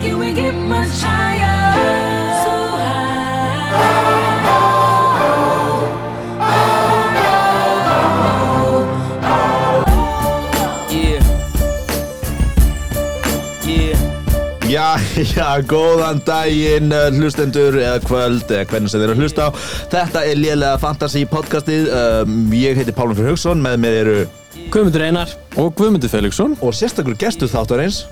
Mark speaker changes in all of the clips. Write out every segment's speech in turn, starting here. Speaker 1: Can we get much higher? So high.
Speaker 2: Yeah. Yeah.
Speaker 3: Já, já, góðan daginn eh, hlustendur eða kvöld eða hvernig sem þeir eru að hlusta á Þetta er lélega Fantasy podcastið um, Ég heiti Pálun Fyrir Haugsson, með mér eru
Speaker 4: Guðmundur Einar
Speaker 5: Og Guðmundur Felixson,
Speaker 3: og sérstakur gestur þáttar eins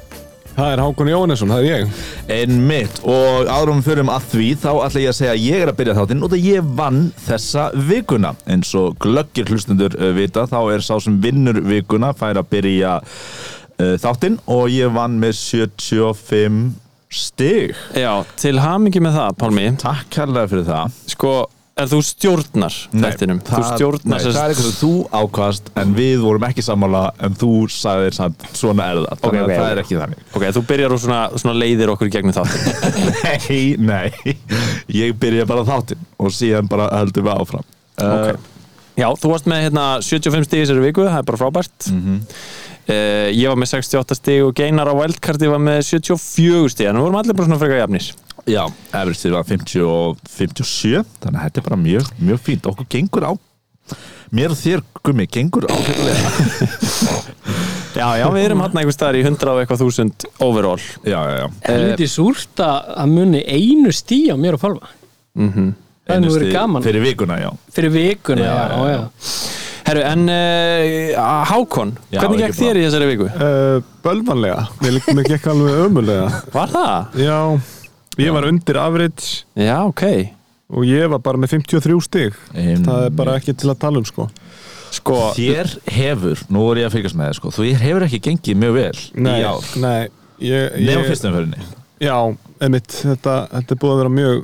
Speaker 5: það er Hákon Jóhannesson, það er ég
Speaker 3: En mitt og áðurum fyrir um að því þá ætla ég að segja að ég er að byrja þáttinn og það ég vann þessa vikuna eins og glöggir hlustendur eh, vita þá er sá sem vinnur vikuna fær að byrja uh, þáttinn og ég vann með 75 stig
Speaker 5: Já, til hamingi með það, Pálmi
Speaker 3: Takk kærlega fyrir það
Speaker 5: Sko, en þú stjórnar þættinum Þú
Speaker 3: það- nei,
Speaker 5: stjórnar
Speaker 3: það er eitthvað sem þú ákast en við vorum ekki sammála en þú sagðir samt svona er það þannig að
Speaker 5: ok,
Speaker 3: það
Speaker 5: ok.
Speaker 3: er ekki þannig
Speaker 5: Ok, þú byrjar og svona, svona leiðir okkur í gegnum þáttin
Speaker 3: nei, nei, ég byrja bara þáttinn og síðan bara höldum við áfram Eh,
Speaker 5: Ok. Já, þú varst með hérna 75 stig í þessari viku, það er bara frábært mm Ég var með 68 stig og Geinar á Wildcardi var með 74 stig En við vorum allir bara svona frekar jafnir
Speaker 3: já, efristið var 50 og 57 þannig að þetta er bara mjög, mjög fínt okkur gengur á mér og þér, gummi, gengur á
Speaker 5: Já, já, við erum hann einhvers staðar í 100 og eitthvað þúsund overall
Speaker 3: já, já, já
Speaker 4: Helviti súrt að að muni einu stí á mér og Pálma Það er nú verið
Speaker 3: Einustu-
Speaker 4: gaman.
Speaker 3: fyrir vikuna, já
Speaker 4: Fyrir vikuna,
Speaker 3: Já,
Speaker 4: já, já,
Speaker 3: já,
Speaker 4: já.
Speaker 5: Herru, en uh, Hákon,
Speaker 3: Já,
Speaker 5: hvernig
Speaker 3: ekki
Speaker 5: gekk
Speaker 3: bra.
Speaker 5: þér í þessari viku?
Speaker 6: Uh, bölvanlega, mér, mér gekk alveg ömulega
Speaker 5: Var það?
Speaker 6: Já, ég var undir average
Speaker 5: Já, ok
Speaker 6: og ég var bara með 53 stig
Speaker 3: Em,
Speaker 6: Það er bara ekki til að tala um sko
Speaker 5: Sko,
Speaker 3: þér hefur, nú voru ég að fylgjast með þér sko, þú hefur ekki gengið mjög vel
Speaker 6: Nei,
Speaker 3: í ár
Speaker 6: nei ég,
Speaker 3: Nefnum
Speaker 6: ég,
Speaker 3: fyrstumförinni
Speaker 6: Já, emitt, þetta, þetta er búið að vera mjög,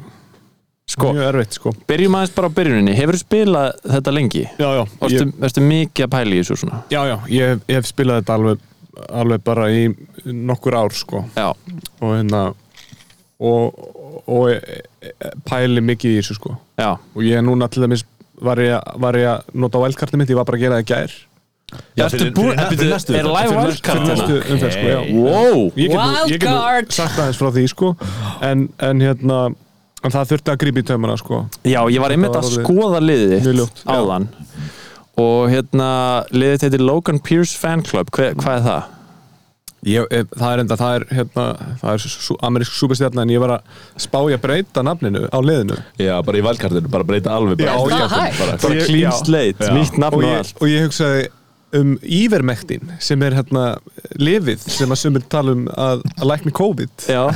Speaker 5: sko,
Speaker 6: mjög erfitt sko
Speaker 5: byrjum aðeins bara á byrjuninni Hefur þú spilað þetta lengi?
Speaker 6: Já, já,
Speaker 5: Varstu,
Speaker 6: ég,
Speaker 5: varstu mikið að pæla í þessu svona?
Speaker 6: já, já ég, hef- ég hef spilað þetta alveg, alveg bara í nokkur ár sko
Speaker 5: Já,
Speaker 6: og hérna og, og e- e- pæli mikið í þessu sko
Speaker 5: já,
Speaker 6: og ég núna til dæmis var ég, var ég að nota wildcardið mitt, ég var bara að gera það í gær
Speaker 5: já
Speaker 3: fyrir-
Speaker 5: ertu búin-
Speaker 3: fyrir-
Speaker 5: eh,
Speaker 3: fyrir
Speaker 5: bíddu, Er
Speaker 3: næstu umferð.
Speaker 5: live
Speaker 6: fyrir næstu, fyrir
Speaker 5: wildcard
Speaker 6: næstu
Speaker 5: hérna?
Speaker 6: umferð sko, já.
Speaker 5: Wow,
Speaker 6: ég get nú- ég get
Speaker 4: Wildcard!
Speaker 6: nú sagt aðeins frá því sko en, en hérna en það þurfti að grípa í taumana sko
Speaker 5: já, ég var einmitt
Speaker 6: Þetta
Speaker 5: að
Speaker 6: var orðið
Speaker 5: skoða liðið
Speaker 6: mjög
Speaker 5: þitt
Speaker 6: ljótt, já.
Speaker 5: áðan Og hérna, liðið þitt heitir Logan Pierce Fan Club Hve, Hvað er það?
Speaker 6: ég, eh, það er enda, það er hérna það er sú, amerísk súbestjarna en ég var að spája breyta nafninu á liðinu
Speaker 3: Já, bara í valkartinu, bara breyta alveg bara.
Speaker 6: Já,
Speaker 3: Bara-
Speaker 6: já.
Speaker 3: bara- bara-
Speaker 5: Bara
Speaker 6: Ég-
Speaker 5: clean
Speaker 6: já.
Speaker 5: slate,
Speaker 3: Já.
Speaker 5: nýtt
Speaker 6: og
Speaker 5: nafn og
Speaker 6: ég,
Speaker 5: allt
Speaker 6: og ég hugsaði um ívermektin sem er hérna lifið sem að sumir tala um að, að lækni COVID
Speaker 5: Já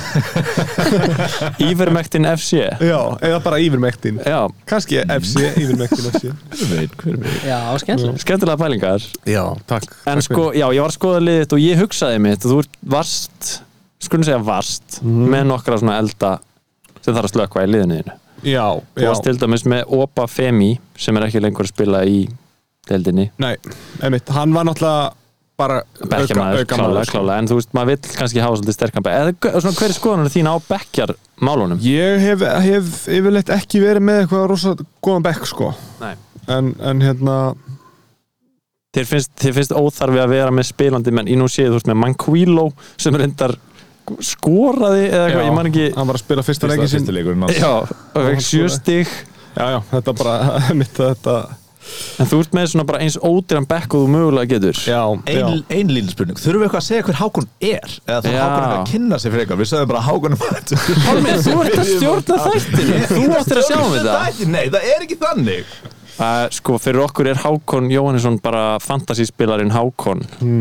Speaker 5: Ívermektin FC
Speaker 6: já, eða bara ívermektin
Speaker 5: Já,
Speaker 6: kannski
Speaker 5: Mm.
Speaker 6: FC, ívermektin FC
Speaker 3: Hver veit, hver veit
Speaker 4: Já, skemmtilegt.
Speaker 5: skemmtilega pælingar
Speaker 6: já, takk
Speaker 5: En sko, já, ég var að skoða liðið þitt og ég hugsaði mitt og þú ert varst, skulum segja varst
Speaker 6: Mhm.
Speaker 5: með nokkra svona elda sem þarf að slökva í liðinu þínu
Speaker 6: já,
Speaker 5: Þú
Speaker 6: já,
Speaker 5: varst til dæmis með Opa Femi sem er ekki lengur að spila í deildinni
Speaker 6: nei, emitt, hann var náttúrulega bara
Speaker 5: bekkjarmaður, klálega,
Speaker 6: sko.
Speaker 5: klálega en þú veist, maður vill kannski hafa svolítið sterkan bekk eða gau- svona hver er skoðanur þín á bekkjarmálunum?
Speaker 6: Ég hef, hef yfirleitt ekki verið með eitthvað rosa góðan bekk sko
Speaker 5: Nei.
Speaker 6: en, en hérna
Speaker 5: Þér finnst, þér finnst óþarfi að vera með spilandi menn í nú séð þú veist með Manquillo sem reyndar skoraði eða eitthvað, ég man ekki
Speaker 6: Hann var að spila fyrsta leikin
Speaker 3: Fyrsta
Speaker 6: sín
Speaker 3: leikurinn hans.
Speaker 5: Já, og fekk sjö
Speaker 6: skoraði.
Speaker 5: stig
Speaker 6: Já, já, þetta bara mitt þetta
Speaker 5: En þú ert með svona bara eins ódýran bekk og þú mögulega getur
Speaker 6: Já, já
Speaker 3: Ein, ein línspurning, þurfum við eitthvað að segja hver Hákon er eða þarf
Speaker 5: Já.
Speaker 3: Hákon eitthvað að kynna sig fyrir eitthvað við sögum bara Hákon
Speaker 5: Pálmi, þú ert að stjórna þættinu Þú áttir að sjá um þetta
Speaker 3: Nei, það er ekki þannig
Speaker 5: uh, Sko, fyrir okkur er Hákon Jóhannesson bara fantasyspilarinn Hákon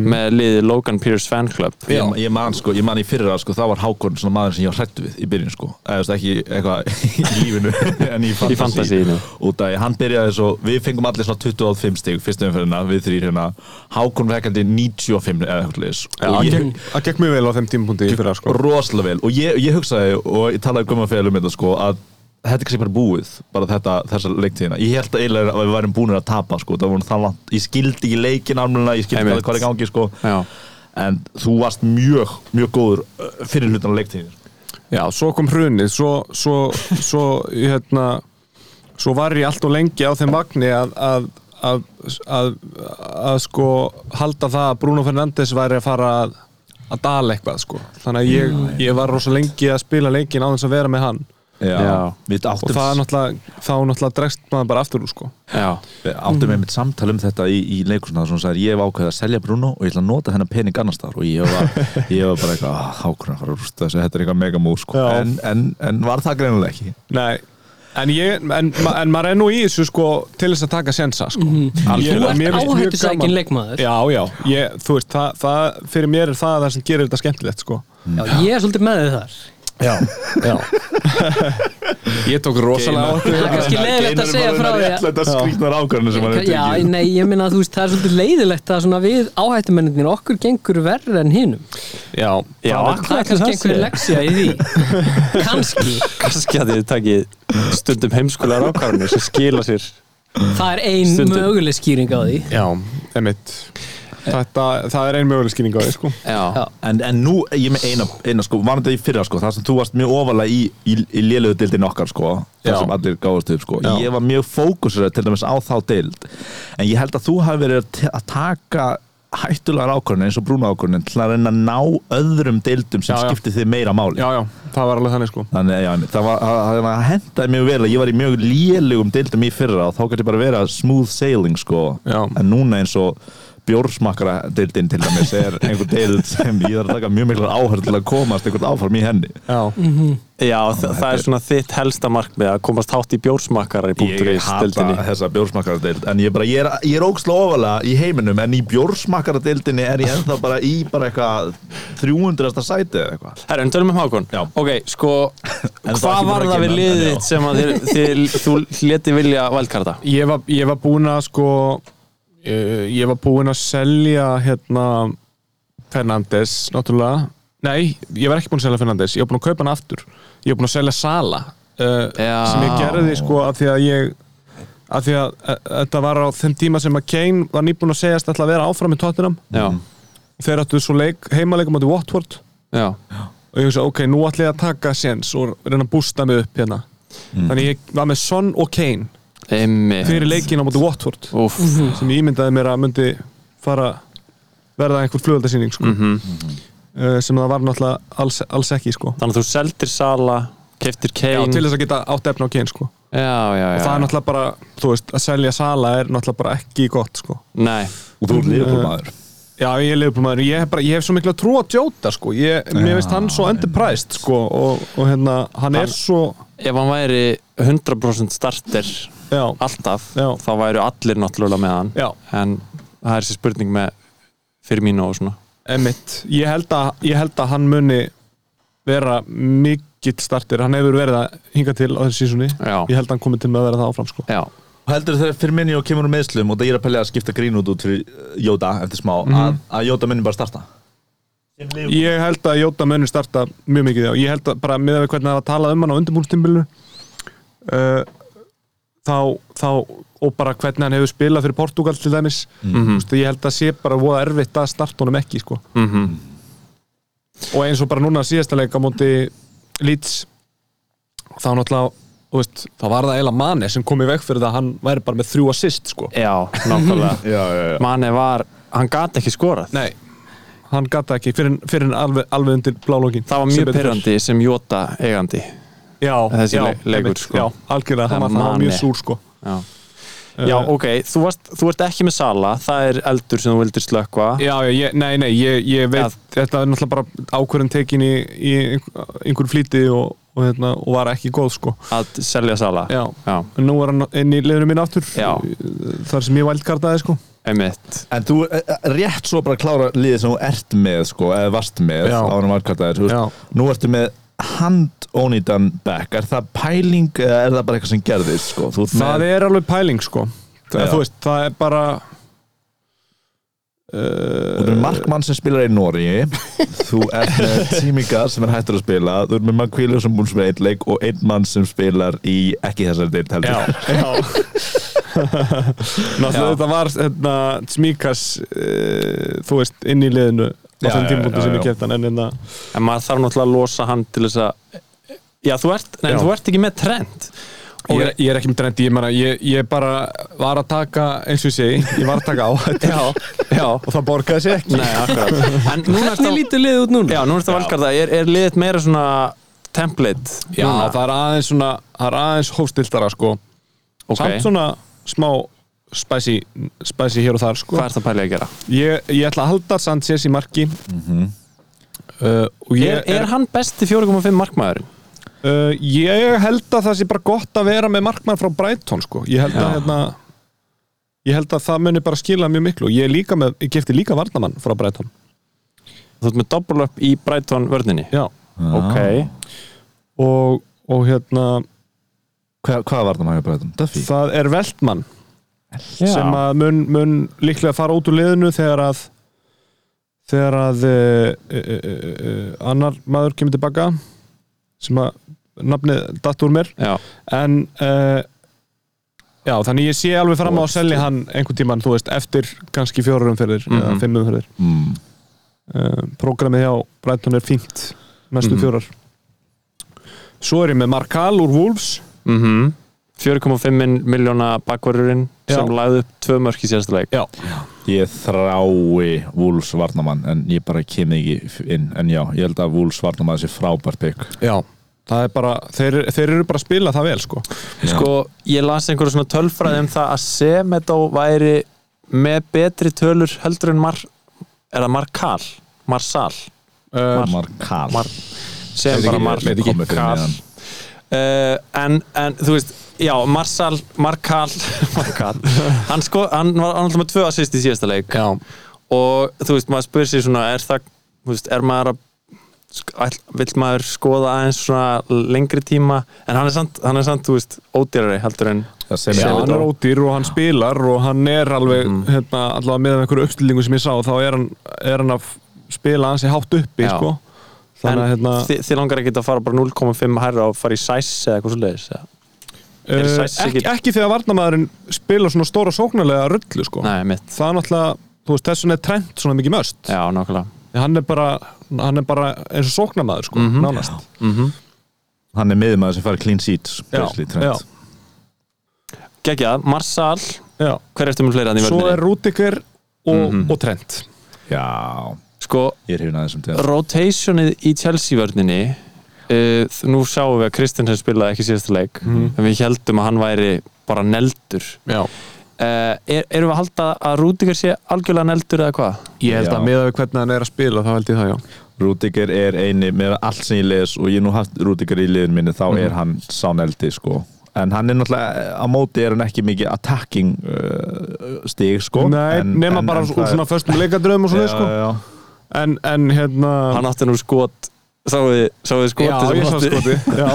Speaker 5: með liði Logan Pierce Fan Club
Speaker 3: ég, ég man sko, ég man í fyrra sko, þá var Hákon svona maður sem ég var hrættu við í byrjun sko, eða þú veist ekki eitthvað í lífinu en í fantasy,
Speaker 5: fantasíinu.
Speaker 3: út af, hann byrjaði svo, við fengum allir svona 25 stig fyrstu umferðina, við þrýr hérna Hákon vekkandi 95 eða eitthvað leis
Speaker 6: Það gekk, það gekk mjög vel á þeim tímapunkti í fyrra sko
Speaker 3: rosalega vel og ég, ég hugsaði og ég talaði gumma fyrir um þetta sko að þetta er kannski bara búið bara þetta, þessa leiktíðina ég held að eiginlega að við værum búinir að tapa sko það voru það langt, ég skildi ekki leikin almenna ég skildi
Speaker 5: Einmitt.
Speaker 3: ekki hvað er í gangi sko
Speaker 5: Já.
Speaker 3: en þú varst mjög, mjög góður uh, fyrir hlutan á leiktíðin
Speaker 6: Já, svo kom hrunið Svo, svo, svo, hérna Svo var ég allt og lengi á þeim vagni að, að, að, að, að, sko halda það að Bruno Fernandes væri að fara að að dala eitthvað sko þannig að ég, ég var rosa lengi að spila leikin á þess að vera með hann
Speaker 3: já,
Speaker 5: Já.
Speaker 3: Við
Speaker 6: og
Speaker 3: áttum,
Speaker 6: það er náttúrulega þá náttúrulega dregst maður bara aftur úr sko
Speaker 5: já,
Speaker 3: við
Speaker 6: Mm.
Speaker 3: áttum einmitt samtal um þetta í, í leikusna sem hún sagði ég hef ákveðið að selja Bruno og ég ætla að nota hennar pening annar staðar og ég var, ég var bara eitthvað "Ah, hákurinn að fara að rústa þessu, þetta er eitthvað mega múr sko.
Speaker 6: Já.
Speaker 3: en, en, en var það greinilega ekki
Speaker 6: Nei, en, ég, en, ma- en maður er nú í þessu sko til þess að taka sensa sko
Speaker 4: Mhm. Þú
Speaker 6: Algjörlega. Mér
Speaker 4: ert
Speaker 6: finnst mjög
Speaker 4: áhættusækin
Speaker 6: gaman.
Speaker 4: leikmaður
Speaker 6: Já, já, ég, þú veist, það, það, fyrir mér er það það sem gerir þetta skemmtilegt sko
Speaker 4: Já, ég er svolítið með þið þar
Speaker 6: Já, já Ég tók
Speaker 5: Gamer.
Speaker 6: rosalega átt
Speaker 4: Það er kannski leiðilegt að segja frá því að-
Speaker 3: Þetta skrýtnar ákveðinu sem hann er
Speaker 4: Já,
Speaker 3: tekið
Speaker 4: nei, ég minna að þú veist, það er svolítið leiðilegt að svona við áhættumennir okkur gengur verður en hinum
Speaker 6: Já,
Speaker 5: já
Speaker 4: Það er kannski einhver leksja í því Kannski,
Speaker 5: kannski að þið takið stundum heimskulegar ákvarðanir sem skila sér
Speaker 4: það er ein
Speaker 5: Stundum.
Speaker 4: möguleg skýring á því
Speaker 6: Já, emitt Þetta, það er ein möguleg skýring á því sko
Speaker 5: já,
Speaker 3: En, en nú, ég er með eina, eina sko, var þetta í fyrra sko, það sem þú varst mjög ofalega í, í, í lélöðu deildin okkar sko, það
Speaker 6: Já.
Speaker 3: sem allir gáðast upp sko,
Speaker 6: Já.
Speaker 3: ég var mjög fókusur til dæmis á þá deild, en ég held að þú hafi verið að te- að taka hættulegar ákvörðin eins og brúna ákvörðin til að reyna að ná öðrum deildum sem
Speaker 6: Já, já.
Speaker 3: skipti þig meira máli.
Speaker 6: Já, já, það var alveg þannig sko
Speaker 3: Þannig að já, einmitt, það var, það, það- það hendaði mjög vel að ég var í mjög lélugum deildum í fyrra og þá gæti bara verið að smooth sailing sko
Speaker 6: Já.
Speaker 3: en núna eins og bjórsmakkara deildin til dæmis er einhver deild sem ég þarf að taka mjög miklar áhörð til að komast einhvern áfram í henni
Speaker 6: Já,
Speaker 5: já það, það er svona þitt helsta markmið að komast hátt í bjórsmakkara í punktur í
Speaker 3: Ég hata
Speaker 5: stildinni
Speaker 3: þessa bjórsmakkara deild en ég, bara, ég er, ég er ókslega ofalega í heiminum en í bjórsmakkara deildinni er ég ennþá bara í bara eitthvað 300. sæti eða eitthvað
Speaker 5: Herra, en tölum um Hákon
Speaker 3: Já.
Speaker 5: Ok, sko,
Speaker 3: En það
Speaker 5: hvað
Speaker 3: er
Speaker 5: var
Speaker 3: ekki
Speaker 5: það
Speaker 3: bara að
Speaker 5: við
Speaker 3: kynna,
Speaker 5: liðið
Speaker 3: en já.
Speaker 5: þitt sem að þið, þið, þú leti vilja valdkarta?
Speaker 6: ég var, ég var búin að sko eh, ég var búin að selja hérna Fernandes, náttúrulega Nei, ég var ekki búin að selja Fernandes, ég var búin að kaupa hann aftur Ég var búin að selja Sala uh,
Speaker 5: Já.
Speaker 6: sem ég gerði sko af því að ég af því að eh, þetta var á þeim tíma sem að Kane var nýbúin að segjast ætla að vera áfram í Tottenham
Speaker 5: Já,
Speaker 6: Þeir áttu svo leik, heimaleikum átti Watford
Speaker 5: já,
Speaker 6: og ég hugsa, ok, nú ætla ég að taka séns og reyna að bústa mig upp hérna
Speaker 5: Mm.
Speaker 6: Þannig ég var með Son og Kane
Speaker 5: einmitt
Speaker 6: fyrir leikin á móti Watford
Speaker 5: Úff,
Speaker 6: sem ég ímyndaði mér að myndi fara verða einhver flugöldasýning sko.
Speaker 5: Mhm.
Speaker 6: uh, sem það var náttúrulega alls, alls ekki sko.
Speaker 5: Þannig að þú seldir Sala, keftir
Speaker 6: já,
Speaker 5: Kane
Speaker 6: til þess að geta átt efna á Kane sko. og
Speaker 5: já, já, já,
Speaker 6: það er náttúrulega bara, þú veist, að selja sala er náttúrulega bara ekki gott sko.
Speaker 5: Nei,
Speaker 3: og þú er liðbúrmaður
Speaker 6: já, ég er liðbúrmaður, ég, hef bara- ég hef svo miklu að trúa Jota sko. ég, mér finnst hann svo underpriced sko, og, og hérna, hann er
Speaker 5: Hann-
Speaker 6: svo
Speaker 5: ef hann væri 100% starter
Speaker 6: já,
Speaker 5: alltaf,
Speaker 6: Já.
Speaker 5: þá væru allir náttúrulega með hann
Speaker 6: já,
Speaker 5: en það er þessi spurning með fyrir mínu og svona
Speaker 6: emitt ég held að, ég held að hann muni vera mikill startir, hann hefur verið að hinga til á þessu sísunni
Speaker 5: Já,
Speaker 6: ég held að hann komið til með að vera það áfram sko.
Speaker 5: já,
Speaker 3: Heldur þegar fyrir minni og kemur úr meðslum og það ég er að pelja að skipta grín út út fyrir Jóta eftir smá, að, að Jóta minni bara starta
Speaker 6: Ég held að Jóta muni starta mjög mikið já. Ég held að bara með að við hvernig það var að tala um hann á undirbúrstimbulu uh, þá, þá og bara hvernig hann hefur spilað fyrir Portugal til dæmis
Speaker 5: Mhm.
Speaker 6: mm -hmm. ég held að sé bara voða erfitt að starta honum ekki sko.
Speaker 5: Mhm.
Speaker 6: og eins og bara núna síðasta leik á móti Leeds þá náttúrulega þú veist, þá var það eiginlega manni sem kom í veg fyrir það að hann væri bara með þrjú assist sko.
Speaker 5: já, nákvæmlega
Speaker 3: Já, já, já
Speaker 5: Mane var, hann gat ekki skorað
Speaker 6: Nei, hann gata ekki fyrir, fyrir alveg, alveg undir blálókin
Speaker 5: Það var mjög pyrrandi sem Jota eigandi
Speaker 6: já,
Speaker 5: þessi
Speaker 6: já,
Speaker 5: le- leikur,
Speaker 6: einmitt,
Speaker 5: sko.
Speaker 6: já, algjörlega,
Speaker 5: Það
Speaker 6: hann var, hann var
Speaker 5: mani.
Speaker 6: mjög súr sko.
Speaker 5: Já, já
Speaker 6: Eh.
Speaker 5: ok, þú, varst, þú ert ekki með Sala það er eldur sem þú vildir slökva
Speaker 6: já, já, ég, nei, nei, ég, ég veit
Speaker 5: Já.
Speaker 6: þetta er náttúrulega bara ákvörðin tekin í, í einhver- einhver flýti og, og, hérna, og var ekki góð sko.
Speaker 5: að selja Sala
Speaker 6: já.
Speaker 5: já
Speaker 6: En nú er hann inn í liðinu mín aftur
Speaker 5: Já.
Speaker 6: þar sem ég vældkartaði sko.
Speaker 5: einmitt
Speaker 3: En þú eh, rétt svo bara klára liðið sem þú ert með sko, eða varst með
Speaker 6: Já.
Speaker 3: ánum valkartaðir
Speaker 6: Já.
Speaker 3: Nú ertu með handónýtan back Er það pæling eða er það bara eitthvað sem gerðist sko? Þú ert
Speaker 6: það
Speaker 3: með,
Speaker 6: er alveg pæling sko.
Speaker 3: Já.
Speaker 6: það, þú veist, það er bara eh,
Speaker 3: Þú ert með markmann sem spilar í Nóri Þú ert með tíminga sem er hættur að spila Þú ert með mann kvílu sem búin sem einn leik og einn mann sem spilar í ekki þessari deilt heldur
Speaker 6: já. Náttúrulega þetta var hérna, smíkas uh, þú veist, inn í liðinu á
Speaker 3: Já,
Speaker 6: þeim
Speaker 3: já,
Speaker 6: tímpunktu
Speaker 3: já,
Speaker 6: sem
Speaker 3: já.
Speaker 6: ég kefti hann en hérna
Speaker 5: en maður þarf náttúrulega að losa hann til þess að já, þú ert, nei,
Speaker 6: Já.
Speaker 5: þú ert ekki með trend
Speaker 6: Ég er, ég er ekki með drendi, ég, meina, ég, ég bara var að taka, eins og ég segi, ég var að taka á þetta já, já. og það borgaði sér ekki.
Speaker 5: Nei, akkurat En núna ertu
Speaker 4: Hvernig
Speaker 5: á-
Speaker 4: lítur liðið út núna?
Speaker 5: Já, núna ertu að valkarta Er, er liðið meira svona template
Speaker 6: Já,
Speaker 5: núna?
Speaker 6: það er aðeins svona, það er aðeins hófstildara sko.
Speaker 5: Ok.
Speaker 6: Samt svona smá spicy, spicy hér og þar sko.
Speaker 5: Hvað er það pælið að gera?
Speaker 6: Ég, ég ætla að halda Sanchez í marki uh, og ég
Speaker 5: Er, er hann besti 4,5 markmaður?
Speaker 6: Uh, ég held að það sé bara gott að vera með markmann frá Brighton sko. ég, held að, hérna, ég held að það muni bara skila mjög miklu og ég, er líka með, ég kefti líka varnamann frá Brighton
Speaker 5: Þú ert með double up í Brighton vörninni
Speaker 6: Já.
Speaker 5: Ok
Speaker 3: Ah.
Speaker 6: og, og hérna
Speaker 3: Hva, hvað var það maður að breyta? Duffy?
Speaker 6: það er Veltmann
Speaker 5: Já.
Speaker 6: sem að mun, mun líklega fara út úr liðinu þegar að þegar að uh, uh, uh, uh, annar maður kemur tilbaka sem að nafnið datt úr mér
Speaker 5: Já,
Speaker 6: en uh, já, þannig ég sé alveg fram á að selja hann einhvern tíman, þú veist, eftir kannski fjórum fyrir, mm
Speaker 5: Mhm.
Speaker 6: -hmm. eða fimmum fyrir
Speaker 3: Mm.
Speaker 6: uh, prógramið hjá Brighton er fínt næstu
Speaker 5: Mhm.
Speaker 6: fjórar svo er ég með Markal úr Wolves
Speaker 5: mhm 4,5 miljóna bakvarurinn
Speaker 6: Já.
Speaker 5: sem lagði upp tvö mörk í sérstuleik
Speaker 6: já,
Speaker 3: Ég þrái Wolves varnamann en ég bara kem ekki inn en já, ég held að Wolves varnamann sé frábært bygg
Speaker 6: já það er bara, þeir, þeir eru bara að spila það vel sko
Speaker 5: Sko, ég las einhverja svona tölfræði um það að Semedo væri með betri tölur heldur en Mar er það Markal Marsal
Speaker 6: uh,
Speaker 3: Markal
Speaker 5: Mar- sem bara Markal uh,
Speaker 3: Markal
Speaker 5: Eh, en, en þú veist já, Marsal, Markal Markal, hann sko hann var hann var alltaf með tvö assist í síðasta leik
Speaker 6: já,
Speaker 5: og þú veist, maður spyr sér svona er það, þú veist, er maður að sk- ætl- vill maður skoða aðeins svona lengri tíma en hann er samt, hann er samt, þú veist, ódýrari heldur en
Speaker 3: Það sem
Speaker 6: já,
Speaker 3: ég
Speaker 6: hann er ódýr og hann spilar og hann er alveg
Speaker 5: Mm.
Speaker 6: hérna, allavega með einhverju uppstillingu sem ég sá þá er hann, er hann að f- spila hans í hátt uppi
Speaker 5: Já.
Speaker 6: sko þannig að
Speaker 5: en
Speaker 6: hérna
Speaker 5: þi- þið langar ekki að fara bara 0,5 hærra og fara í sæs eða eitthvað svo leiðis Er
Speaker 6: Eh,
Speaker 5: Sæs
Speaker 6: ekki,
Speaker 5: ekki-
Speaker 6: ekki þegar varnamæðurinn spila svona stóra sóknarlega rullu sko.
Speaker 5: Nei, mitt
Speaker 6: það er náttúrulega, þú veist, þess vegna er trend svona mikið möst,
Speaker 5: Já, nákvæmlega
Speaker 6: hann er bara hann er bara eins og sóknarmæður sko,
Speaker 5: Mhm.
Speaker 6: nánast
Speaker 3: Hann er miðum að sem fari clean seats basically, Trent.
Speaker 6: já,
Speaker 5: Gekkjað, Marsal,
Speaker 6: já.
Speaker 5: hver eftir með fleira þannig
Speaker 6: svo er Rúdiger og,
Speaker 5: Mhm.
Speaker 6: og trend
Speaker 3: já,
Speaker 5: Sko,
Speaker 3: ég er hrifin aðeins um þetta
Speaker 5: rotationið í Chelsea vörninni uh, Nú sjáum við að Kristinsen spilaði ekki síðasta leik en við heldum að hann væri bara neldur
Speaker 6: Mhm. já.
Speaker 5: uh, er, Erum við að halda að Rúdíkar sé algjörlega neldur eða hvað?
Speaker 6: ég held
Speaker 3: Já.
Speaker 6: að miða við hvernig hann er að spila þá held ég það, já
Speaker 3: Rúdiger er eini með allt sem ég les og ég hef nú haft Rúdiger í liðin minni þá
Speaker 6: Mhm.
Speaker 3: er hann sáneldi sko en hann er náttúrulega, á móti er hann ekki mikið attacking uh, stig sko
Speaker 6: Nei,
Speaker 3: en,
Speaker 6: nema
Speaker 3: en-
Speaker 6: bara
Speaker 3: en
Speaker 6: úr
Speaker 3: það er-
Speaker 6: svona föstum leikadröðum og
Speaker 3: Já,
Speaker 6: svona sko.
Speaker 3: já, já.
Speaker 6: en, en hérna
Speaker 5: Hann átti nú skot Sáuði, sáuði skoti
Speaker 6: já, ég sá skoti já.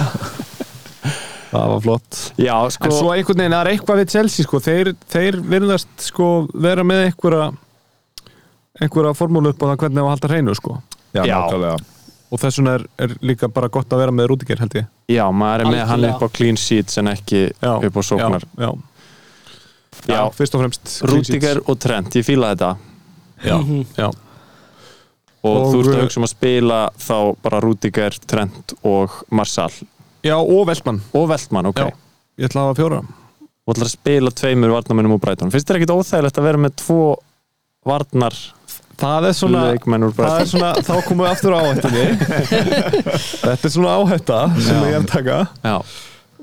Speaker 6: það var flott
Speaker 5: Já,
Speaker 6: En
Speaker 5: sko
Speaker 6: svo einhvern veginn, það er eitthvað við Chelsea sko. þeir, þeir virðast sko, vera með einhverja einhverja formúlu upp á það hvernig á að halda hreinu sko.
Speaker 3: já,
Speaker 5: Já.
Speaker 3: nákvæmlega
Speaker 6: og þess vegna er, er líka bara gott að vera með Rúdiger held ég
Speaker 5: Já, maður er með hann
Speaker 4: Algjörlega.
Speaker 5: upp á clean sheets en ekki upp á sóknar
Speaker 6: já, já. Já,
Speaker 5: Já.
Speaker 6: fyrst og fremst
Speaker 5: Rúdíkar og Trent, ég fíla þetta
Speaker 6: já,
Speaker 3: Mhm.
Speaker 6: já.
Speaker 5: og,
Speaker 6: Og-
Speaker 5: þú ert að hugsa um að spila þá bara Rúdíkar, Trent og Marsal
Speaker 6: já, og Veltmann
Speaker 5: og Veltmann, ok
Speaker 6: Já. ég ætla að hafa fjóra
Speaker 5: og ætlar að spila tveimur varnamennum úr Brighton finnst þér ekkit óþægilegt að vera með tvo varnar
Speaker 6: það er svona,
Speaker 5: leikmenn úr
Speaker 6: það er
Speaker 5: Brighton
Speaker 6: svona þá komum við aftur á áhættinni þetta er svona áhætta sem ég er að taka
Speaker 5: Já,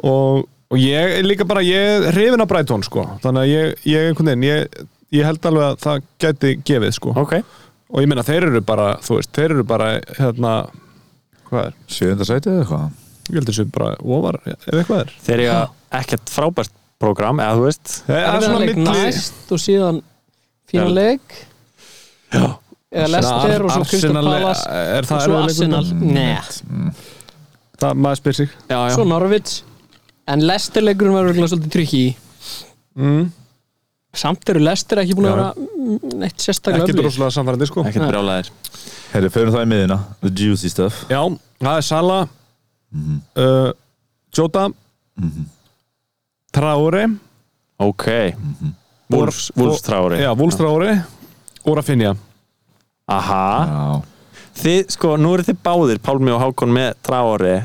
Speaker 6: og, og ég er líka bara ég er hrifin af Brighton sko þannig að ég, ég einhvern veginn ég, ég held alveg að það gæti gefið sko
Speaker 5: ok
Speaker 6: og ég meina þeir eru bara þú veist, þeir eru bara hérna hvað er,
Speaker 3: Sjöunda sætið eða hvað?
Speaker 6: ég held þessu bara ofar, ef eitthvað er
Speaker 5: Þegar ég ekkert frábært program, eða þú veist
Speaker 6: það er svona
Speaker 4: Erfiðan leik
Speaker 6: milli
Speaker 4: næst og síðan fína leik eða Lester og svo Crystal
Speaker 6: Arsenal-
Speaker 4: Palace
Speaker 6: er Mm.
Speaker 4: og svo
Speaker 6: það erfiður leikur?
Speaker 4: Arsenal Nei,
Speaker 6: það maður spyr sig
Speaker 5: Já, já,
Speaker 4: svo Norvits en Lester leikurinn var örugglega svolítið tryggi mm. samt eru Lester ekki búin að vera mm, neitt sérstaklega
Speaker 6: ekki
Speaker 4: öflugir.
Speaker 6: droslega samfærandi sko
Speaker 5: ekkert brjálæðir
Speaker 3: Herri, förum það í miðina The juicy stuff
Speaker 6: já, það er Sala uh, Jota Mhm. Traore
Speaker 5: Ok, Wolfs,
Speaker 6: og-
Speaker 5: Wolfs trári
Speaker 6: Mhm. já, Wolfs Traore og Rafinha
Speaker 5: Aha,
Speaker 3: Já
Speaker 6: Mhm.
Speaker 5: þið, sko, nú eru þið báðir Pálmi og Hákon með trári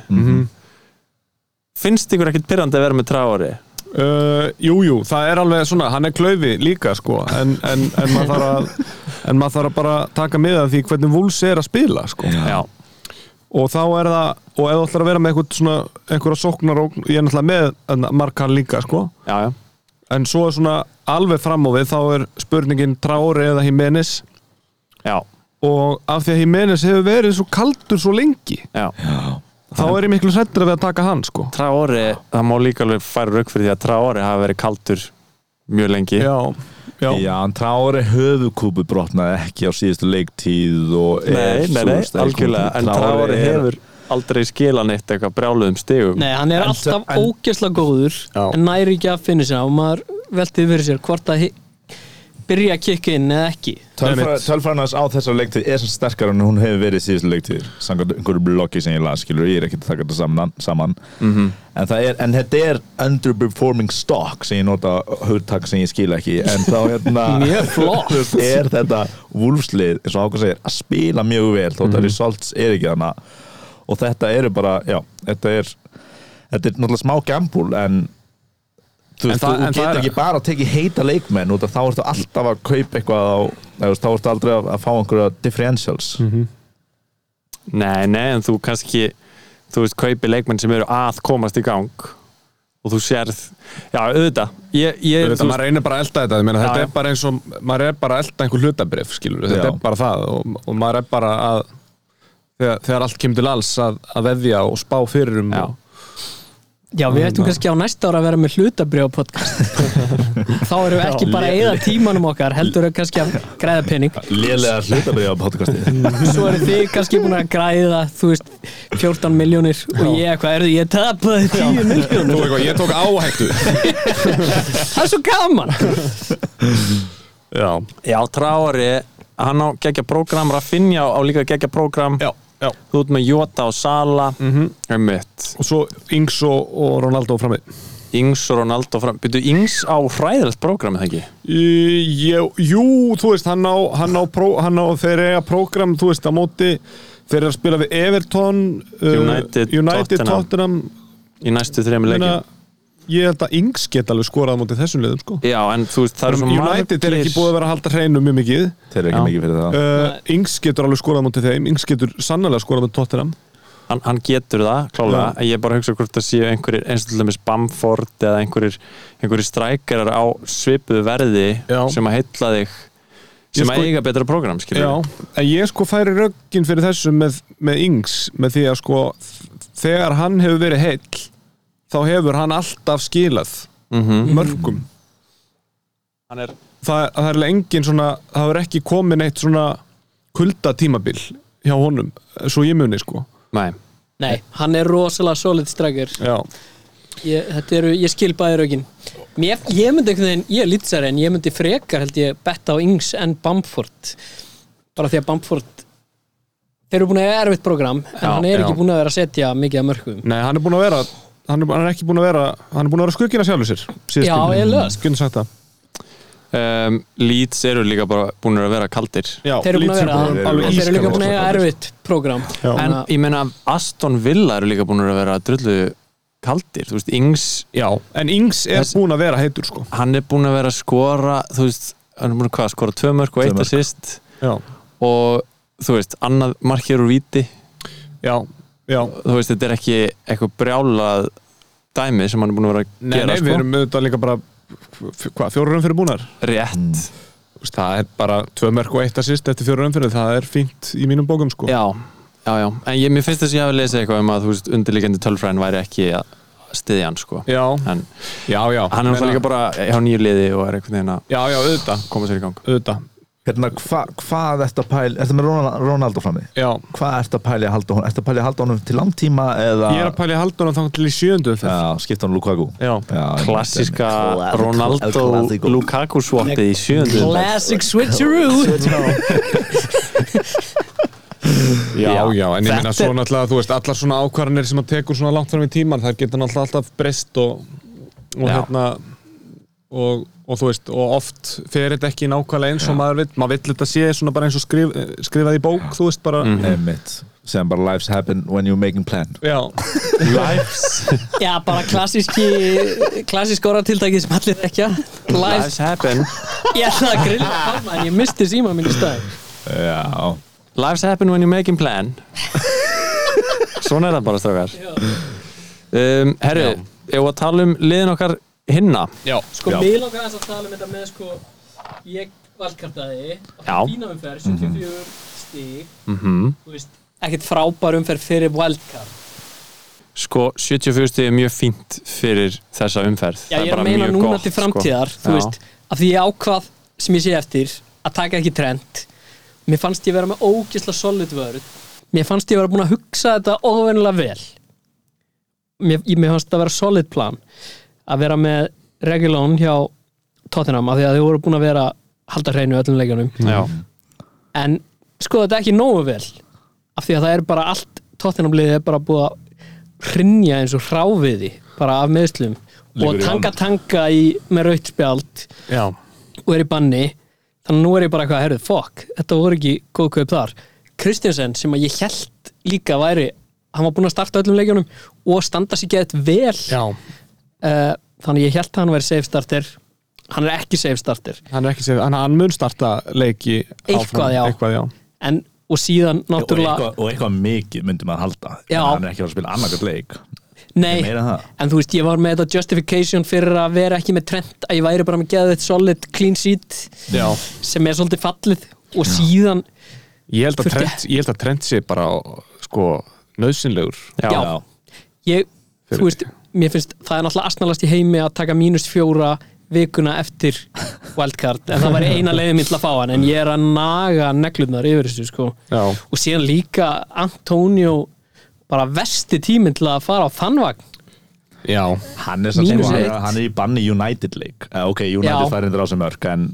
Speaker 5: finnst ykkur ekkert pyrrandi að vera með tráari
Speaker 6: Uh, jú, jú, það er alveg svona, hann er klaufi líka sko, en, en, en maður þarf að en maður þarf að bara taka með af því hvernig vúls er að spila sko.
Speaker 5: Já,
Speaker 6: og þá er það, og ef þú ætlar að vera með eitthvað svona, einhverja sóknar og ég er náttúrulega með en, markan líka sko.
Speaker 5: já, já
Speaker 6: en svo er svona alveg fram á við þá er spurningin Traore eða Jimenez
Speaker 5: Já,
Speaker 6: og af því að Jimenez hefur verið svo kaldur svo lengi,
Speaker 5: já,
Speaker 6: þá er ég miklu sættur við að taka hann sko.
Speaker 5: Traore, það má líka alveg færa rauk fyrir því að Traore hafa verið kaldur mjög lengi
Speaker 6: já, já,
Speaker 3: Já, en Traore höfukúpu brotnaði ekki á síðustu leiktíð og
Speaker 5: Nei, nei,
Speaker 3: þú
Speaker 5: nei,
Speaker 3: veist, er
Speaker 5: algjörlega
Speaker 3: komið-
Speaker 5: En Traore
Speaker 3: er-
Speaker 5: hefur aldrei skilað neitt eitthvað brjáluðum stigum
Speaker 4: Nei, hann er
Speaker 3: En-
Speaker 4: alltaf
Speaker 3: en-
Speaker 4: ógeðslega góður
Speaker 6: Já.
Speaker 4: en næri ekki að finna sér og maður veltið fyrir sér hvort að hi- byrja að kikka inn eða ekki
Speaker 3: Tölfræ- Tölfræðin hans á þessar leiktíð er sem sterkar en hún hefur verið síðustu leiktíð samkvæmt einhverju bloggi sem ég las skilur ég er ekkert að taka þetta saman, saman. -hmm. en, það er, en þetta er underperforming stock sem ég nota hugtak sem ég skil ekki en þá hérna
Speaker 4: Mjög flott.
Speaker 3: þú veist, er þetta vúlfslið eins og ákveð segir að spila mjög vel þótt
Speaker 6: Mhm.
Speaker 3: að results er ekki þarna og þetta eru bara, já, þetta er þetta er náttúrulega smá gambúl en þú,
Speaker 6: En
Speaker 3: veist,
Speaker 6: það-
Speaker 3: þú
Speaker 6: en
Speaker 3: getur
Speaker 6: það-
Speaker 3: ekki bara að teki heita leikmenn út af þá ertu alltaf að kaupa eitthvað á, eða, þú veist, þá ertu aldrei að, að fá einhverja differentials
Speaker 6: Mhm.
Speaker 5: Nei, nei, en þú kannski þú veist, kaupi leikmenn sem eru að komast í gang og þú sérð já, auðvitað ég, ég,
Speaker 6: Þetta,
Speaker 5: þú
Speaker 6: maður reynir bara að elda þetta, ég meina, þetta
Speaker 5: Já, já.
Speaker 6: er bara eins og maður er bara að elda einhver hlutabrif, skilur þetta
Speaker 3: Já.
Speaker 6: er bara það og, og maður er bara að þegar, þegar allt kemur til alls að, að veðja og spá fyrir um
Speaker 5: Já.
Speaker 6: og,
Speaker 4: Já,
Speaker 5: Hérna.
Speaker 4: við ættum kannski á næsta ára að vera með hlutabrjóð podcast þá erum við ekki bara að eða tímanum okkar heldur við kannski að græða pening
Speaker 3: Lélega hlutabriða á podcasti
Speaker 4: svo eru þið kannski búin að græða þú veist, 14 miljónir og ég, hvað er þið, ég tapaði 10 miljónir
Speaker 6: Þú, eitthvað, ég tók áhættu
Speaker 4: það er svo gaman
Speaker 6: já,
Speaker 5: já, Traori, hann á geggja prógram Rafinha á líka geggja prógram
Speaker 6: já, Mhm. já.
Speaker 5: þú ert með Jota og Sala mm -hmm.
Speaker 6: og svo Ings og, og Ronaldo frammi
Speaker 5: Ings og Ronaldo fram byrju, Ings á hræðilegt prógram, það ekki?
Speaker 6: Í- Jú, jú, þú veist, hann á, hann á, pró, hann á þeir eiga prógram, þú veist, á móti þeir eru að spila við Everton uh,
Speaker 5: United,
Speaker 6: United
Speaker 5: Tottenham.
Speaker 6: Tottenham,
Speaker 5: í næstu þrejum
Speaker 6: Meina,
Speaker 5: leikin
Speaker 6: ég held að Ings geta alveg skorað á móti þessum liðum, sko
Speaker 5: já, en þú veist, það eru svo
Speaker 6: United er ekki búið að vera að halda hreinu mjög mikið
Speaker 3: Þeir eru
Speaker 5: Já.
Speaker 3: ekki mikið fyrir það
Speaker 6: uh, Ings getur alveg skorað mútið þeim Ings getur sannlega skorað mútið Tottenham
Speaker 5: hann, hann getur það, klálega, en ég er bara að hugsa hvort það séu einhverjir, eins og til dæmis Bamford eða einhverjir, einhverjir strækjarar á svipuðu verði
Speaker 6: Já.
Speaker 5: sem að heilla þig
Speaker 6: Ég
Speaker 5: sem
Speaker 6: sko-
Speaker 5: að eiga betra program,
Speaker 6: Já,
Speaker 5: skilur
Speaker 6: en ég sko færi röggin fyrir þessu með, með Ings með því að sko þegar hann hefur verið heill þá hefur hann alltaf skilað
Speaker 4: Mhm.
Speaker 6: mörgum
Speaker 5: hann er,
Speaker 6: það, er- það er alveg engin svona það hefur ekki komin eitt svona kuldatímabil hjá honum svo ég muni sko
Speaker 5: nei,
Speaker 4: nei, hann er rosalega solid straggir
Speaker 6: Já,
Speaker 4: ég, þetta eru, ég skil bæði rögin Mér, ég myndi einhvern veginn, ég er lýtsari en ég myndi frekar held ég betta á Ings en Bamford bara því að Bamford þeir eru búin að eiga erfitt program en
Speaker 5: Já,
Speaker 4: hann er
Speaker 5: já.
Speaker 4: ekki búin að vera að setja mikið að mörgum
Speaker 6: nei, hann er búin að vera hann er, hann er ekki búin að vera hann er búin að vera skuggina sjálfur sér síðustu.
Speaker 4: Já, eiginlega, sko.
Speaker 6: Getur sagt það
Speaker 5: um, Leeds eru líka bara búin að vera kaldir
Speaker 6: Já,
Speaker 4: þeir eru búin að
Speaker 6: Leeds
Speaker 4: vera sko. það,
Speaker 6: búin alveg
Speaker 4: en
Speaker 6: sko.
Speaker 4: þeir eru líka
Speaker 6: ískaldir.
Speaker 4: búin að eiga erfitt program
Speaker 6: Já.
Speaker 5: en
Speaker 4: Þannig að-
Speaker 5: ég meina Aston Villa eru líka búin að vera drullu kaldir, þú veist, Ings
Speaker 6: Já, en Ings er
Speaker 5: Þess-
Speaker 6: búin að vera heitur sko
Speaker 5: hann er búin að vera að skora þú veist, hann er búin að hvað, skora tvö mörg og
Speaker 3: Tvö
Speaker 5: eitt
Speaker 3: mörk.
Speaker 5: assist
Speaker 6: Já,
Speaker 5: og þú veist, annað markið eru víti
Speaker 6: já, já
Speaker 5: þú veist, þetta er ekki eitthvað brjálað dæmi sem hann er búin að vera að
Speaker 6: Nei,
Speaker 5: gera
Speaker 6: nei,
Speaker 5: sko.
Speaker 6: við erum auðvitað líka bara f- hvað, fjórurum fyrir búnar
Speaker 5: rétt
Speaker 6: Það er bara tvö merk og eitt assist eftir fjórurum fyrir það er fínt í mínum bókum sko
Speaker 5: já, já, já, en ég, mér finnst þess að ég hafi lesið eitthvað um að þú veist, undirlíkjandi tölfræðin væri ekki að stiðja hann sko.
Speaker 6: já,
Speaker 5: en
Speaker 6: já, já
Speaker 5: hann er náttúrulega líka bara eh, hjá nýju liði og er einhvern veginn að
Speaker 6: Já, já, auðvitað,
Speaker 5: koma sér í gang
Speaker 6: auðvitað
Speaker 3: Hérna, hva, hvað ertu að pæla Ertu með Ronal- Ronaldo frammi?
Speaker 6: Já,
Speaker 3: Hvað ertu að pæla í að halda honum? Ertu að pæla í að halda honum til langtíma eða
Speaker 6: ég er að pæli haldunum þangt til í sjöndu fyrir
Speaker 3: Já, skipta honum Lukaku
Speaker 6: Já,
Speaker 3: Já,
Speaker 5: klassiska
Speaker 3: Kla-
Speaker 5: Ronaldo
Speaker 3: El Clasico.
Speaker 5: Lukaku swappið í sjöundu umferð.
Speaker 4: Classic switcheroo
Speaker 6: já, já, en ég
Speaker 5: Þetta
Speaker 6: meina
Speaker 5: er-
Speaker 6: svo náttúrulega þú veist, allar svona ákvarðanir sem að tekur svona langt fram í tíman, þær geta náttúrulega alltaf breyst og, og
Speaker 5: Já.
Speaker 6: hérna og, og þú veist, og oft fer þetta ekki
Speaker 5: Mm.
Speaker 6: nákvæmlega eins og maður vill, maður vill þetta sé svona bara eins og skrif, skrifað í bók, þú veist, bara
Speaker 3: Einmitt. sem bara lives happen when you're making plan
Speaker 6: Já,
Speaker 5: Lives,
Speaker 4: Já, bara klassíski klassísk orðatiltækið sem allir ekki Live,
Speaker 5: lives happen
Speaker 4: ég ætla að grilla pálma en ég misti síma minn í stað
Speaker 3: Já,
Speaker 5: Lives happen when you're making plan Svona er það bara strákar um, Herru, ef við að tala um liðin okkar hinna
Speaker 6: já,
Speaker 4: Sko,
Speaker 3: Já.
Speaker 4: mig langar aðeins að tala um þetta með sko, ég valkartaði
Speaker 5: Já.
Speaker 4: fína umferð, 74 stig þú veist, ekkert frábær umferð fyrir wildcard
Speaker 5: Sko, 74 stig er mjög fínt fyrir þessa umferð
Speaker 4: Já,
Speaker 5: Það
Speaker 4: ég er
Speaker 5: bara
Speaker 4: að meina
Speaker 5: mjög
Speaker 4: núna
Speaker 5: gott,
Speaker 4: til framtíðar
Speaker 5: sko.
Speaker 4: þú
Speaker 5: Já.
Speaker 4: veist, af því ég ákvað sem ég sé eftir að taka ekki trend mér fannst ég vera með ógisla solid vörð mér fannst ég vera búin að hugsa þetta óvennilega vel mér, ég, mér fannst þetta vera solid plan að vera með Regulón hjá Tottenham af því að þau voru búin að vera halda hreinu í öllum leikjanum
Speaker 5: Já,
Speaker 4: en sko þetta er ekki nógu vel af því að það er bara allt Tottenhamliðið er bara búið að hrinja eins og hráviði bara af meðslum
Speaker 3: Liggur
Speaker 4: og
Speaker 3: í
Speaker 4: tanga
Speaker 3: vand.
Speaker 4: tanga í, með raut spjald
Speaker 5: já,
Speaker 4: og er í banni þannig að nú er ég bara eitthvað herrið, fokk, þetta voru ekki góð kaup þar Kristjansen sem að ég held líka væri hann var búinn að starta öllum leikjunum og standa sér gett vel
Speaker 5: já.
Speaker 4: Eh, þannig að ég held að hann væri safe starter hann er ekki safe starter
Speaker 6: hann er ekki sér, hann, hann mun starta leiki
Speaker 4: Eitthvað, já.
Speaker 6: Eitthvað, já
Speaker 4: en, og síðan náttúrulega
Speaker 3: og sko, eitthvað mikið myndi maður halda
Speaker 4: Já.
Speaker 3: En hann er ekki að fara að spila annarkvæmt leik
Speaker 4: Nei,
Speaker 3: Meira en það.
Speaker 4: en þú veist, ég var með þetta justification fyrir að vera ekki með trend að ég væri bara með geða þetta solid clean sheet
Speaker 6: Já,
Speaker 4: sem er svolítið fallið og síðan,
Speaker 6: ég held að
Speaker 4: Þurfti-
Speaker 6: trend, ég held að trend sé bara sko, nöðsynlegur
Speaker 5: já.
Speaker 4: Já. ég,
Speaker 6: Fyrir-
Speaker 4: þú veist mér finnst, það er náttúrulega asnalast í heimi að taka mínus fjóra vikuna eftir wildcard, en það var eina leiðin mín til að fá hann, en ég er að naga neglunar yfir þessu, sko
Speaker 6: Já,
Speaker 4: og síðan líka Antonio bara vesti tíminn til að fara á þannvagn
Speaker 6: já,
Speaker 3: Hann er, samt
Speaker 4: Mínus
Speaker 3: sko, hann,
Speaker 4: eitt.
Speaker 3: er- hann er í banni United leik Eh, Ok,
Speaker 4: Já.
Speaker 3: United fær reyndir á sem örk En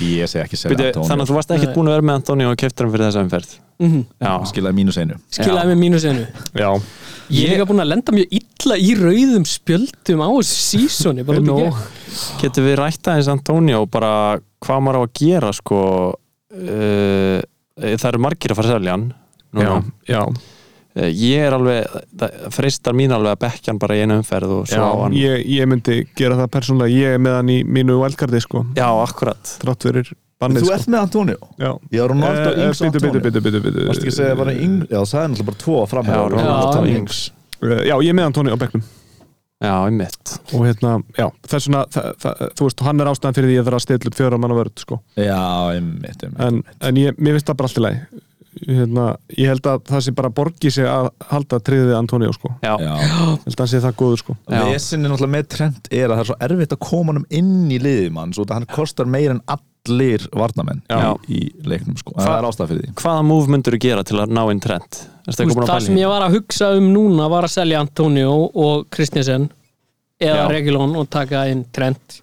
Speaker 3: ég segi ekki segja
Speaker 5: Byrju, þannig að þú varst ekkert
Speaker 4: Nei.
Speaker 5: búin að vera með Antoni og keftir hann fyrir þessa umferð
Speaker 4: Mm-hmm.
Speaker 5: Já,
Speaker 3: Skilaði mínus einu
Speaker 4: skilaði með mínusinu
Speaker 6: já
Speaker 4: Ég er líka búin að lenda mjög illa í rauðum spjöldum á þessu sísoni bara út í
Speaker 6: Nú.
Speaker 4: gegn.
Speaker 5: getur við rætta eins Antoni og bara hvað maður á að gera sko uh, það eru margir að fara að selja hann
Speaker 6: Já,
Speaker 5: núna.
Speaker 6: já,
Speaker 5: Eh, ég er alveg, það freistar mín alveg að bekkja hann bara í einu umferð og svo
Speaker 6: já
Speaker 5: á hann
Speaker 6: ég, ég myndi gera það persónulega Ég er með hann í mínu wildcardi sko
Speaker 5: já, akkurat
Speaker 6: Trátt fyrir bannið
Speaker 3: Þú
Speaker 6: sko
Speaker 3: ert með Antonio
Speaker 6: Já
Speaker 3: Ég var Ronaldo
Speaker 6: Eh, eh,
Speaker 3: Ings og
Speaker 6: Bíddu, bíddu,
Speaker 3: Antonio
Speaker 6: bíddu, bíddu, bíddu.
Speaker 3: Varst ekki að segja bara Ings Já, það er náttúrulega bara tvo að
Speaker 5: já,
Speaker 3: framhæða
Speaker 5: Ronaldo
Speaker 4: Já,
Speaker 5: Ings
Speaker 6: Eh, Já, ég er með Antoni á bekknum
Speaker 5: já, einmitt
Speaker 6: og hérna, já, þess vegna þa- þa- þú veist, hann er ástæðan fyrir því að það er að stilla upp fjóra manna vörð, sko,
Speaker 3: Já, einmitt, einmitt
Speaker 6: en, en ég, mér finnst það bara allt í lagi hérna, ég held að það sé bara borgi sig að halda tryggðið Antonio, sko,
Speaker 5: já, já,
Speaker 3: Já.
Speaker 6: ég held að hann sé það góður, sko
Speaker 5: Já.
Speaker 3: Vesinni náttúrulega með trend er að það er svo erfitt að koma hann inn í liðum hans og hann kostar meir en allir varnamenn
Speaker 5: Já.
Speaker 3: í, í leiknum sko. En það er ástæð fyrir því
Speaker 5: hvaða múf myndur þú gera til að ná inn trend Erstu
Speaker 4: Þú
Speaker 5: eitthvað
Speaker 4: veist,
Speaker 5: búin að
Speaker 4: Það sem
Speaker 5: pæli?
Speaker 4: ég var að hugsa um núna var að selja Antonio og Kristnesen eða
Speaker 5: Já.
Speaker 4: Regilón og taka inn Trent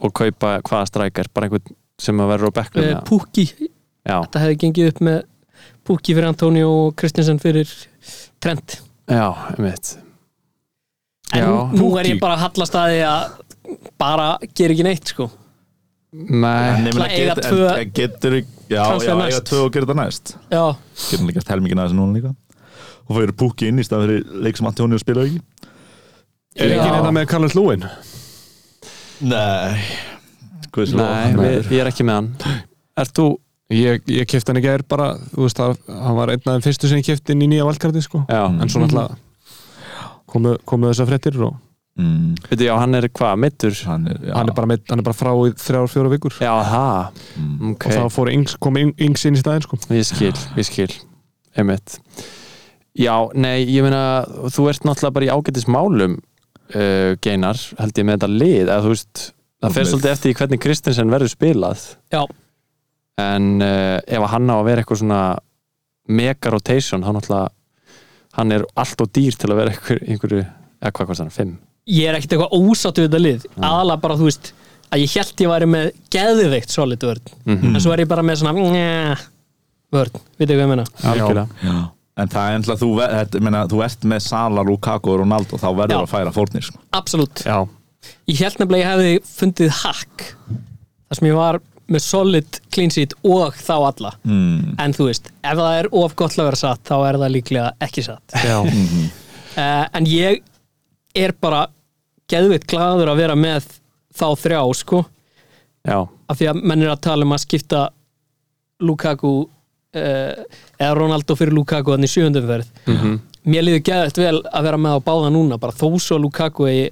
Speaker 5: Og kaupa hvaða strækar, bara einhvern sem að verður á bekknum
Speaker 4: ja.
Speaker 5: eða?
Speaker 4: Eh, Pukki,
Speaker 5: já,
Speaker 4: þetta hefði gengið upp með Pukki fyrir Antonio og Kristnesen fyrir Trent
Speaker 5: já, einmitt
Speaker 4: En
Speaker 5: Já.
Speaker 4: nú er ég bara að hallast að því að bara gera ekki neitt sko
Speaker 5: nei,
Speaker 3: En ég meina,
Speaker 4: Ætla eiga
Speaker 3: get-
Speaker 4: tvö-
Speaker 3: en- en getur já,
Speaker 4: Transfer
Speaker 3: já, eiga
Speaker 4: næst.
Speaker 3: tvö og gera þetta næst
Speaker 4: Já,
Speaker 3: getur hann líka helmingin aðeins núna líka og fyrir púki inn í stað fyrir leik sem Antonio spila ekki
Speaker 6: Er
Speaker 4: Já.
Speaker 6: ekki neina hérna með Karl Lúin?
Speaker 3: Nei Guðs lof,
Speaker 5: nei
Speaker 3: hann
Speaker 5: við, ég er ekki með hann Ert þú,
Speaker 6: Ég, ég kefti hann ekki að er bara, þú veist, það, hann var einn af þeim fyrstu sem ég kefti inn í nýja valkardi, sko
Speaker 5: já,
Speaker 6: en svo náttúrulega komu, komu þessar fréttir og
Speaker 3: mm,
Speaker 5: Veitu, já, hann er hvað, mittur?
Speaker 3: hann er, já,
Speaker 6: hann er, bara meidd- hann er bara frá í þrjár, fjóra vikur
Speaker 5: Já, það,
Speaker 3: Mm.
Speaker 5: ok,
Speaker 6: og þá fór Ings, kom Ing- Ings inn í staðinn, sko
Speaker 5: ég skil, ég skil, einmitt. Já, nei, ég meina, þú ert náttúrulega bara í ágætis málum, uh, Geinar, held ég með þetta lið, eða þú veist, það fer
Speaker 3: Lið.
Speaker 5: svolítið eftir í hvernig Kristinsen verður spilað,
Speaker 4: já,
Speaker 5: en uh, ef hann á að vera eitthvað svona mega rotation, hann náttúrulega, hann er allt og dýr til að vera einhver, einhverju, eða hvað kostar hann, fimm?
Speaker 4: ég er ekkert eitthvað ósátt við þetta lið aðalega bara þú veist að ég held ég væri með geðveikt solid vörn
Speaker 5: Mhm.
Speaker 4: en svo er ég bara með svona njæ, vörn, veit ekki hvað ég meina
Speaker 5: Algjörlega.
Speaker 3: já. En það er ennlega þú, ver- þetta- ég meina, þú ert með Sala, Lukaku og Ronaldo þá verður
Speaker 4: Já.
Speaker 3: að færa fórnir sko.
Speaker 4: absolutt
Speaker 5: Já,
Speaker 4: ég held nefnilega að ég hefði fundið hack þar sem ég var með solid clean sheet og þá alla mm. en þú veist, ef það er of gott til að vera satt þá er það líklega ekki satt
Speaker 5: Já,
Speaker 4: uh, en ég er bara geðvitt gladur að vera með þá þrjá sko,
Speaker 5: já,
Speaker 4: af því að menn er að tala um að skipta Lukaku uh, eða Ronaldo fyrir Lukaku þannig sjöundumferð mm
Speaker 5: Mhm.
Speaker 4: -hmm. mér líður geðvitt vel að vera með á báða núna bara þó svo Lukaku er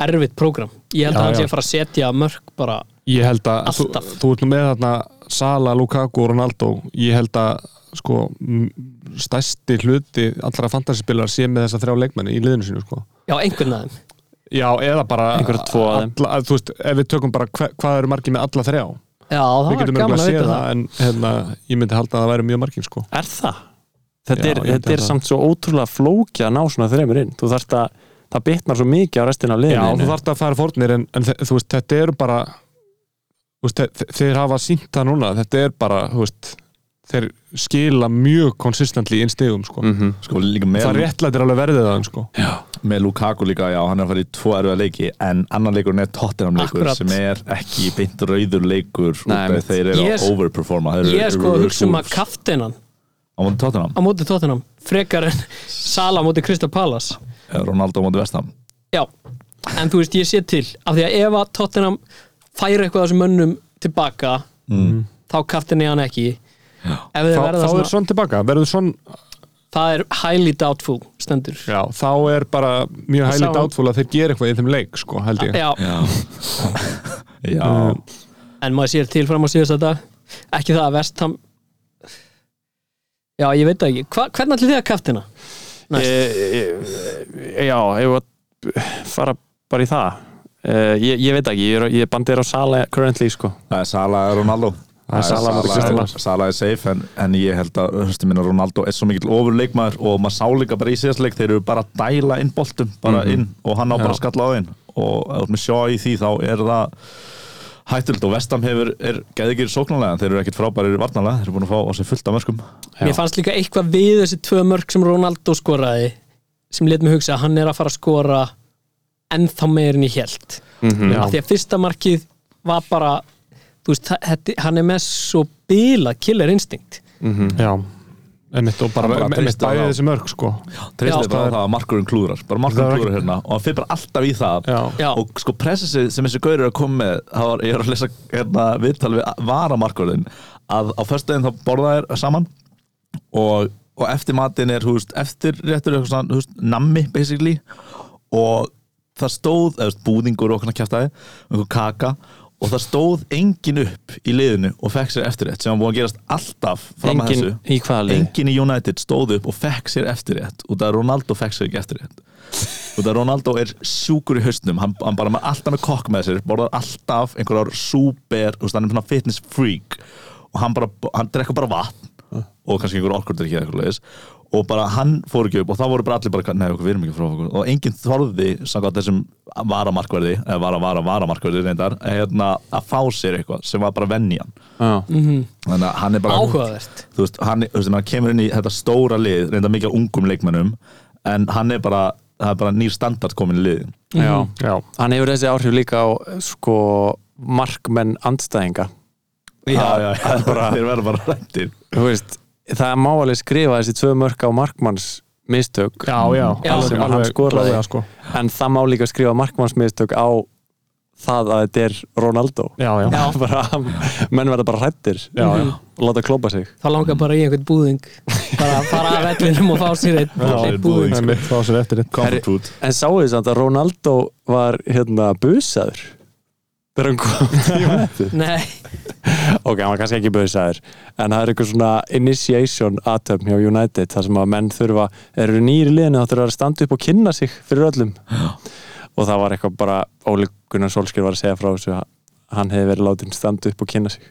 Speaker 4: erfitt prógram, ég held
Speaker 6: Já,
Speaker 4: að hann
Speaker 6: já.
Speaker 4: sé að fara að setja mörg bara
Speaker 6: ég held að þú,
Speaker 4: Alltaf.
Speaker 6: þú ert nú með þarna Sala, Lukaku og Ronaldo ég held að sko m- stærsti hluti allra fantasyspilar sé með þessa þrjá leikmenni í liðinu sínu sko
Speaker 4: Já, einhvern af þeim
Speaker 6: já, eða bara
Speaker 5: Einhverja tvo af þeim.
Speaker 6: alla, að, þú veist, ef við tökum bara hva, hvað eru margir með alla þrjá
Speaker 4: Já, það
Speaker 6: við
Speaker 4: var
Speaker 6: getum
Speaker 4: gaman að
Speaker 6: örugglega
Speaker 4: vita
Speaker 6: séð
Speaker 4: það
Speaker 6: það en hérna, ég myndi halda að það væri mjög margir sko
Speaker 5: er það? Þetta
Speaker 6: Já,
Speaker 5: er,
Speaker 6: ég held
Speaker 5: þetta
Speaker 6: að
Speaker 5: er
Speaker 6: það.
Speaker 5: samt svo ótrúlega flókið að ná svona þreymur inn þú þarft að, það bitnar svo mikið á restina af
Speaker 6: Já,
Speaker 5: liðinu
Speaker 6: þú þarft að fara fórnir en, en þe- þú veist, þetta eru bara þú veist, þe- þe- þeir hafa sínt það núna þetta er bara, þú veist þeir skila mjög konsistentli inn stegum, sko.
Speaker 5: Mhm.
Speaker 3: sko líka með,
Speaker 6: það réttlætir alveg verðið það, sko
Speaker 3: með Lukaku líka, já, hann er að fara í tvo erfiða leiki en annar leikurinn er Tottenham leikur
Speaker 4: Akkurat.
Speaker 3: sem er ekki beint rauður leikur út
Speaker 5: Nei,
Speaker 3: af
Speaker 5: mitt.
Speaker 3: þeir eru
Speaker 4: Ég er-
Speaker 3: að overperforma þeir eru-
Speaker 4: Ég er sko að
Speaker 3: eru-
Speaker 4: hugsa um að
Speaker 3: eru-
Speaker 4: kaftinan
Speaker 3: á móti Tottenham,
Speaker 4: á móti tóttunum frekar en Sala á móti Crystal Palace
Speaker 3: Ronaldo á móti Vestham
Speaker 4: Já, en þú veist ég sé til af því að ef að tóttunum færi eitthvað af þessum mönnum tilbaka
Speaker 3: mm.
Speaker 4: þá kaftin ég hann ekki Ef
Speaker 6: þá,
Speaker 4: þeir
Speaker 6: þá
Speaker 4: verða
Speaker 6: er
Speaker 4: svona,
Speaker 6: svona tilbaka, verður svona
Speaker 4: það er highly doubtful stendur
Speaker 6: já, þá er bara mjög
Speaker 4: Sá-
Speaker 6: hæli dátfúl að þeir gera eitthvað í þeim leik, sko, held ég
Speaker 4: Já,
Speaker 3: já já,
Speaker 4: Mm. en maður sér til fram á síðast þetta ekki það að vestam Já, ég veit það ekki Hva, Hvernig ætli þið að kaftina?
Speaker 5: e, e, e, Já, ef að fara bara í það e, ég, ég veit ekki, ég, er- ég bandið er á sala currently sko
Speaker 3: það er Sala eða Ronaldo
Speaker 6: Það er Sala
Speaker 3: Sala,
Speaker 6: móti Crystal
Speaker 3: Sala,
Speaker 6: Palace.
Speaker 3: Sala er safe en, en ég held að höfstu minna Ronaldo er svo mikill ofurleikmaður og maður sá líka bara í síðastleik þeir eru bara að dæla inn boltum bara
Speaker 6: Mhm.
Speaker 3: inn og hann á bara að skalla á inn og ef þú ert með sjá í því þá er það hættulegt og Vestam hefur er geðegir sóknarlega en þeir eru ekkit frábærir varnarlega þeir eru búin að fá á sig fullt af mörgum
Speaker 4: Mér fannst líka eitthvað við þessi tvö mörg sem Ronaldo skoraði sem let mig hugsa að hann er að fara að skora ennþá meirinn í hjælt
Speaker 5: Já.
Speaker 4: af því að fyrsta markið var bara þú veist, það- þetta, hann er með svo bila killer instinct
Speaker 6: já. Einmitt, og bara,
Speaker 3: Bara
Speaker 6: bara einmitt
Speaker 3: treysta
Speaker 6: bæði
Speaker 3: á-
Speaker 6: þessi mörg, sko
Speaker 3: treystir
Speaker 4: Já.
Speaker 3: bara á það að markurinn klúðrar bara markurinn
Speaker 6: Það er
Speaker 3: klúðrar hérna og hann fyrir bara alltaf í það
Speaker 6: Já.
Speaker 4: Já.
Speaker 3: og sko pressið sem þessi gaur er að koma með það var, ég er að lesa hérna viðtal við varamarkurinn að á föstudaginn þá borða þær saman og, og eftir matinn er húst, eftir réttur er eitthvað svona, húst, nammi basically og það stóð, eða þú veist, búðingur og okkur kjæftæði, einhver kaka og það stóð engin upp í liðinu og fekk sér eftir rétt sem hann búið að gerast alltaf fram að
Speaker 5: Engin
Speaker 3: þessu
Speaker 5: í hvaða lið?
Speaker 3: engin í United stóð upp og fekk sér eftirrétt út af að Ronaldo fekk sér ekki eftirrétt út af að Ronaldo er sjúkur í hausnum hann, hann bara með alltaf með kokk með sér borðar alltaf einhverjar super þú veist, hann er svona fitness freak og hann bara, hann drekka bara vatn og kannski einhver okkur ekki eitthvað leiðis og bara hann fór ekki upp og það voru bara allir bara, nei okkur við erum ekki frá okkur og enginn þorði samkvæmt þessum varamarkverði eða vara, vara, varamarkverði reyndar hérna, að fá sér eitthvað sem var bara venjan
Speaker 5: Já,
Speaker 3: þannig að hann er bara
Speaker 4: áhugavert
Speaker 3: þú veist, hann, þú veist, hann kemur inn í þetta stóra lið reynda mikið af ungum leikmennum en hann er bara, það er bara nýr standard komin í liðin
Speaker 5: já
Speaker 6: já,
Speaker 5: Mhm. Hann hefur þessi áhrif líka á sko markmenn andstæðinga
Speaker 3: já, já, já,
Speaker 5: bara-
Speaker 3: þeir verða bara rættir
Speaker 5: Þú veist, það má alveg skrifa þessi tvö mörk á markmanns mistök
Speaker 6: já, já,
Speaker 4: Já.
Speaker 6: alveg-
Speaker 5: Sem hann
Speaker 6: alveg
Speaker 5: skoraði.
Speaker 6: klálega, sko.
Speaker 5: en það má líka skrifa markmanns mistök á það að þetta er Ronaldo
Speaker 6: já, já,
Speaker 5: Já. bara, menn verða bara hrættir já, já. og láta klópa sig
Speaker 4: þá langar bara í einhvern búðing bara að fara að vellinum og fá sér einn
Speaker 3: Já,
Speaker 4: einn búðing
Speaker 6: einmitt fá sér eftir þetta
Speaker 3: comfort food
Speaker 5: en sáu þið samt að Ronaldo var hérna busaður þegar hann kom til United.
Speaker 4: Nei,
Speaker 5: ok, hann var kannski ekki busaður en það er eitthvað svona initiation atöfn hjá United þar sem að menn þurfa eru nýri liðinu þá þurfa að standa upp og kynna sig fyrir öllum og það var eitthvað bara Óli Gunnar Solskjör var að segja frá þessu að hann hefði verið látin standa upp og kynna sig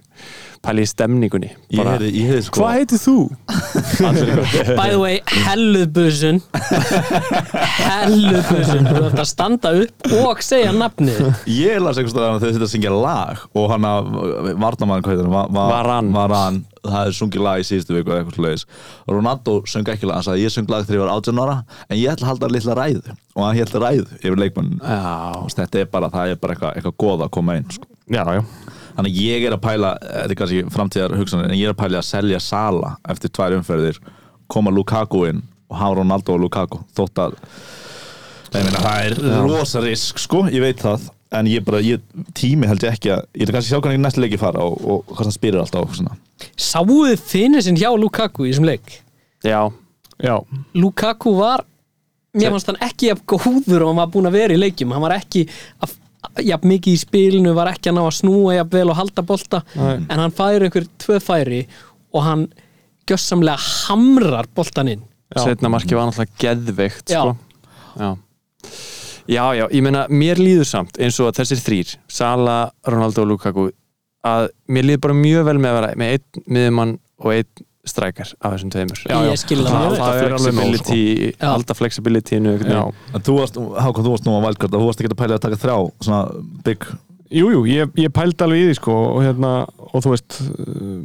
Speaker 5: pæli í stemningunni
Speaker 3: ég
Speaker 5: bara,
Speaker 3: hefði, ég hefði sko
Speaker 5: hvað heitir þú? Allir eitthvað
Speaker 4: by the way, helluð busun helluð busun þú ert að standa upp og segja nafnið þitt.
Speaker 3: ég las einhvers staðar að þau sitt að syngja lag og hann að varnamann hvað heitir hann Va- va-
Speaker 5: Varan.
Speaker 3: Varan, það hefði sungið lag í síðustu viku eða eitthvað slags Ronaldo söng ekki lag, hann sagði ég söng lag þegar ég var 18 ára en ég ætla að halda litla ræðu og hann held ræðu yfir leikmann
Speaker 5: Já,
Speaker 3: þetta er bara, það er bara eitthvað, eitthvað goða að koma inn sko.
Speaker 6: já, já,
Speaker 3: þannig að ég er að pæla eh, þetta er kannski framtíðar hugsanir en ég er að pæla að selja Sala eftir tvær umferðir koma Lukaku inn og hafa Ronaldo og Lukaku þótt að Nei, meina, það er rosa risk sko, ég veit það en ég bara, ég, tími held ég ekki að ég ætla kannski að sjá hvernig næstu leiki fara og, og hvað það spyrir alltaf og svona
Speaker 4: Sáuðu finnisinn hjá Lukaku í þessum leik
Speaker 5: já,
Speaker 6: já,
Speaker 4: Lukaku var mér fannst hann ekki jafn góður og hann var búin að vera í leikjum hann var ekki að, jafn mikið í spilinu var ekki að ná að snúa jafn vel og halda bolta en hann færi einhver tvö færi og hann gjössamlega hamrar boltan inn
Speaker 6: Já.
Speaker 5: setna marki var náttúrulega geðveikt
Speaker 4: Já.
Speaker 5: sko. já. já, já, ég meina mér líður samt eins og að þessir þrýr Sala, Ronaldo og Lukaku að mér líður bara mjög vel með að vera með einn miðjumann og einn strækar af þessum tveimur
Speaker 4: Já, já. Ég skil það
Speaker 5: það,
Speaker 4: mjög
Speaker 5: það
Speaker 6: vel.
Speaker 5: er alveg nóg sko.
Speaker 4: Já.
Speaker 5: alltaf flexibilityinu
Speaker 6: já.
Speaker 3: en þú varst, Hákon, þú varst nú að valkvart og þú varst ekki að pæla að taka þrjá svona big
Speaker 6: Jú, jú, ég, ég pældi alveg í því sko og hérna, og þú veist uh,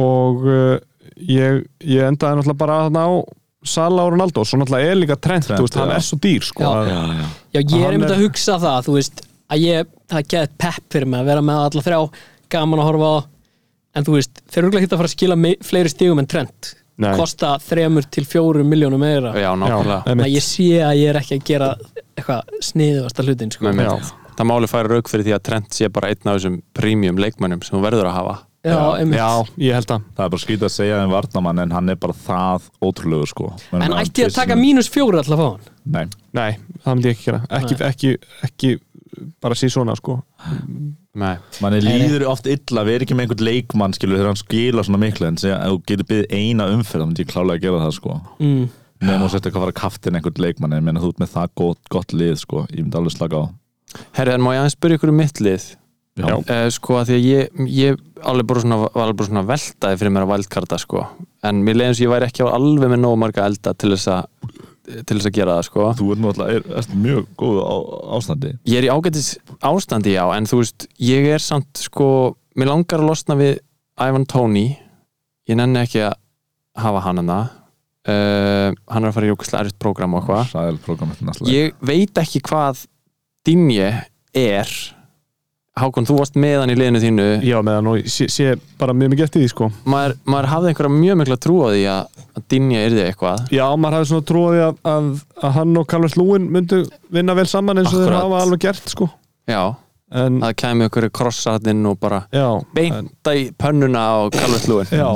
Speaker 6: og uh, ég, ég endaði náttúrulega bara þarna á Sala og Ronaldo svo náttúrulega er líka trend,
Speaker 3: Trent,
Speaker 6: þú veist, hann
Speaker 3: já.
Speaker 6: er svo dýr sko
Speaker 4: Já.
Speaker 6: að-
Speaker 3: já,
Speaker 4: Já, ég er
Speaker 6: Hann
Speaker 4: einmitt
Speaker 6: er-
Speaker 4: að hugsa það, þú veist að ég, það geði pepp fyrir mig að vera með alla þrjá, gaman að horfa á en þú veist, þeir eru örugglega ekki að fara að skila mi- fleiri stigum en trend
Speaker 6: Nei.
Speaker 4: kosta þremur til fjórum miljónum meira
Speaker 5: já, nákvæmlega
Speaker 4: Þannig að
Speaker 6: einmitt.
Speaker 4: ég sé að ég er ekki að gera eitthvað sniðvasta hlutin sko.
Speaker 5: Með mér.
Speaker 6: Já.
Speaker 5: það máli færa rauk fyrir því að Trent sé bara einn af þessum premium leikmönnum sem hún verður að hafa
Speaker 4: Já, einmitt.
Speaker 6: já, ég held að
Speaker 3: það er bara skrítið að segja um varnamann en hann er bara það ótrúlegu sko Men
Speaker 4: En ætti ég að taka mínus fjóru alltaf á hann?
Speaker 3: nei,
Speaker 6: nei, það myndi ég ekki gera ekki, ekki, ekki, bara síð svona sko
Speaker 5: Nei.
Speaker 3: manni
Speaker 4: Nei, nei.
Speaker 3: líður oft illa við erum ekki með einhvern leikmann skilur þegar hann skila svona miklu en segja, ef þú getur byggð eina umferð þá myndi ég klálega að gera það sko
Speaker 4: Mm.
Speaker 3: nefnum þú sért eitthvað að fara kaftin einhvern leikmann en ég meina þú ert með það gott, gott lið sko ég myndi alveg slaka á
Speaker 5: herri, en má ég aðeins spyrja ykkur um mitt lið
Speaker 3: já, já.
Speaker 5: Eh, sko að því að ég, ég alveg bara svona, var alveg bara svona veltaði fyrir mér að valdkarta sko, en mér leiðum sem ég væri ekki alveg með nógu marga elda til þess að til þess að gera það sko
Speaker 3: þú ert náttúrulega er, er mjög góð á, ástandi
Speaker 5: ég er í ágætis ástandi já en þú veist, ég er samt sko mér langar að losna við Ivan Tóni ég nenni ekki að hafa hann hana uh, hann er að fara í jókislega erfitt prógram og eitthvað
Speaker 3: sæl programmet næsta leik
Speaker 5: ég veit ekki hvað Dinje er Hákon, þú varst með hann í liðinu þínu
Speaker 6: já, meðan og ég sé, sé bara mjög mikið eftir því sko
Speaker 5: maður, maður hafði einhverja mjög mikla trú á því að, að Dinja yrði eitthvað
Speaker 6: já, maður hafði svona trúið að, að, að hann og Carlos Lúin myndu vinna vel saman eins og þeir
Speaker 5: Akkurat.
Speaker 6: hafa alveg gert sko
Speaker 5: já,
Speaker 6: en,
Speaker 5: að kæmi okkur krossarinn og bara
Speaker 6: já, en,
Speaker 5: beinta í pönnuna og kalvöld lúin
Speaker 6: já,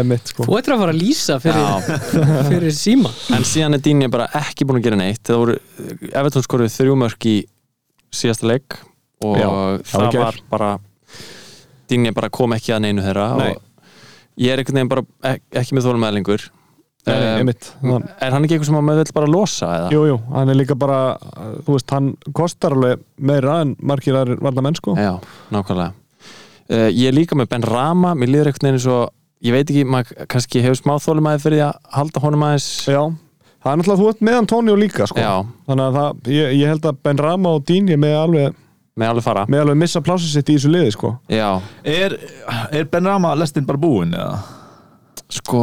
Speaker 6: emitt sko
Speaker 4: Þú ættir að fara að lýsa fyrir,
Speaker 5: Já,
Speaker 4: fyrir síma
Speaker 5: en síðan er Dinja bara ekki búin að gera neitt það voru, Evertón skoruð þrjú mörk í síðasta leik og
Speaker 6: Já,
Speaker 5: það
Speaker 6: það var í gær.
Speaker 5: var bara Dinja bara kom ekki að neinu þeirra
Speaker 6: Nei.
Speaker 5: og ég er einhvern veginn bara ek- ekki með þólum lengur
Speaker 6: Nei, nei,
Speaker 5: Um,
Speaker 6: einmitt, hann,
Speaker 5: er hann ekki eitthvað sem maður vill bara losa eða?
Speaker 6: jú, jú, hann er líka bara uh, þú veist, hann kostar alveg meira en margir aðrir varna menn sko
Speaker 5: Já, nákvæmlega uh, Ég er líka með Ben Rama, mér líður einhvern veginn svo ég veit ekki, maður kannski hefur smá þólum aðeins fyrir því að halda honum aðeins
Speaker 6: já, það er náttúrulega þú ert með Antonio líka sko,
Speaker 5: Já.
Speaker 6: þannig að það, ég, ég held að Ben Rama og Dín ég með alveg,
Speaker 5: með alveg fara
Speaker 6: með alveg missa plásið sitt í þessu liði sko,
Speaker 5: Já,
Speaker 3: er, er Ben Rama lestin bara búinn eða?
Speaker 5: sko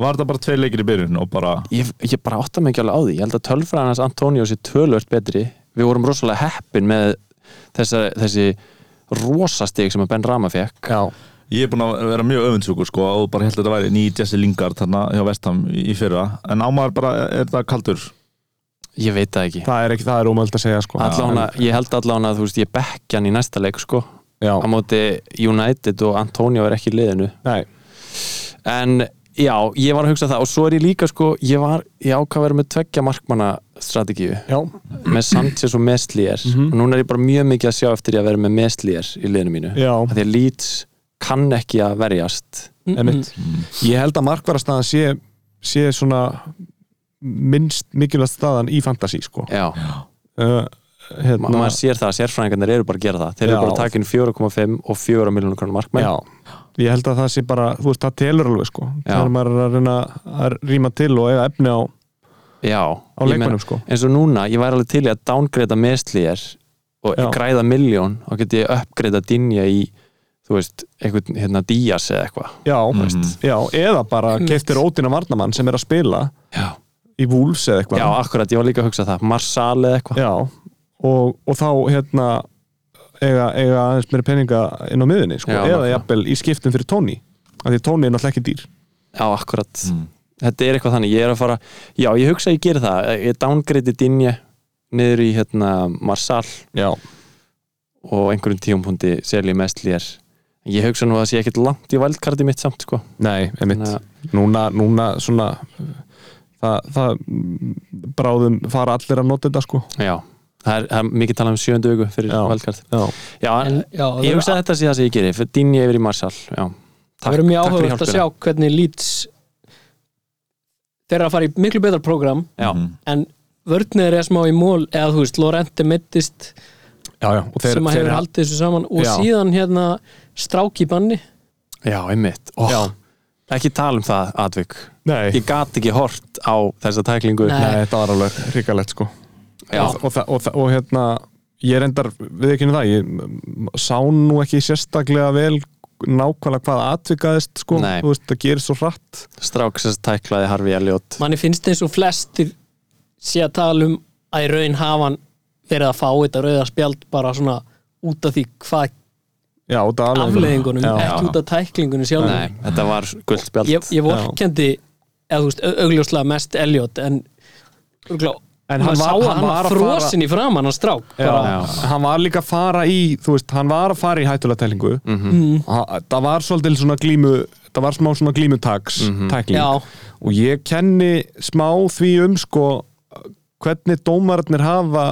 Speaker 3: var það bara tveir leikir í byrjun og bara
Speaker 5: ég, ég bara átta mig ekki alveg á því ég held að tölfræðan hans Antonio sé tölvört betri við vorum rosalega heppin með þessa, þessi rosastig sem að Ben Rama fekk Já,
Speaker 3: Ég er búinn að vera mjög öfundsjúkur sko og bara held að þetta væri ný Jesse Lingard þarna hjá Vestham í í fyrra en ámaður bara er það kaldur
Speaker 5: ég veit það ekki
Speaker 6: það er ekki, það er ómöld að segja sko
Speaker 5: Allána, ég held allan að þú veist ég bekkja hann í næsta leik sko
Speaker 6: já,
Speaker 5: á móti United og Antonio er ekki í liðinu
Speaker 6: nei,
Speaker 5: en já, ég var að hugsa það og svo er ég líka sko, ég var ég ákvað að vera með tveggja markmanna strategíu
Speaker 6: já, Mhm.
Speaker 5: með Sanchez og Meslier og núna er ég bara mjög mikið að sjá eftir ég að vera með Meslier í liðinu mínu,
Speaker 6: já
Speaker 5: að því að Leeds kann ekki að verjast
Speaker 6: emitt, ég held að markvarastaðan sé, sé svona minnst mikilvægt staðan í fantasy sko
Speaker 5: já,
Speaker 6: uh,
Speaker 5: Ma
Speaker 6: hérna,
Speaker 5: maður sér það að sérfræðingarnir eru bara að gera það þeir eru
Speaker 6: Já.
Speaker 5: bara að taka inn 4,5 og 4 miljónu krónar markmann
Speaker 6: Já, ég held að það sé bara, þú veist, það telur alveg sko
Speaker 5: Já.
Speaker 6: þegar maður er að reyna að rýma til og eiga efni á,
Speaker 5: já,
Speaker 6: á leikmennum sko
Speaker 5: eins og núna, ég væri alveg til í að downgreita Meslier og
Speaker 6: Já.
Speaker 5: græða miljón og geti ég uppgreita Dinja í þú veist, einhvern hérna Días eða eitthvað
Speaker 6: Já, mm. já eða bara keftir ódina varnamann sem er að spila
Speaker 5: já
Speaker 6: í vúls eða eitthvað
Speaker 5: Já, akkurat, ég var líka að hugsa það Marsal eða eitthvað
Speaker 6: Já, og, og þá hérna eiga, eiga aðeins meira peninga inn á miðunni sko,
Speaker 5: Já,
Speaker 6: eða
Speaker 5: nákvæmlega.
Speaker 6: jafnvel í skiptum fyrir Tony af því Tony er náttúrulega ekki dýr
Speaker 5: Já, akkurat
Speaker 6: Mm.
Speaker 5: Þetta er eitthvað þannig, ég er að fara Já, ég hugsa að ég geri það, ég downgrade dinja niður í hérna Marsal
Speaker 6: Já,
Speaker 5: og einhverjum tíumpundi selji mest lér Ég hugsa nú að það sé ekkert langt í vældkarti mitt samt sko
Speaker 6: nei, einmitt
Speaker 5: Þannig að-
Speaker 6: núna, núna svona það, það mm, bráðum fara allir að nota þetta sko
Speaker 5: Já, það er, það er mikið talað um sjöndu augu fyrir
Speaker 6: Já.
Speaker 5: vældkart
Speaker 6: Já,
Speaker 5: Já,
Speaker 4: En, já,
Speaker 5: ég hugsa að þetta sé það sem ég geri fyrir dinja yfir í Marsal Já,
Speaker 4: það verður mjög
Speaker 5: takk fyrir
Speaker 4: áhugavert að sjá
Speaker 5: hjálpina.
Speaker 4: hvernig Leeds þeir eru að fara í miklu betra program
Speaker 5: já.
Speaker 3: Mhm.
Speaker 4: en vörnir er smá í mól eða þú veist, Lorente mittist
Speaker 6: já, já og þeir,
Speaker 4: sem að
Speaker 6: þeir,
Speaker 4: hefur haldið þessu saman og
Speaker 6: Já.
Speaker 4: síðan hérna strák í banni
Speaker 5: já einmitt oh.
Speaker 6: Já.
Speaker 5: Ekki tala um það, Advik
Speaker 6: Nei,
Speaker 5: Ég gat ekki hort á þessa tæklingu
Speaker 4: Nei.
Speaker 6: nei, þetta var alveg ríkalegt sko
Speaker 5: Já,
Speaker 6: og, og, þa- og, þa- og hérna ég reyndar við ekki um það ég m- sá nú ekki sérstaklega vel nákvæmlega hvað atvikaðist sko,
Speaker 5: Nei.
Speaker 6: þú veist, það gerir svo hratt
Speaker 5: strák sem tæklaði Harfi Elliot
Speaker 4: manni finnst eins og flestir sé að tala um að í raun hafa hann verið að fá þetta rauða spjald bara svona út af því hvað
Speaker 6: já, út af
Speaker 4: afleðingunum,
Speaker 6: já,
Speaker 4: ekki út af tæklingunum sjálf
Speaker 5: Nei, þetta var guldspjald
Speaker 4: ég, ég vorkendi eða þú veist, au- augljóslega mest Elliot en, örugglega-
Speaker 6: En hann
Speaker 4: maður
Speaker 6: var-
Speaker 4: sá
Speaker 6: hann
Speaker 4: hann,
Speaker 6: var
Speaker 4: hann
Speaker 6: að fara-
Speaker 4: frosin í framan hann strák
Speaker 6: já,
Speaker 4: bara,
Speaker 6: hann var líka að fara í þú veist, hann var að fara í hættulega tælingu
Speaker 4: Mhm.
Speaker 6: -hmm. það var svolítið svona glímu það var smá svona glímutaks tækling
Speaker 4: Já.
Speaker 6: og ég kenni smá því um sko hvernig dómararnir hafa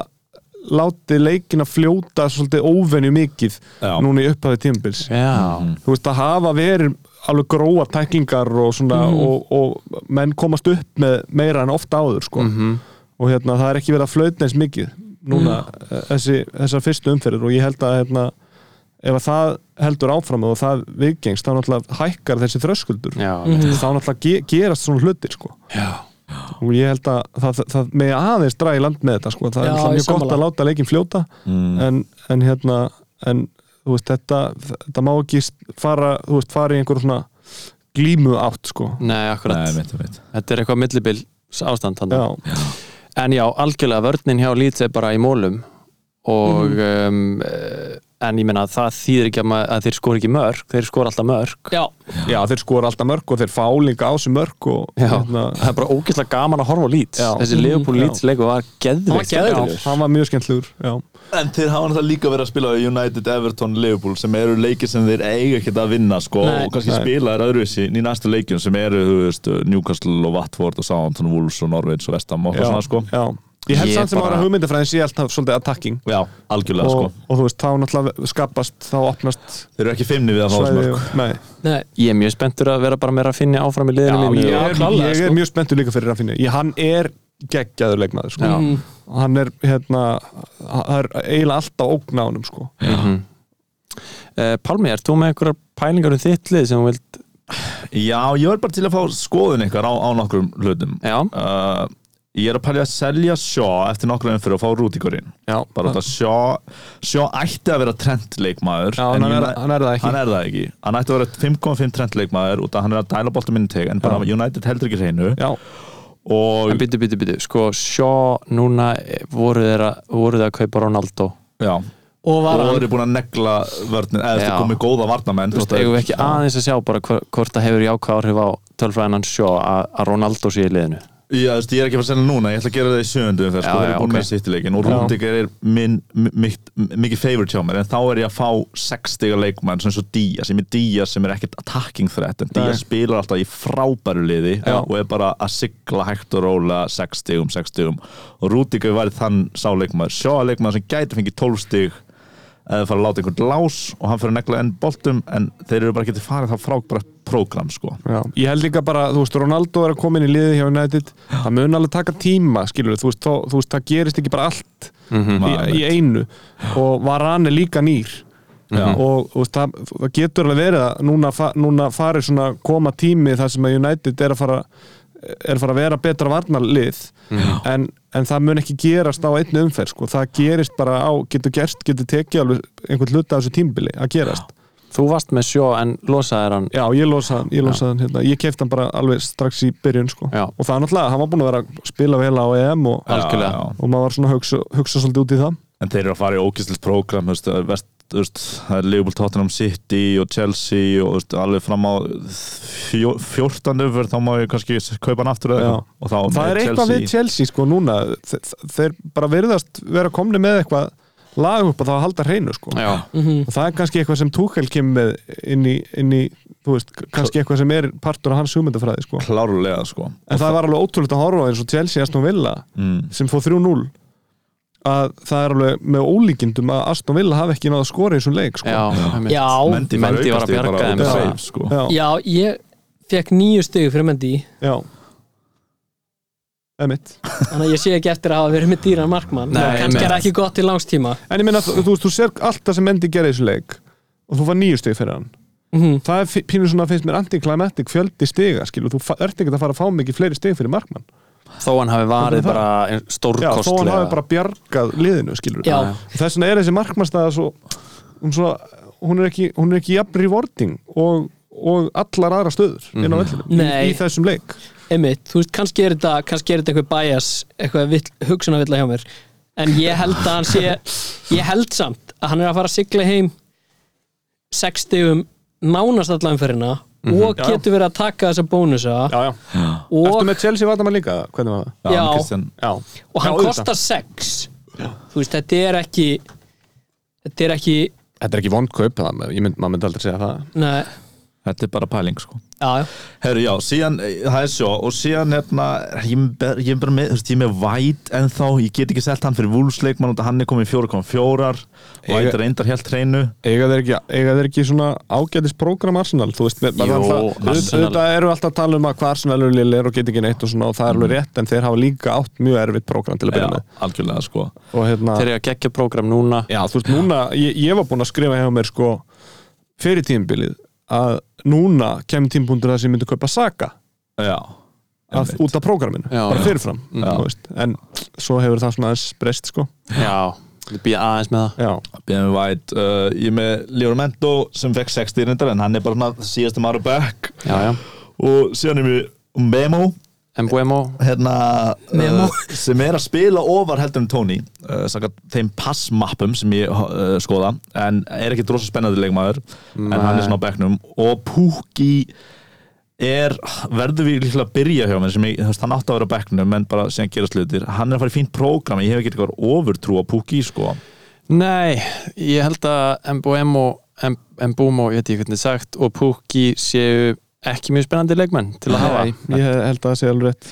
Speaker 6: látið leikina fljóta svolítið óvenju mikið
Speaker 3: Já.
Speaker 6: núna í upphafi tímbils
Speaker 5: Já,
Speaker 6: þú veist að hafa verið alveg gróa tæklingar og svona og, og menn komast upp með meira en ofta áður sko og hérna það er ekki verið að flötna eins mikið núna e, þessi, þessar fyrstu umferðir og ég held að hérna ef að það heldur áfram og það viðgengst þá náttúrulega hækkar þessi þröskuldur
Speaker 5: já,
Speaker 4: Mhm.
Speaker 6: þá náttúrulega ge gerast svona hlutir sko
Speaker 5: já.
Speaker 6: og ég held að það, það, það megi aðeins dra í land með þetta sko. það
Speaker 4: Já,
Speaker 6: er náttúrulega
Speaker 4: ég
Speaker 6: mjög gott
Speaker 4: sammála.
Speaker 6: að láta leikin fljóta en, en hérna en, þú veist, þetta, þetta má ekki fara, þú veist, fara í einhver svona glímu átt sko.
Speaker 4: Mm.
Speaker 5: Nei, akkurat
Speaker 3: Nei, mitt, mitt.
Speaker 5: Þetta er eitthvað millibil ástand hann
Speaker 6: já,
Speaker 5: En já, algjörlega vörnin hjá Leeds er bara í mólum og
Speaker 4: Mhm.
Speaker 5: um, eh, en ég meina að það þýðir ekki að, ma- að þeir skora ekki mörg, þeir skora alltaf mörg
Speaker 4: já,
Speaker 6: já, þeir skora alltaf mörg og þeir fá líka á sig mörg og hérna,
Speaker 5: það er bara ógeðslega gaman að horfa á Leeds
Speaker 6: Já.
Speaker 5: þessi Liverpool
Speaker 6: Já.
Speaker 5: Leeds leiku Mhm. var geðveikt
Speaker 4: Hann var
Speaker 6: já,
Speaker 5: skemmtilegur.
Speaker 6: það var mjög skemmtlugur já,
Speaker 3: En þeir hafa náttúrulega líka verið að spila á United, Everton, Liverpool sem eru leikir sem þeir eiga ekkert að vinna sko,
Speaker 4: Nei.
Speaker 3: og kannski
Speaker 6: Nei.
Speaker 3: spila þeir öðruvísi í næstu leikjum sem eru þú veist, Newcastle og Watford og Southampton, Wolves og Norwich og Vestam og
Speaker 6: já,
Speaker 3: eitthvað svona sko.
Speaker 6: já. ég held
Speaker 5: Ég
Speaker 6: samt sem
Speaker 5: bara-
Speaker 6: ára hugmyndafræðin sé alltaf svolítið attacking
Speaker 3: Já, algjörlega
Speaker 6: og,
Speaker 3: sko.
Speaker 6: og þú veist, þá náttúrulega skapast þá opnast
Speaker 3: Þeir eru ekki feimni við að fá þessu
Speaker 6: svæði
Speaker 3: mörg
Speaker 6: og- nei
Speaker 4: nei,
Speaker 5: Ég er mjög spenntur að vera bara meira að finna áfram í liðinu
Speaker 6: Já,
Speaker 5: mínu
Speaker 6: ég,
Speaker 5: og-
Speaker 6: er,
Speaker 4: klálega,
Speaker 6: ég er
Speaker 4: sko.
Speaker 6: mjög spenntur líka fyrir Rafinha ég, hann er geggjaður leikmaður sko.
Speaker 5: Já.
Speaker 6: Og hann er hérna það er eiginlega alltaf ógn á honum sko.
Speaker 5: Mhm. Eh, Pálmi, ert þú með einhverjar pælingar um þitt lið sem þú vilt
Speaker 3: Já, ég var bara til að fá skoðun ykkar á, á nokkrum hlutum
Speaker 5: Já,
Speaker 3: uh, Ég er að pælja að selja Shaw eftir nokkrum enn fyrir að fá Rúdíkurinn
Speaker 6: já,
Speaker 3: bara út að Shaw Shaw ætti að vera trendleikmaður
Speaker 6: já, hann, er, hann er það ekki
Speaker 3: Hann er það ekki, hann ætti að vera 5.5 trendleikmaður út að hann er að dæla boltum minni teg en bara United heldur ekki hreinu
Speaker 6: já,
Speaker 3: og
Speaker 5: en byttu, byttu, byttu sko, sjá núna eh, voru þeir að, voru þeir að kaupa Ronaldo
Speaker 3: já,
Speaker 4: og
Speaker 3: og
Speaker 4: var
Speaker 3: það
Speaker 4: hann
Speaker 3: er búin að negla vörnin, eða
Speaker 5: Já.
Speaker 3: þetta komið góða varnamenn
Speaker 5: Þú veist, eigum við ekki aðeins að sjá bara hva- hvort það hefur jákvæð áhrif á tölfræðinan sjó að að Ronaldo sé í liðinu
Speaker 3: Já, þú veist, ég er ekki að fara að selja núna, ég ætla að gera það í sjöundum þegar
Speaker 5: Já,
Speaker 3: sko, það
Speaker 5: já,
Speaker 3: er búin
Speaker 5: ok.
Speaker 3: með sýttileikin og Rúndiger er minn, mitt, mikið favorite hjá mér en þá er ég að fá sex stiga leikmann sem svo Díaz, ég er með Díaz sem er ekkert attacking threat, en Díaz spilar alltaf í frábæru liði
Speaker 6: Já.
Speaker 3: og er bara að sigla hægt og róla sex stigum, sex stigum og Rúndiger var þann sá leikmann, sjá að leikmann sem gæti fengið 12 stig eða fara að láta einhvern lás og hann fyrir að negla enn boltum en þeir eru bara getið farið þá frá bara program sko.
Speaker 6: já. ég held líka bara, þú veist, Ronaldo er að koma inn í liði hjá United, það mun alveg taka tíma skilur, þú veist, þá, þú veist, það gerist ekki bara allt í, í einu og Varane líka nýr
Speaker 3: Já.
Speaker 6: og, og það, það getur alveg verið að núna, fa- núna farir svona koma tími þar sem að United er að fara er að fara að vera betra varnarlið en, en það mun ekki gerast á einni umferð sko, það gerist bara á getur gerst, getur tekið alveg einhvern hluta af þessu tímbili að gerast
Speaker 5: Þú varst með sjó en losaðir hann
Speaker 6: já, ég losa hann, ég losa hann hérna. ég kefti hann bara alveg strax í byrjun sko.
Speaker 5: Já.
Speaker 6: og það er náttúrulega, hann var búin að vera að spila vel á EM og,
Speaker 5: algjörlega
Speaker 3: Já, já.
Speaker 6: og maður var svona að hugsa, hugsa svolítið út í það
Speaker 3: en þeir eru að fara í ókistlis prógram veist, það er vest, þú veist, það er Liverpool Tottenham City og Chelsea og þú veist, alveg fram á fjó, 14 öfur þá má ég kannski kaupa hann aftur eða
Speaker 6: Já.
Speaker 3: eitthvað. og þá
Speaker 6: það er eitthvað við Chelsea sko núna Þe- þe- þeir bara virðast vera komni með eitthvað lag upp og það að halda hreinu sko
Speaker 5: Já,
Speaker 6: og það er kannski eitthvað sem Tuchel kemur með inn í, inn í þú veist, kannski eitthvað sem er partur af hans hugmyndafræði sko
Speaker 3: klárlega sko
Speaker 6: en það var alveg ótrúlegt að horfa á eins og Chelsea Aston Villa
Speaker 3: mm.
Speaker 6: sem fóð 3-0 að það er alveg með ólíkindum að Aston Villa hafi ekki náða að skora í þessum leik sko.
Speaker 5: já, einmitt.
Speaker 4: Já,
Speaker 3: Mendy fær
Speaker 5: Mendy var að
Speaker 3: aukastig
Speaker 5: bjarga
Speaker 3: bara
Speaker 5: þeim
Speaker 3: út af
Speaker 6: bara.
Speaker 3: save, sko.
Speaker 6: já,
Speaker 4: já, ég fekk nýju stegu fyrir Mendy
Speaker 6: já. Emitt.
Speaker 4: þannig að ég sé ekki eftir að hafa verið með dýran markmann
Speaker 5: Nei,
Speaker 4: kannski er
Speaker 5: einmitt.
Speaker 4: það ekki gott í langstíma
Speaker 6: en ég minna, þú, þú veist, þú sér allt það sem Mendy gerði í þessum leik og þú var nýju stig fyrir hann
Speaker 4: mm
Speaker 6: það er fi- pínu svona, finnst mér antiklimatik fjöldi stiga, skilu, þú fa- ert ekki að fara að fá mikið fleiri stig fyrir markmann
Speaker 5: Þó hann hafi varið bara
Speaker 6: já, þó hann hafi
Speaker 5: stórkostlega
Speaker 6: bara bjargað liðinu, skilur
Speaker 4: Já,
Speaker 6: þess vegna er þessi markmannstæða svo, hún, svo, hún er ekki hún er ekki jafn rewarding og, og allar aðra stöður inn á vellinu
Speaker 4: Nei.
Speaker 6: í, í þessum leik
Speaker 4: einmitt, þú veist, kannski er þetta kannski er þetta eitthvað bias, eitthvað vill, hugsunavilla hjá mér, en ég held að hann sé ég held samt að hann er að fara að sigla heim 6 stegum nánast allanferina mm og
Speaker 6: Mhm. Já, já.
Speaker 4: getur verið að taka þessa bónusa
Speaker 6: já, já.
Speaker 4: og,
Speaker 6: Ertu með Chelsea vartamann líka? Hvernig var það?
Speaker 3: Já,
Speaker 4: Já.
Speaker 3: Christian-
Speaker 6: Já,
Speaker 4: og hann
Speaker 6: Já, auðvitað.
Speaker 4: kostar 6 þú veist, þetta er ekki þetta er ekki
Speaker 6: þetta er ekki vond kaup, það, ég mynd, maður myndi aldrei segja það
Speaker 4: nei,
Speaker 3: þetta er bara pæling sko
Speaker 4: já, já,
Speaker 3: Herru, já, síðan, eh, það er sjó og síðan, hérna, ég er ber- ég er bara með, þú veist, ég er með væt ennþá, ég get ekki selt hann fyrir vúlsleikmann og hann er komið í 4.4 væt
Speaker 6: Ég-
Speaker 3: reyndar helt hreinu
Speaker 6: Eiga þeir ekki, eiga þeir ekki svona ágætis prógram Arsenal, þú veist,
Speaker 5: Jú, Arsenal.
Speaker 6: þetta eru alltaf að tala um að hvað Arsenal eru lill er og get ekki neitt og svona og það er alveg rétt en þeir hafa líka átt mjög erfitt prógram til að
Speaker 3: Já,
Speaker 6: byrja með
Speaker 3: algjörlega, sko
Speaker 6: og hérna,
Speaker 5: Þeir eru að gegja prógram núna
Speaker 6: já, þú veist, núna ég, ég var búinn að skrifa hjá mér sko fyrir tímbilið að núna kemur tímpundur það sem myndi kaupa Saka
Speaker 3: Já,
Speaker 6: að,
Speaker 3: Einmitt.
Speaker 6: út af prógraminu,
Speaker 5: Já, Mm.
Speaker 6: bara
Speaker 5: já.
Speaker 6: fyrirfram þú veist, en svo hefur það svona aðeins breyst sko,
Speaker 5: Já, við býja aðeins með það
Speaker 6: já,
Speaker 3: BM White, uh, ég er með Leon Mendo sem fekk 60 reyndar en hann er bara svona síðastum ára back
Speaker 5: Já, já
Speaker 3: og síðan er við Memo
Speaker 5: Mbuemo
Speaker 3: hérna,
Speaker 4: Nemo.
Speaker 3: uh, sem er að spila ofar heldur en Tony uh, samkvæmt þeim passmappum sem ég uh, skoða en er ekki drosa spennandi leikmaður en hann er svona á bekknum og Pukki er, verður við líklega að byrja hjá mér sem ég, þú veist, hann átti að vera á bekknum en bara síðan gerast hlutir, hann er að fara í fínt prógram ég hef ekki eitthvað ofurtrú á Pukki sko.
Speaker 5: Nei, ég held að Mbuemo, Mbumo, ég veit ekki hvernig sagt og Pukki séu ekki mjög spennandi leikmenn til að hafa
Speaker 6: Nei, ég held að það sé alveg rétt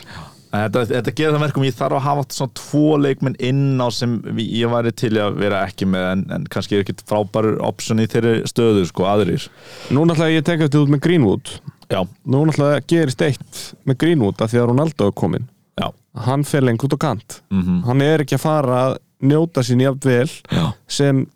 Speaker 3: En Þetta, þetta gerir það verkum, ég þarf að hafa svona tvo leikmenn inn á sem ég væri til að vera ekki með en, en kannski er ekkit frábæru option í þeirri stöðu sko, aðrir
Speaker 6: Nú náttúrulega ég tek eftir út með Greenwood
Speaker 3: Já,
Speaker 6: Nú náttúrulega gerist eitt með Greenwood að því að Ronaldo er komin
Speaker 3: já
Speaker 6: Hann fer lengur út á kant
Speaker 3: Mhm.
Speaker 6: Hann er ekki að fara að njóta sín jafnvel
Speaker 3: Já.
Speaker 6: sem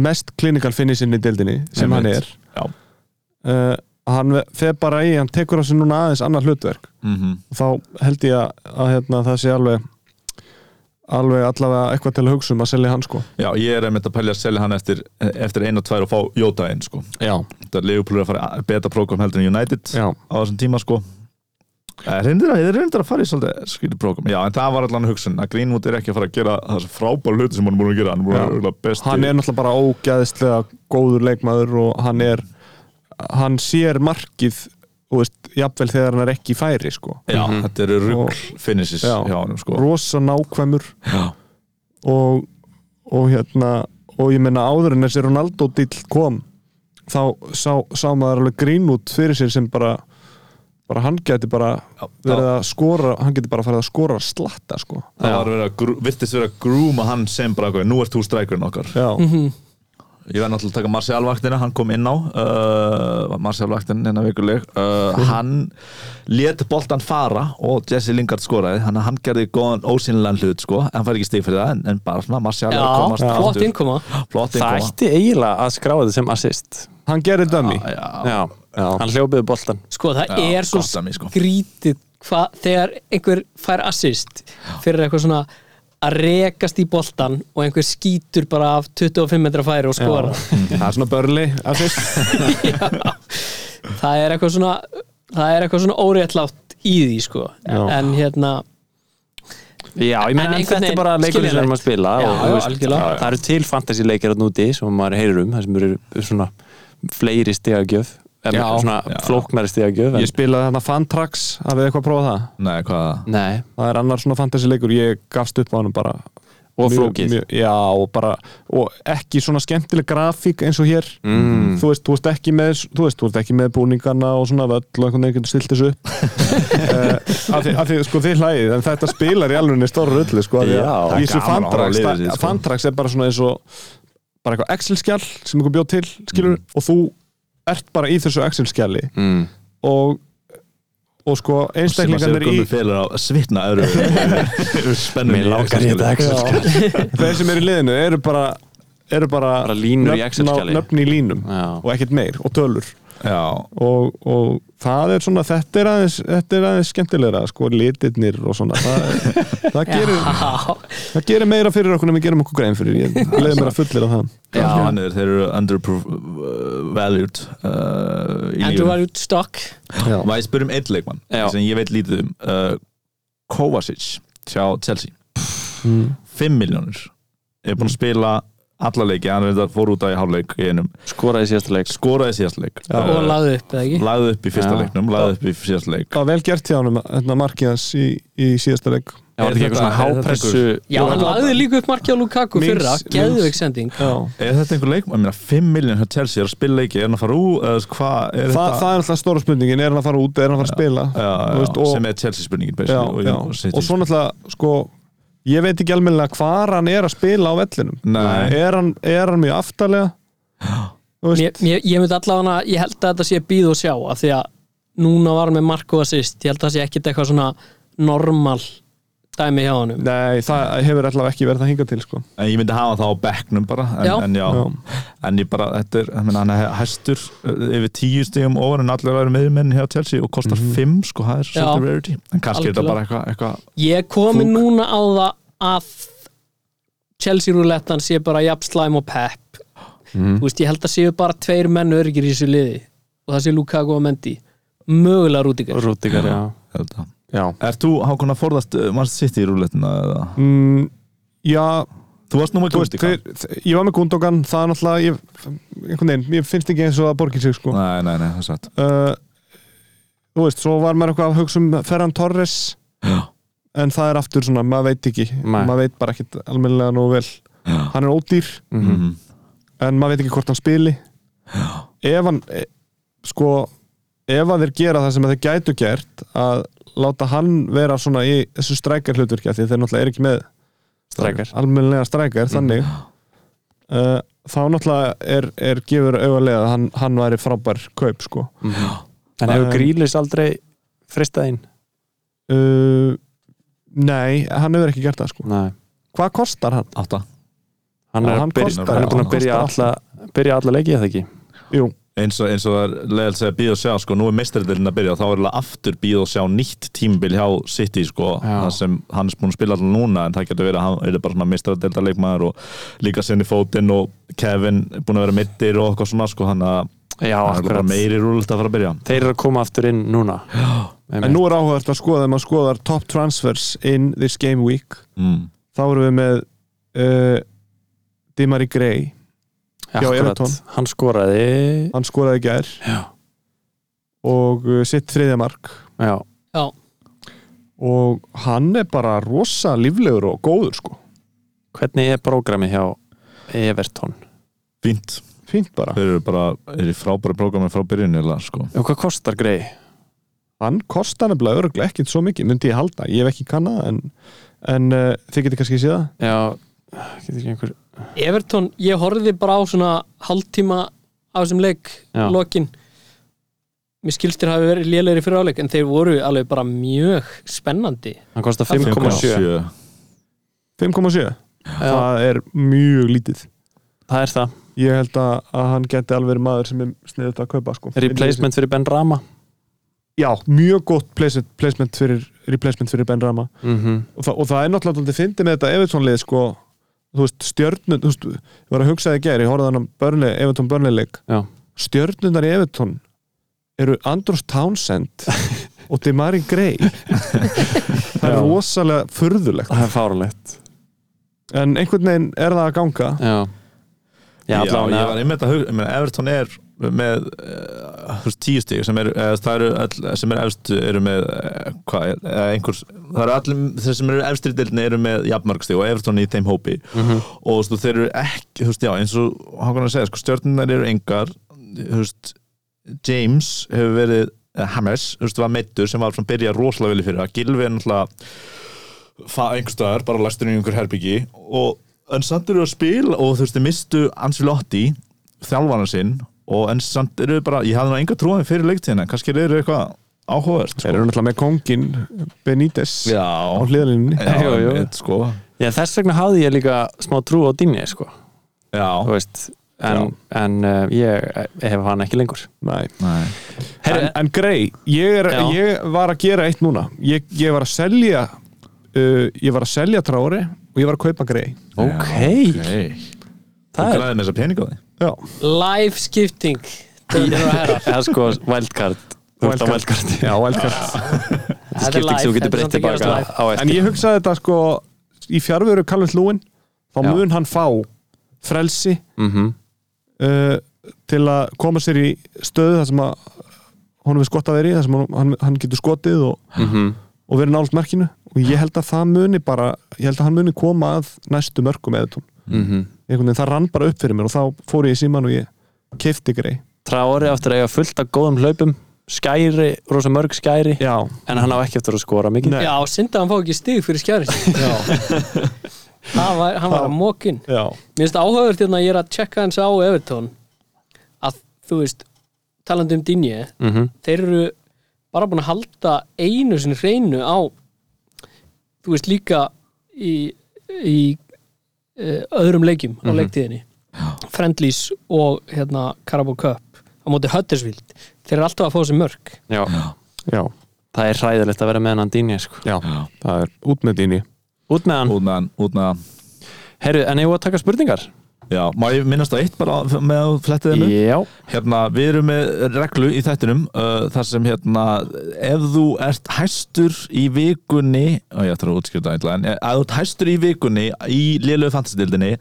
Speaker 6: mest klinikal finnisinn í deildinni sem hann er
Speaker 3: Einmitt. Já.
Speaker 6: uh, Hann fer bara í, hann tekur á sig núna aðeins annað hlutverk
Speaker 3: Mhm.
Speaker 6: og þá held ég að, að hérna, það sé alveg alveg allavega eitthvað til að hugsa um að selja hann sko
Speaker 3: Já, ég er einmitt að pælja að selja hann eftir, eftir einu og tvær og fá Jóta einn sko.
Speaker 6: Já,
Speaker 3: Þetta er Leopold að fara í beta program heldur en United
Speaker 6: já,
Speaker 3: á þessum tíma sko. Það er reyndir að- það er reyndir að fara í svolítið skýri program. Já, en það var allan hugsun að Greenwood er ekki að fara að gera þessi frábær hluti sem hann er búin að gera. Hann er búin
Speaker 6: Já.
Speaker 3: að vera besti.
Speaker 6: hann er náttúrulega bara ógæðislega góður leikmaður og hann er hann sér markið þú veist, jafnvel þegar hann er ekki í færi sko.
Speaker 3: Já, þetta eru
Speaker 6: Og-
Speaker 3: rugg finishes
Speaker 6: Já.
Speaker 3: hjá hann sko.
Speaker 6: rosa nákvæmur
Speaker 3: Já.
Speaker 6: og, og hérna og ég meina áður en þessi Ronaldo dill kom þá sá, sá maður alveg grín út fyrir sér sem bara bara hann geti bara
Speaker 3: Já,
Speaker 6: verið
Speaker 3: það-
Speaker 6: að skora hann geti bara farið að skora að slatta sko.
Speaker 3: Það var verið að, grú- virtist verið að grúma hann sem bara, eitthvað, nú ert þú strækurinn okkar.
Speaker 6: já,
Speaker 4: Mhm.
Speaker 3: Ég verði náttúrulega að taka Marcial vaktina, hann kom inn á uh, Marcial vaktin hérna vikuleg uh, Hann let boltan fara og Jesse Lingard skoraði Þannig að hann gerði góðan ósynlegan hlut sko En hann fær ekki stig fyrir það en, en bara svona Marcial er að
Speaker 4: já
Speaker 3: komast
Speaker 4: flott innkoma
Speaker 3: Flott
Speaker 5: Það
Speaker 3: innkoma
Speaker 5: ætti eiginlega að skráða þetta sem assist
Speaker 6: hann gerir dömi
Speaker 3: Já,
Speaker 5: Já, hann hljópiði boltan
Speaker 4: sko það
Speaker 3: Já,
Speaker 4: er svo
Speaker 3: gott dæmi, sko.
Speaker 4: skrítið hva, þegar einhver fær assist fyrir eitthvað svona að rekast í boltan og einhver skýtur bara af 25 metra færi og skora
Speaker 6: það er svona börli assist.
Speaker 4: það er eitthvað svona það er eitthvað svona óréttlátt í því sko
Speaker 6: Já.
Speaker 4: en hérna
Speaker 5: Já, ég meina,
Speaker 4: En
Speaker 5: en þetta er
Speaker 4: einhvern veginn
Speaker 5: bara leikur sem við
Speaker 4: skiljanlegt.
Speaker 5: erum að spila
Speaker 4: Já,
Speaker 5: og,
Speaker 4: já,
Speaker 5: þú veist,
Speaker 4: algjörlega.
Speaker 5: það eru til fantasy-leikir að núti sem maður heyrir um, það sem eru svona fleiri stegagjöf en
Speaker 6: Já.
Speaker 5: svona
Speaker 3: Já.
Speaker 5: flóknari stegagjöf en,
Speaker 6: Ég spilaði þarna Fantrax, hafið þið eitthvað að prófa það?
Speaker 3: Nei, hvað?
Speaker 5: Nei,
Speaker 6: Það er annar svona fantasy-leikur, ég gafst upp á hann bara
Speaker 5: og
Speaker 6: Mjög-
Speaker 5: flókið
Speaker 6: mjög- Já, og bara, og ekki svona skemmtileg grafík eins og hér
Speaker 5: Mm.
Speaker 6: þú, veist, þú veist ekki með, þú veist, þú veist ekki með búningana og svona völl og einhvern veginn getur stilt þessu upp uh, af því, af því, sko, þið hlæðið en þetta spilar í alveg stóra rullu, sko af því að
Speaker 5: Já, það er
Speaker 6: í þessu
Speaker 3: gaman að horfa á
Speaker 6: fantrax,
Speaker 3: liðið sitt,
Speaker 6: það-
Speaker 3: sko.
Speaker 6: fantrax er bara svona eins og bara eitthvað Excel-skjall sem einhver bjóð til, skilur,
Speaker 3: Mm.
Speaker 6: og þú ert bara í þessu Excel-skjalli
Speaker 5: mm.
Speaker 6: og, og sko
Speaker 3: Sem að
Speaker 6: einstaklingarnir
Speaker 3: segja
Speaker 6: í
Speaker 3: komið félur á svitna öru Spennum
Speaker 5: Mér langar í þetta Excel-skjal.
Speaker 6: þeir sem eru í liðinu eru bara eru bara,
Speaker 5: Bara línur í
Speaker 6: nöfn á-
Speaker 5: Excel-skjali.
Speaker 6: nöfn í línum
Speaker 5: Já.
Speaker 6: og ekkert meir og tölur
Speaker 3: Já,
Speaker 6: og, og það er svona þetta er aðeins, þetta er aðeins skemmtilegra sko litirnir og svona það, það, gerir, það gerir meira fyrir okkur en við gerum okkur grein fyrir ég leiði mér að fullir á það
Speaker 3: Já, hann er, þeir eru undervalued uh, í
Speaker 4: Andrew
Speaker 3: lífinu.
Speaker 4: var út stokk
Speaker 3: Má ég spyrja um einn leikmann
Speaker 5: Já.
Speaker 3: sem ég veit lítið um uh, Kovacic hjá Chelsea
Speaker 6: Hmm.
Speaker 3: 5 miljónir er búinn að spila alla leiki hann reyndar fór út að í hálfleik í einum
Speaker 5: skoraði síðasta leik
Speaker 3: skoraði síðast leik Uh,
Speaker 4: og lagði upp, eða ekki?
Speaker 3: lagði upp í fyrsta
Speaker 5: Já.
Speaker 3: leiknum lagði upp í síðast leik
Speaker 6: það var vel gert hjá honum hérna markið hans í, í síðasta leik
Speaker 5: Já, var þetta ekki
Speaker 3: Er
Speaker 5: eitthvað svona
Speaker 3: þetta- er þetta
Speaker 5: hápressu
Speaker 4: Já, hann lagði líka upp marki á Lukaku
Speaker 6: Mings-
Speaker 4: fyrra,
Speaker 6: Mings-
Speaker 4: geðveik sending
Speaker 6: Já.
Speaker 3: er þetta einhver leikmann? Ég meina 5 miljónir hjá Chelsea er að spila leiki er hann að fara úr? eða hvað er
Speaker 6: Þa,
Speaker 3: þetta?
Speaker 6: það er alltaf stóra spurningin, er hann að fara út er hann að fara að spila
Speaker 3: já,
Speaker 6: Þú
Speaker 3: já,
Speaker 6: veist, og-
Speaker 3: sem er Chelsea spurningin
Speaker 6: já,
Speaker 3: basically,
Speaker 6: já.
Speaker 3: og, City.
Speaker 6: og svo náttúrulega sko ég veit ekki almennilega hvar hann er að spila á vellinum
Speaker 3: Nei.
Speaker 6: er hann, er hann mjög aftalega Þú
Speaker 4: Mér-
Speaker 6: veist,
Speaker 4: mér- Ég myndi allavega, ég held að þetta sé býð og sjá af því að núna var hann með Marko assist ég held að það sé ekkit eitthvað svona normal dæmi hjá honum
Speaker 6: nei, það hefur allavega ekki verið það hingað til sko.
Speaker 3: En ég myndi hafa það á bekknum bara en,
Speaker 4: Já.
Speaker 3: En, já. en ég bara, þetta er ég meina, hann er hæstur uh, yfir tíu stigum ofan en allir aðra meðmenn hjá Chelsea og kostar fimm, sko, það er svolítið rarity en kannski er þetta
Speaker 4: Algjörlega.
Speaker 3: bara eitthvað eitthva,
Speaker 4: Ég komi núna á það að Chelsea rúlettan sé bara jafn slæm og Pep
Speaker 6: Mhm.
Speaker 4: Þú veist, ég held að séu bara tveir menn örgir í þessu liði og það sé Lukaku og Mendy mögulega Rúdíkar
Speaker 5: Rúdíkar, já,
Speaker 3: þetta.
Speaker 5: já.
Speaker 3: Er þú hákona forðast uh, mann sitt í rúletina eða?
Speaker 6: mm, já
Speaker 3: Þú varst nú með
Speaker 6: þú veist,
Speaker 3: Gusti
Speaker 6: hver, ég var með Gundogan það er náttúrulega ég, einhvern veginn, ég finnst ekki eins og það borgir sig sko.
Speaker 3: Nei, nei, nei, það er satt
Speaker 6: uh, þú veist, svo var maður eitthvað að hugsa um Ferran Torres
Speaker 3: Já.
Speaker 6: en það er aftur svona, maður veit ekki
Speaker 5: Nei.
Speaker 6: maður veit bara ekkit almennilega nú vel
Speaker 3: Já.
Speaker 6: hann er ódýr
Speaker 5: Mm
Speaker 3: Mhm.
Speaker 6: en maður veit ekki hvort hann spili ef hann e, sko, ef að þeir gera það sem þeir gætu gert að láta hann vera svona í þessu strækar hlutverkja því þeir náttúrulega er ekki með
Speaker 5: Strækar.
Speaker 6: almennilega strækar, þannig uh, þá náttúrulega er, er gefur auðarlega að hann, hann væri frábær kaup sko
Speaker 5: En hefur
Speaker 6: Um,
Speaker 5: Grílis aldrei fristað inn?
Speaker 6: uh, nei, hann hefur ekki gert það sko
Speaker 5: Nei
Speaker 6: hvað kostar hann?
Speaker 3: Átta
Speaker 5: Hann
Speaker 6: Já,
Speaker 5: er,
Speaker 6: hann
Speaker 5: að byrja,
Speaker 6: kostar-
Speaker 5: hann er búin að
Speaker 6: hann
Speaker 5: byrja
Speaker 6: kostar
Speaker 5: alla, byrja alla leikið eða ekki
Speaker 6: Jú,
Speaker 3: Eins og, eins og það er leiðilegt að segja bíð og sjá sko, nú er meistarilinn að byrja og þá er alveg aftur bíð og sjá nýtt tímbil hjá City sko,
Speaker 5: Já.
Speaker 3: það sem hann er búin að spila alltaf núna en það getur verið að hann er bara svona meistarilda leikmaður og líka sinni fótinn og Kevin er búin að vera mittir og eitthvað svona sko, hann að
Speaker 5: Já,
Speaker 3: hann er bara meiri rúlult að fara að byrja
Speaker 5: Þeir eru að koma aftur inn núna
Speaker 6: en nú er áhugavert að skoða ef maður skoðar top transfers in this game week
Speaker 3: mm.
Speaker 6: þá erum við með uh, Dimari Grey, Já, Everton.
Speaker 5: Hann skoraði
Speaker 6: hann skoraði í gær
Speaker 5: Já,
Speaker 6: og uh, sitt þriðja mark
Speaker 5: já,
Speaker 4: Já,
Speaker 6: og hann er bara rosa líflegur og góður sko
Speaker 5: hvernig er prógrami hjá Everton?
Speaker 3: Fínt,
Speaker 6: fínt bara,
Speaker 3: þeir eru bara er í frábæri prógrami frá byrjun eiginlega, sko.
Speaker 5: Og hvað kostar grei?
Speaker 6: hann kostar nefnilega örglega ekkit svo mikið, myndi ég halda, ég hef ekki kannað en, en uh, þið getur kannski séð það
Speaker 5: Já, getur ekki einhver
Speaker 4: Everton, ég horfði bara á svona hálftíma á þessum leik
Speaker 5: Já.
Speaker 4: lokin mér skilstir hafi verið lélegri fyrir áleik en þeir voru alveg bara mjög spennandi
Speaker 5: Hann kostar 5,7
Speaker 6: 5,7,
Speaker 5: Já,
Speaker 6: það er mjög lítið
Speaker 5: Það er það
Speaker 6: ég held að, að hann geti alveg verið maður sem er sniðut að kaupa sko
Speaker 5: Replacement fyrir Ben Rama
Speaker 6: já, mjög gott placement, placement fyrir, replacement fyrir Ben Rama
Speaker 5: mm
Speaker 6: og, þa og það er náttúrulega aldrei fyndið með þetta Evertónlið sko, þú veist, stjörnun þú veist, ég var að hugsa það í gæri, ég horfði hann á börnleg, Evertón börnleik,
Speaker 5: Já.
Speaker 6: stjörnunar í Evertón eru Andros Townsend og Demarin Grey það er
Speaker 5: Já.
Speaker 6: rosalega furðulegt
Speaker 5: það er fárlegt
Speaker 6: en einhvern veginn er það að ganga
Speaker 5: já, já,
Speaker 3: Já,
Speaker 5: allavega-
Speaker 3: ég var einmitt að hugsa, ég meina, Everton er með uh, tíu stík sem eru, eða, það eru all, sem eru efstu eru með, uh, hvað, eða einhvers það eru allir, þeir sem eru efstri deildinni eru með jafnmarkstík og Everton í þeim hópi
Speaker 5: Mhm.
Speaker 3: og þú veist, þeir eru ekki, þú veist, já eins og hann konar að segja, sko, stjörnunar eru engar, þú veist James hefur verið eh, Hammers, þú veist, var meittur sem var svona byrja rosalega vilja fyrir það, Gilvi er náttúrulega fa- einhvers staðar, bara læstur í einhver herbyggi og en samt eru að spila og þú veist, þeir mistu Ancelotti þjálfana sinn og en samt eru bara, ég hafði nú enga trúið fyrir leiktíðina, kannski eru þeir eitthvað áhugavert,
Speaker 6: þeir
Speaker 3: sko
Speaker 6: eru náttúrulega með kongin Benítez
Speaker 3: Já,
Speaker 6: á hliðalinni
Speaker 3: já,
Speaker 5: Jú, jú.
Speaker 3: einmitt, sko
Speaker 5: já, þess vegna hafði ég líka smá trú á dýni sko, þú
Speaker 3: Já,
Speaker 5: veist en, en uh, ég hef hann ekki lengur
Speaker 6: Nei.
Speaker 3: nei
Speaker 5: Herru,
Speaker 6: en, en grei, ég, er,
Speaker 5: Já.
Speaker 6: ég var að gera eitt núna ég, ég var að selja uh, ég var að selja trári og ég var að kaupa grei
Speaker 5: ok,
Speaker 3: Hey. Þú
Speaker 5: það er
Speaker 3: græðir með þessa pening á því
Speaker 6: já,
Speaker 4: Live skipting Dömur og herrar
Speaker 5: eða sko wildcard Þú ert á
Speaker 6: Wildcard.
Speaker 5: wildcard
Speaker 6: já, wildcard
Speaker 5: Þetta er skipting sem þú getur breytt
Speaker 4: Þetta er
Speaker 5: tilbaka
Speaker 4: live.
Speaker 5: á
Speaker 6: en
Speaker 5: eftir
Speaker 6: ég hugsaði þetta sko í fjárveru Calvin Lúin þá
Speaker 5: Já.
Speaker 6: mun hann fá frelsi
Speaker 5: Mhm.
Speaker 6: uh, til að koma sér í stöðu þar sem að honum er skott að vera í þar sem hann, hann, hann getur skotið og,
Speaker 5: Mhm.
Speaker 6: og verið nált merkinu og ég held að það muni bara ég held að hann muni koma að næstu mörkum eða tón,
Speaker 5: Mhm.
Speaker 6: einhvern veginn það rann bara upp fyrir mér og þá fór ég í síman og ég keifti grei,
Speaker 5: Traori aftur að eiga fullt af góðum hlaupum skæri, rosa mörg skæri
Speaker 6: já,
Speaker 5: en hann á ekki eftir að skora mikið
Speaker 6: Nei.
Speaker 4: Já, synd að hann fá ekki stig fyrir skjæri var, Hann var að mókin
Speaker 6: já
Speaker 4: Mér finnst áhugavert hérna að ég er að checka hans á Evertón að þú veist talandi um Dinje
Speaker 5: Mhm.
Speaker 4: þeir eru bara búin að halda einu sinni hreinu á þú veist líka í, í uh, öðrum leikjum á leiktíðinni Friendlies og hérna Carabao Cup á móti Huddersfield þeir eru alltaf að fá sér mörg
Speaker 5: Já.
Speaker 6: já,
Speaker 5: það er hræðilegt að vera með hann dýni sko.
Speaker 6: já, það er út með dýni
Speaker 5: út með hann,
Speaker 3: Út með hann, út með hann
Speaker 5: herru, en ég var að taka spurningar
Speaker 3: Já, má ég minnast á eitt bara með að flettið hennu?
Speaker 5: já,
Speaker 3: Hérna, við erum með reglu í þættinum uh, þar sem hérna ef þú ert hæstur í vikunni og ég ætla að útskjöta eitthvað en ef þú ert hæstur í vikunni í liðlegu fantasydildinni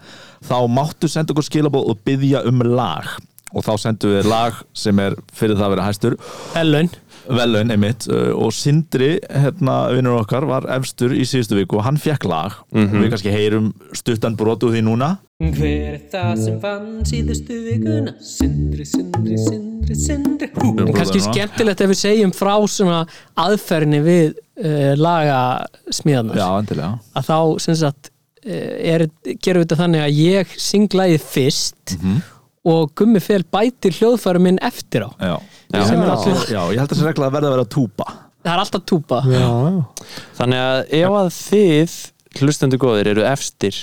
Speaker 3: þá máttu senda okkur skilabóð og byggja um lag og þá sendum við lag sem er fyrir það að vera hæstur
Speaker 4: Ellen
Speaker 3: velun einmitt uh, og Sindri, hérna vinnur okkar, var efstur í síðustu viku og hann fekk lag og við kannski heyrum stuttan brotu því núna
Speaker 1: Hver er það sem vann síðustu vikuna? Sindri, Sindri, Sindri, Sindri Hú.
Speaker 4: En kannski skemmtilegt ef við segjum frá svona aðferðinni við uh, lagasmíðanar
Speaker 3: Já, endilega
Speaker 4: að þá sem sagt eh, er, gerum við þetta þannig að ég syng lagið fyrst og Gummi Fel bætir hljóðfærum minn eftir á
Speaker 3: Já,
Speaker 5: Já.
Speaker 3: Sem er
Speaker 4: Já.
Speaker 3: alltaf- já ég held að þessi regla verði að vera túpa
Speaker 4: það er alltaf túpa
Speaker 5: þannig að ef að þið hlustendur góðir eru efstir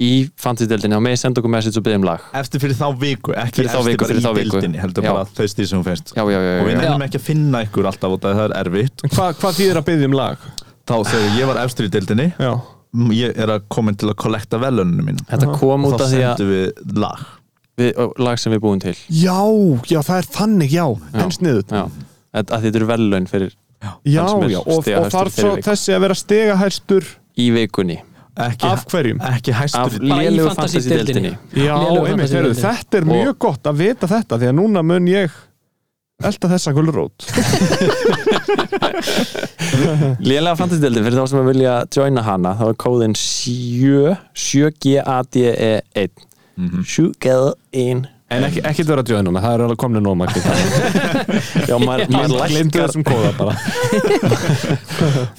Speaker 5: í fantasy-deldinni þá meði senda okkur message og byggja um lag
Speaker 3: eftir fyrir þá viku ekki
Speaker 5: Fyrir þá
Speaker 3: eftir
Speaker 5: viku,
Speaker 3: bara
Speaker 5: fyrir þá
Speaker 3: í
Speaker 5: viku.
Speaker 3: dildinni heldur
Speaker 5: Já.
Speaker 3: bara þau stíð sem hún finnst
Speaker 5: já, já, já,
Speaker 3: og við
Speaker 5: já, já.
Speaker 3: nefnum ekki að finna ykkur alltaf út af það er erfitt
Speaker 6: Hva, hvað þýðir að byggja um lag?
Speaker 3: þá þegar ég var efstur í dildinni
Speaker 6: já,
Speaker 3: ég er að koma inn til að kollekta veluninu mín
Speaker 5: þetta kom
Speaker 3: og
Speaker 5: út
Speaker 3: þá
Speaker 5: af því að
Speaker 3: sendum við lag
Speaker 5: við, ó, lag sem við búum til
Speaker 6: já, já það er þannig, já, já. en sniðut
Speaker 5: já, að, að þetta eru vellaun fyrir
Speaker 6: Já,
Speaker 5: Hann sem er
Speaker 6: já, og, og
Speaker 5: stigahæstur
Speaker 6: þarf
Speaker 5: fyrir
Speaker 6: svo
Speaker 5: viku.
Speaker 6: þessi að vera stegahæstur
Speaker 5: í vikunni
Speaker 3: ekki,
Speaker 6: Af hverjum?
Speaker 3: ekki
Speaker 5: af
Speaker 3: hæstur í-
Speaker 4: Bara í
Speaker 5: lélegu
Speaker 4: fantasy-deildinni.
Speaker 5: fantasy-deildinni
Speaker 6: Já,
Speaker 4: Lélegur
Speaker 6: einmitt,
Speaker 4: fantasy
Speaker 6: heyrðu,
Speaker 4: deildin.
Speaker 6: þetta er
Speaker 5: Og-
Speaker 6: mjög gott að vita þetta því að núna mun ég elda þessa gulrót
Speaker 5: Lélega fantasy-deildin fyrir þá sem að vilja joina hana þá er kóðin 7 7GADE1 Mhm. 7GADE1
Speaker 6: En ekki, ekki vera að djóða núna, það er alveg komni nóg makki
Speaker 5: Já, maður maður lækkar
Speaker 6: kóða bara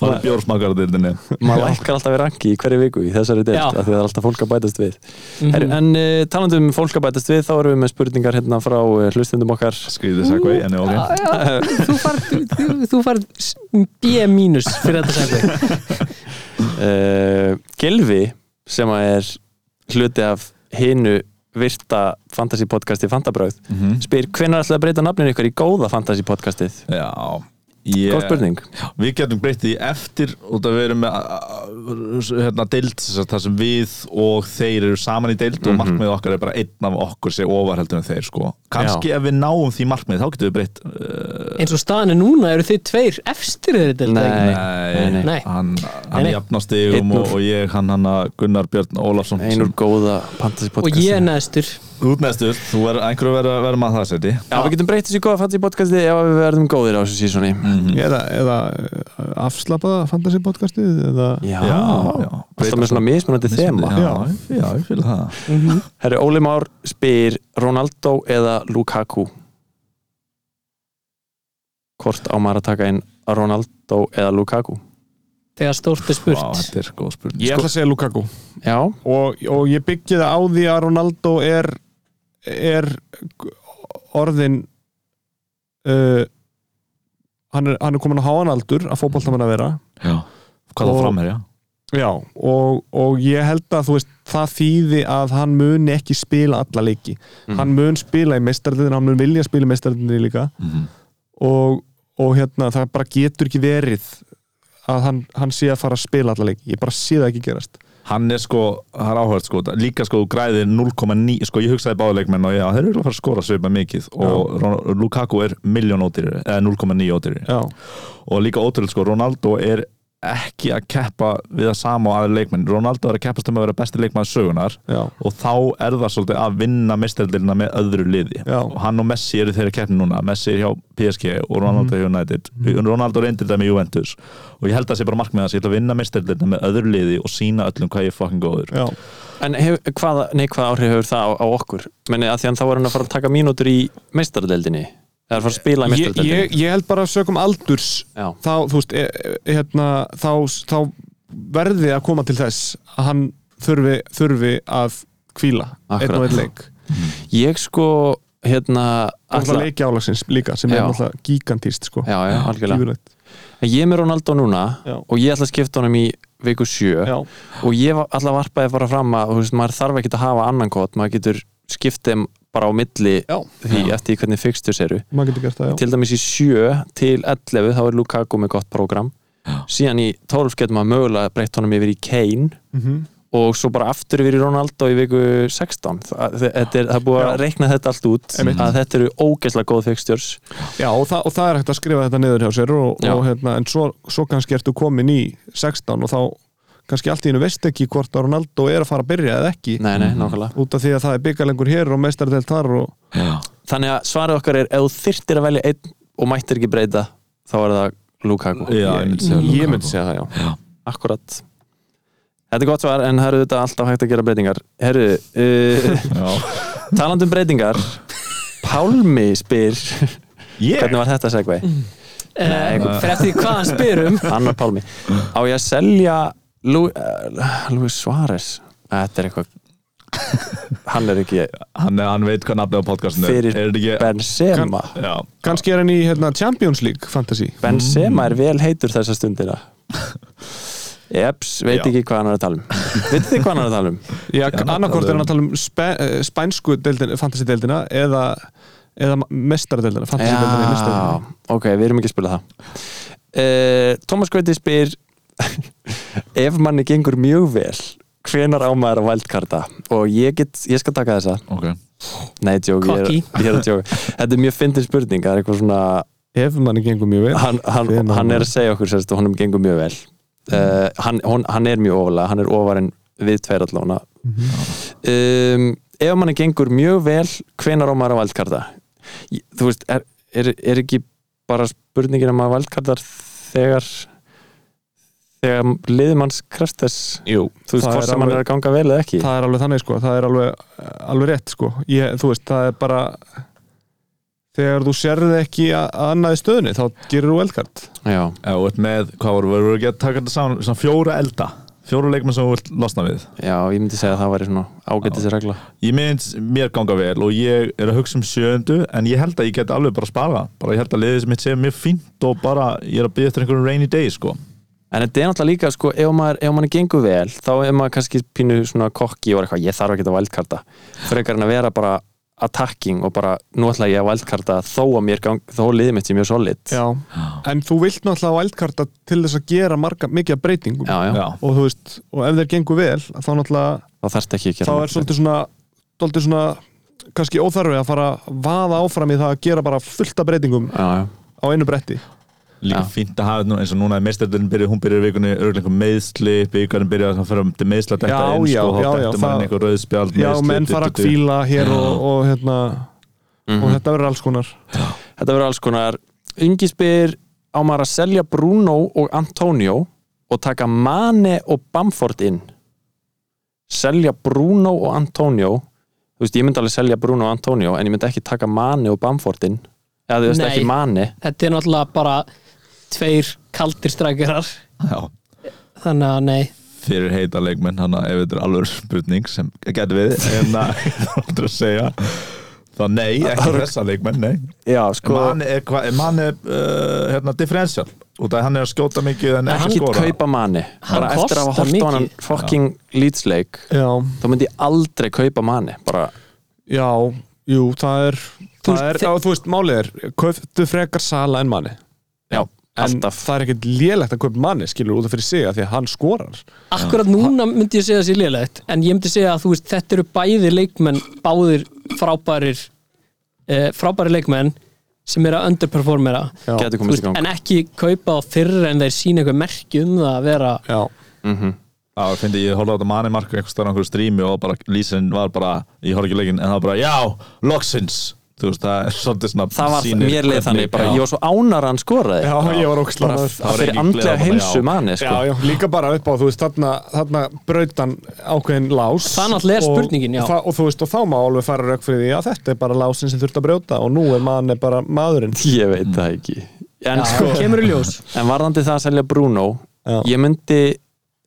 Speaker 3: fara bjórsmakar á dildinni
Speaker 5: maður lækkar alltaf við rangi í hverju viku í þessari deild
Speaker 4: Já.
Speaker 5: af því það er alltaf fólk að bætast við Heru, En uh, talandi um fólk að bætast við þá erum við með spurningar hérna frá uh, hlustendum okkar
Speaker 3: skrýðið segvei en ok
Speaker 4: þú farð þú- þú farð s- B mínus fyrir þetta segvei
Speaker 5: uh, Gilvi sem að er hluti af hinu virta fantasy podcasti Fantabráð spyr hvenær ætlaði að breyta nafninu ykkur í góða fantasy podcastið
Speaker 3: já ég,
Speaker 5: Góð spurning
Speaker 3: við getum breytt því eftir út að við erum með a- a- hérna, deild sem sagt, þar sem við og þeir eru saman í deild
Speaker 5: Mhm.
Speaker 3: og markmið okkar er bara einn af okkur sé ofar heldur en þeir sko. kannski ef við náum því markmið þá getum við breytt uh,
Speaker 4: eins og staðan er núna eru þið tveir efstir þeirri deild
Speaker 5: Nei.
Speaker 4: ekki?
Speaker 3: Nei,
Speaker 4: Nei.
Speaker 3: hann, hann
Speaker 4: Nei, nei.
Speaker 3: jafnastigum
Speaker 5: Einn úr-
Speaker 3: og, og ég hann hann að Gunnar Björn Ólafsson
Speaker 5: Einur góða fantasy
Speaker 4: og
Speaker 5: podcasti
Speaker 4: ég er neðstur
Speaker 3: útmestur, þú er einhverju verið að vera maður það seti
Speaker 5: Já, við getum breytt þessu góða fantasy podcasti ef við verðum góðir á þessu sísoni
Speaker 6: eða, eða eh, afslappaða fantasy podcastið eða
Speaker 5: Já,
Speaker 3: já.
Speaker 5: Alltaf með svona mismunandi þema
Speaker 3: já, já, ég fylg það
Speaker 5: Herri, Óli Már spyr Ronaldo eða Lukaku Hvort á maður að taka inn Ronaldo eða Lukaku Sko,
Speaker 4: þegar stórt
Speaker 3: Vá,
Speaker 4: er spurt
Speaker 3: þetta er góð spurning
Speaker 6: ég ætla að segja Lukaku
Speaker 5: Já,
Speaker 6: og, og ég byggi það á því að Ronaldo er, er orðin uh, hann, er, hann er komin á háanaldur að fótboltamann að vera
Speaker 3: já. hvað
Speaker 6: Og-
Speaker 3: þá framherja
Speaker 6: Já, og, og ég held að þú veist, það þýði að hann muni ekki spila alla leiki hann mun spila í meistardinu, hann mun vilja spila í meistardinu líka
Speaker 3: Mhm.
Speaker 6: og, og hérna, það bara getur ekki verið að hann, hann sé að fara að spila alla leiki, ég bara sé það ekki gerast
Speaker 3: hann er sko, það er áhört sko líka sko, þú græðir 0,9 sko, ég hugsaði báðuleikmenn og já, þeir eru að fara að skora svipað mikið og Ron- Lukaku er miljón ódýrir, eða 0,9 ódýrir
Speaker 6: Já,
Speaker 3: og líka ótrúlega sko, Ronaldo er ekki að keppa við það sama á aðri leikmenn Ronaldo er að keppast um að vera besti leikmann sögunar
Speaker 6: já,
Speaker 3: og þá er það svolítið að vinna mistældilina með öðru liði
Speaker 6: Já.
Speaker 3: og hann og Messi eru þeirra keppni núna Messi er hjá PSG og
Speaker 6: Mhm.
Speaker 3: Ronaldo mm. United Ronaldo reyndir það með Juventus og ég held að það sé bara markmið hans, ég ætla að vinna mistældilina með öðru liði og sína öllum hvað ég er fucking góður
Speaker 6: já
Speaker 5: en hef, hvað, nei, hvað áhrif hefur það á, á okkur? Meni að því hann þá var hann að fara að taka mínútur í meistardeldinni eða að fara að spila í
Speaker 6: ég,
Speaker 5: meistardeldinni
Speaker 6: ég, ég held bara að sökum aldurs
Speaker 5: Já,
Speaker 6: þá, þú veist, e, e, hérna, þá, þá verði að koma til þess að hann þurfi, þurfi að kvíla einn og
Speaker 5: Akkurat.
Speaker 6: einn leik
Speaker 5: ég sko hérna
Speaker 6: alltaf
Speaker 5: ætla-
Speaker 6: leiki álagsins líka sem
Speaker 5: Já.
Speaker 6: er alltaf gigantíst sko.
Speaker 5: Já, já, algjörlega
Speaker 6: Gífurlegt.
Speaker 5: En Ég er með Ronaldo núna
Speaker 6: Já.
Speaker 5: og ég ætla að skipta honum í viku sjö
Speaker 6: Já.
Speaker 5: og ég var- ætla að varpaði bara fram að þú veist, maður þarf ekki að hafa annan kót maður getur skipt þeim bara á milli
Speaker 6: Já.
Speaker 5: því eftir því hvernig fixturs eru
Speaker 6: maður getur gert það, já
Speaker 5: til dæmis í 7 til 11 þá er Lukaku með gott prógram síðan í 12 getur maður mögulega breytt honum yfir í Kane
Speaker 6: Mhm.
Speaker 5: og svo bara aftur yfir í Ronaldo í viku 16 það, það, er, það er búið að reikna þetta allt út að þetta eru ógeðslega góð fixturs
Speaker 6: já og, það, og það er hægt að skrifa þetta niður hjá sér og,
Speaker 5: Já.
Speaker 6: og hérna, en svo, svo kannski ertu komin í 16 og þá kannski allt í hennu veist ekki hvort að Ronaldo er að fara að byrja eða ekki
Speaker 5: nei, nei, nákvæmlega
Speaker 6: út af því að það er byggalengur hér og mestardelt þar og
Speaker 3: Já.
Speaker 5: Þannig að svarið okkar er ef þú þyrtir að velja einn og mættir ekki breyta þá er það Lukaku
Speaker 3: Já, ég myndi segja
Speaker 6: ég
Speaker 3: Lukaku.
Speaker 6: myndi segja það, já
Speaker 5: Akkurat Þetta er gott svar en það eru þetta alltaf hægt að gera breytingar Herru, uh,
Speaker 3: Já.
Speaker 5: talandi um breytingar Pálmi spyr
Speaker 3: Ég?
Speaker 5: Hvernig var þetta segvei?
Speaker 4: Eh, fyrir eftir því hvað hann spyr um
Speaker 5: Annar Pálmi Á ég að selja Lu, uh, Luis Suárez? Þetta er eitthvað Hann er ekki
Speaker 3: Hann, er- hann veit hvað nafnið á podcastinu er.
Speaker 5: fyrir
Speaker 3: er þetta ekki
Speaker 5: Benzema
Speaker 3: Já.
Speaker 6: kannski er hann í hérna, Champions League fantasy
Speaker 5: Benzema er vel heitur þessa stundina Eps, veit
Speaker 3: Já.
Speaker 5: ekki hvað hann er að tala um Vitið þið hvað hann er að tala um?
Speaker 6: Já,
Speaker 3: hann er að tala
Speaker 6: annarkort
Speaker 3: um-
Speaker 6: er hann að tala um spe, eh, spænsku deildin, fantasy deildina eða, eða mestaradeildina fantasy deildina í
Speaker 5: Já,
Speaker 6: mestaradeildina
Speaker 5: ok, við erum ekki að spila það uh, Thomas Gauti spyr Ef manni gengur mjög vel hvenar á maður að vældkarta og ég, get, ég skal taka þessa
Speaker 3: Ok.
Speaker 5: Nei, tjók, ég,
Speaker 4: Cocky.
Speaker 5: er- ég er að tjóka Þetta er mjög fyndin spurning, það er eitthvað svona
Speaker 6: ef manni gengur mjög vel
Speaker 5: hann, hann,
Speaker 6: Hvenær
Speaker 5: hann er
Speaker 6: maður-
Speaker 5: að segja okkur sérst, honum gengur mjög vel uh, hann, hon, hann er mjög ofalega hann er ofar en við tveir allána
Speaker 6: Mhm.
Speaker 5: um, ef manni gengur mjög vel hvenar á maður að valdkarta þú veist, er, er, er ekki bara spurningin um að maður valdkartar þegar þegar liðmanns krefst þess
Speaker 6: Jú,
Speaker 5: þú veist,
Speaker 6: það
Speaker 5: hvort
Speaker 6: er
Speaker 5: sem hann er
Speaker 6: alveg-
Speaker 5: að ganga vel eða ekki
Speaker 6: það er alveg þannig sko, það er alveg, alveg rétt sko ég, þú veist, það er bara þegar þú sérði ekki a- að annaði stöðunni þá gerir þú velkart
Speaker 5: já,
Speaker 3: Ef þú ert með, hvað voru, voru ekki að taka þetta saman, svona fjóra elda, fjóra leikmenn sem þú vilt losna við.
Speaker 5: já, ég myndi segja að það væri svona ágætis regla
Speaker 3: Ég myndist mér ganga vel og ég er að hugsa um sjöndu en ég held að ég geti alveg bara að spara bara ég held að liðið mitt sé mjög fínt og bara ég er að byggja eftir einhverjum rainy day sko
Speaker 5: En þetta er náttúrulega líka, sko, ef maður, ef maður gengur vel, þá er maður kannski pínu svona kokki og er eitthvað, ég þarf ekki að vældkarta. Frekar en að vera bara attacking og bara nú ætla ég að valdkarta þó að mér gang, þó liðið mitt sé mjög solid
Speaker 6: Já. en þú vilt náttúrulega vældkarta til þess að gera marga, mikið af breytingum
Speaker 5: já, já.
Speaker 3: Já.
Speaker 6: og þú veist, og ef þeir gengur vel þá náttúrulega,
Speaker 5: þá þarft ekki að gera
Speaker 6: þá
Speaker 5: margt.
Speaker 6: er svolítið svona svolítið svona, kannski óþarfi að fara að vaða áfram í það að gera bara fullta breytingum
Speaker 5: já, já.
Speaker 6: á einu bretti
Speaker 3: Líka
Speaker 5: Já.
Speaker 3: fínt að hafa þetta nú- eins og núna er meistardurinn byrjuð, hún byrjar í vikunni, örgulega einhver meiðsli, byggarinn byrjar að fara um til meðsla detta
Speaker 6: Já,
Speaker 3: inn,
Speaker 6: já,
Speaker 3: sko,
Speaker 6: já,
Speaker 3: þá
Speaker 6: já,
Speaker 3: detta
Speaker 6: það-
Speaker 3: mann einhver rauðspjald,
Speaker 6: já, menn fara að kvíla hér og, og hérna
Speaker 5: Mhm.
Speaker 6: og þetta verður alls konar
Speaker 5: þetta verður alls konar Ingi spyr á maður að selja Bruno og Antonio og taka Mane og Bamford inn selja Bruno og Antonio þú veist, ég myndi alveg selja Bruno og Antonio en ég myndi ekki taka Mane og Bamford inn eða þú veist
Speaker 4: Nei.
Speaker 5: ekki Mane
Speaker 4: þetta er náttúrulega bara tveir kaldir strækjarar
Speaker 3: Já,
Speaker 4: þannig að nei,
Speaker 3: fyrir heita leikmenn, hann að ef þetta er alveg spurning sem getur við, en að það áttur að segja, þá nei, ekki þessa leikmenn, nei.
Speaker 5: já,
Speaker 6: sko-
Speaker 3: Mann er, hva, mann er uh, hérna, differential, út af hann er að skjóta mikið en
Speaker 5: ekki
Speaker 3: ekki skora.
Speaker 5: kaupa Mane
Speaker 4: Hann
Speaker 5: bara eftir að hafa
Speaker 4: kostar
Speaker 5: hort á hann
Speaker 4: mikið.
Speaker 5: fucking lýtsleik
Speaker 6: já,
Speaker 5: þá myndi ég aldrei kaupa Mane bara,
Speaker 6: já, jú, það er
Speaker 4: Þú
Speaker 6: það
Speaker 4: veist,
Speaker 6: er,
Speaker 4: þe-
Speaker 6: já, þú veist, málið er kauftu frekar sala en manni
Speaker 5: já,
Speaker 6: en
Speaker 5: alltaf
Speaker 6: það er ekkert lélegt að kaupa manni skilur út af fyrir sig að því að hann skorar
Speaker 4: akkurat núna myndi ég segja þessi liðlegt en ég myndi segja að þú veist, þetta eru bæði leikmenn báðir frábærir eh, frábæri leikmenn sem eru að underperformera
Speaker 6: já,
Speaker 5: getur
Speaker 4: Þú
Speaker 5: komist í
Speaker 4: veist,
Speaker 5: gang
Speaker 4: en ekki kaupa á fyrr en þeir sína eitthvað merki um það að vera
Speaker 6: já,
Speaker 3: Já, ég fyndi, ég horfði á þetta manni marka einhvers þar á einhverju strími og bara lýsirinn var bara, ég horfði ekki leikin, en það var bara, já, loksins, þú veist, það er svolítið svona
Speaker 5: það var,
Speaker 3: sýnir
Speaker 5: mér leið þannig,
Speaker 3: hvernig-
Speaker 5: bara,
Speaker 3: já.
Speaker 5: ég var svo ánar hann skoraði
Speaker 6: já, ég var óksla
Speaker 5: bara
Speaker 3: var
Speaker 5: fyrir
Speaker 3: engin
Speaker 5: andlega
Speaker 3: gleði þarna,
Speaker 5: heilsu
Speaker 3: já.
Speaker 5: manni sko.
Speaker 6: Já, já, líka bara upp á, þú veist, þarna, þarna brautan ákveðin lás
Speaker 4: Það náttúrulega er spurningin, já.
Speaker 6: og, það- og þú veist, og þá má alveg fara rauk fyrir því að þetta er bara lásin sem þurft að brjóta og nú er manni bara maðurinn
Speaker 5: ég veit það ekki en,
Speaker 4: Já,
Speaker 5: sko,
Speaker 4: kemur í ljós
Speaker 5: en varðandi það að selja Bruno
Speaker 6: Já.
Speaker 5: ég myndi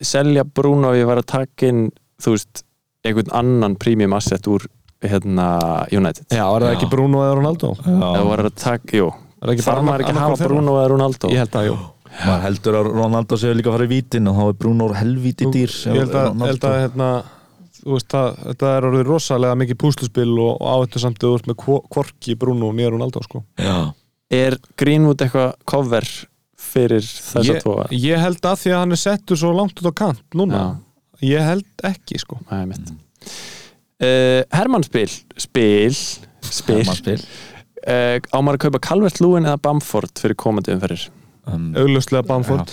Speaker 5: selja Bruno ef ég var að taka inn þú veist, einhvern annan premium asset úr hérna United
Speaker 6: Já, er það ekki Bruno eða Ronaldo?
Speaker 5: ef ég var að taka, jú
Speaker 6: Er það ekki
Speaker 5: þarf
Speaker 6: bara
Speaker 5: maður ekki að
Speaker 6: annað hvort
Speaker 5: hafa
Speaker 6: þeirra?
Speaker 5: Bruno eða Ronaldo
Speaker 6: Ég held að, jú
Speaker 3: maður heldur að Ronaldo séu líka að fara í vítin og þá er Bruno helvíti dýr
Speaker 6: Ég held að,
Speaker 3: Ronaldo-
Speaker 6: held að hérna, þú veist, það, þetta er orðið rosalega mikið púsluspil og, og áhættu samt að þú ert með kvo- hvorki Bruno og Ronaldo, sko
Speaker 3: Já,
Speaker 5: er Greenwood eitthvað cover fyrir þessa
Speaker 6: ég,
Speaker 5: tvo
Speaker 6: ég held að því að hann er settur svo langt út á kant núna
Speaker 5: Já.
Speaker 6: Ég held ekki, sko
Speaker 5: Æ, mitt uh, Hermann spil spil, spil.
Speaker 3: maður spil
Speaker 5: Uh, ámar að kaupa Calvert Lúin eða Bamford fyrir komandi umferðir
Speaker 3: um,
Speaker 6: Auglustlega Bamford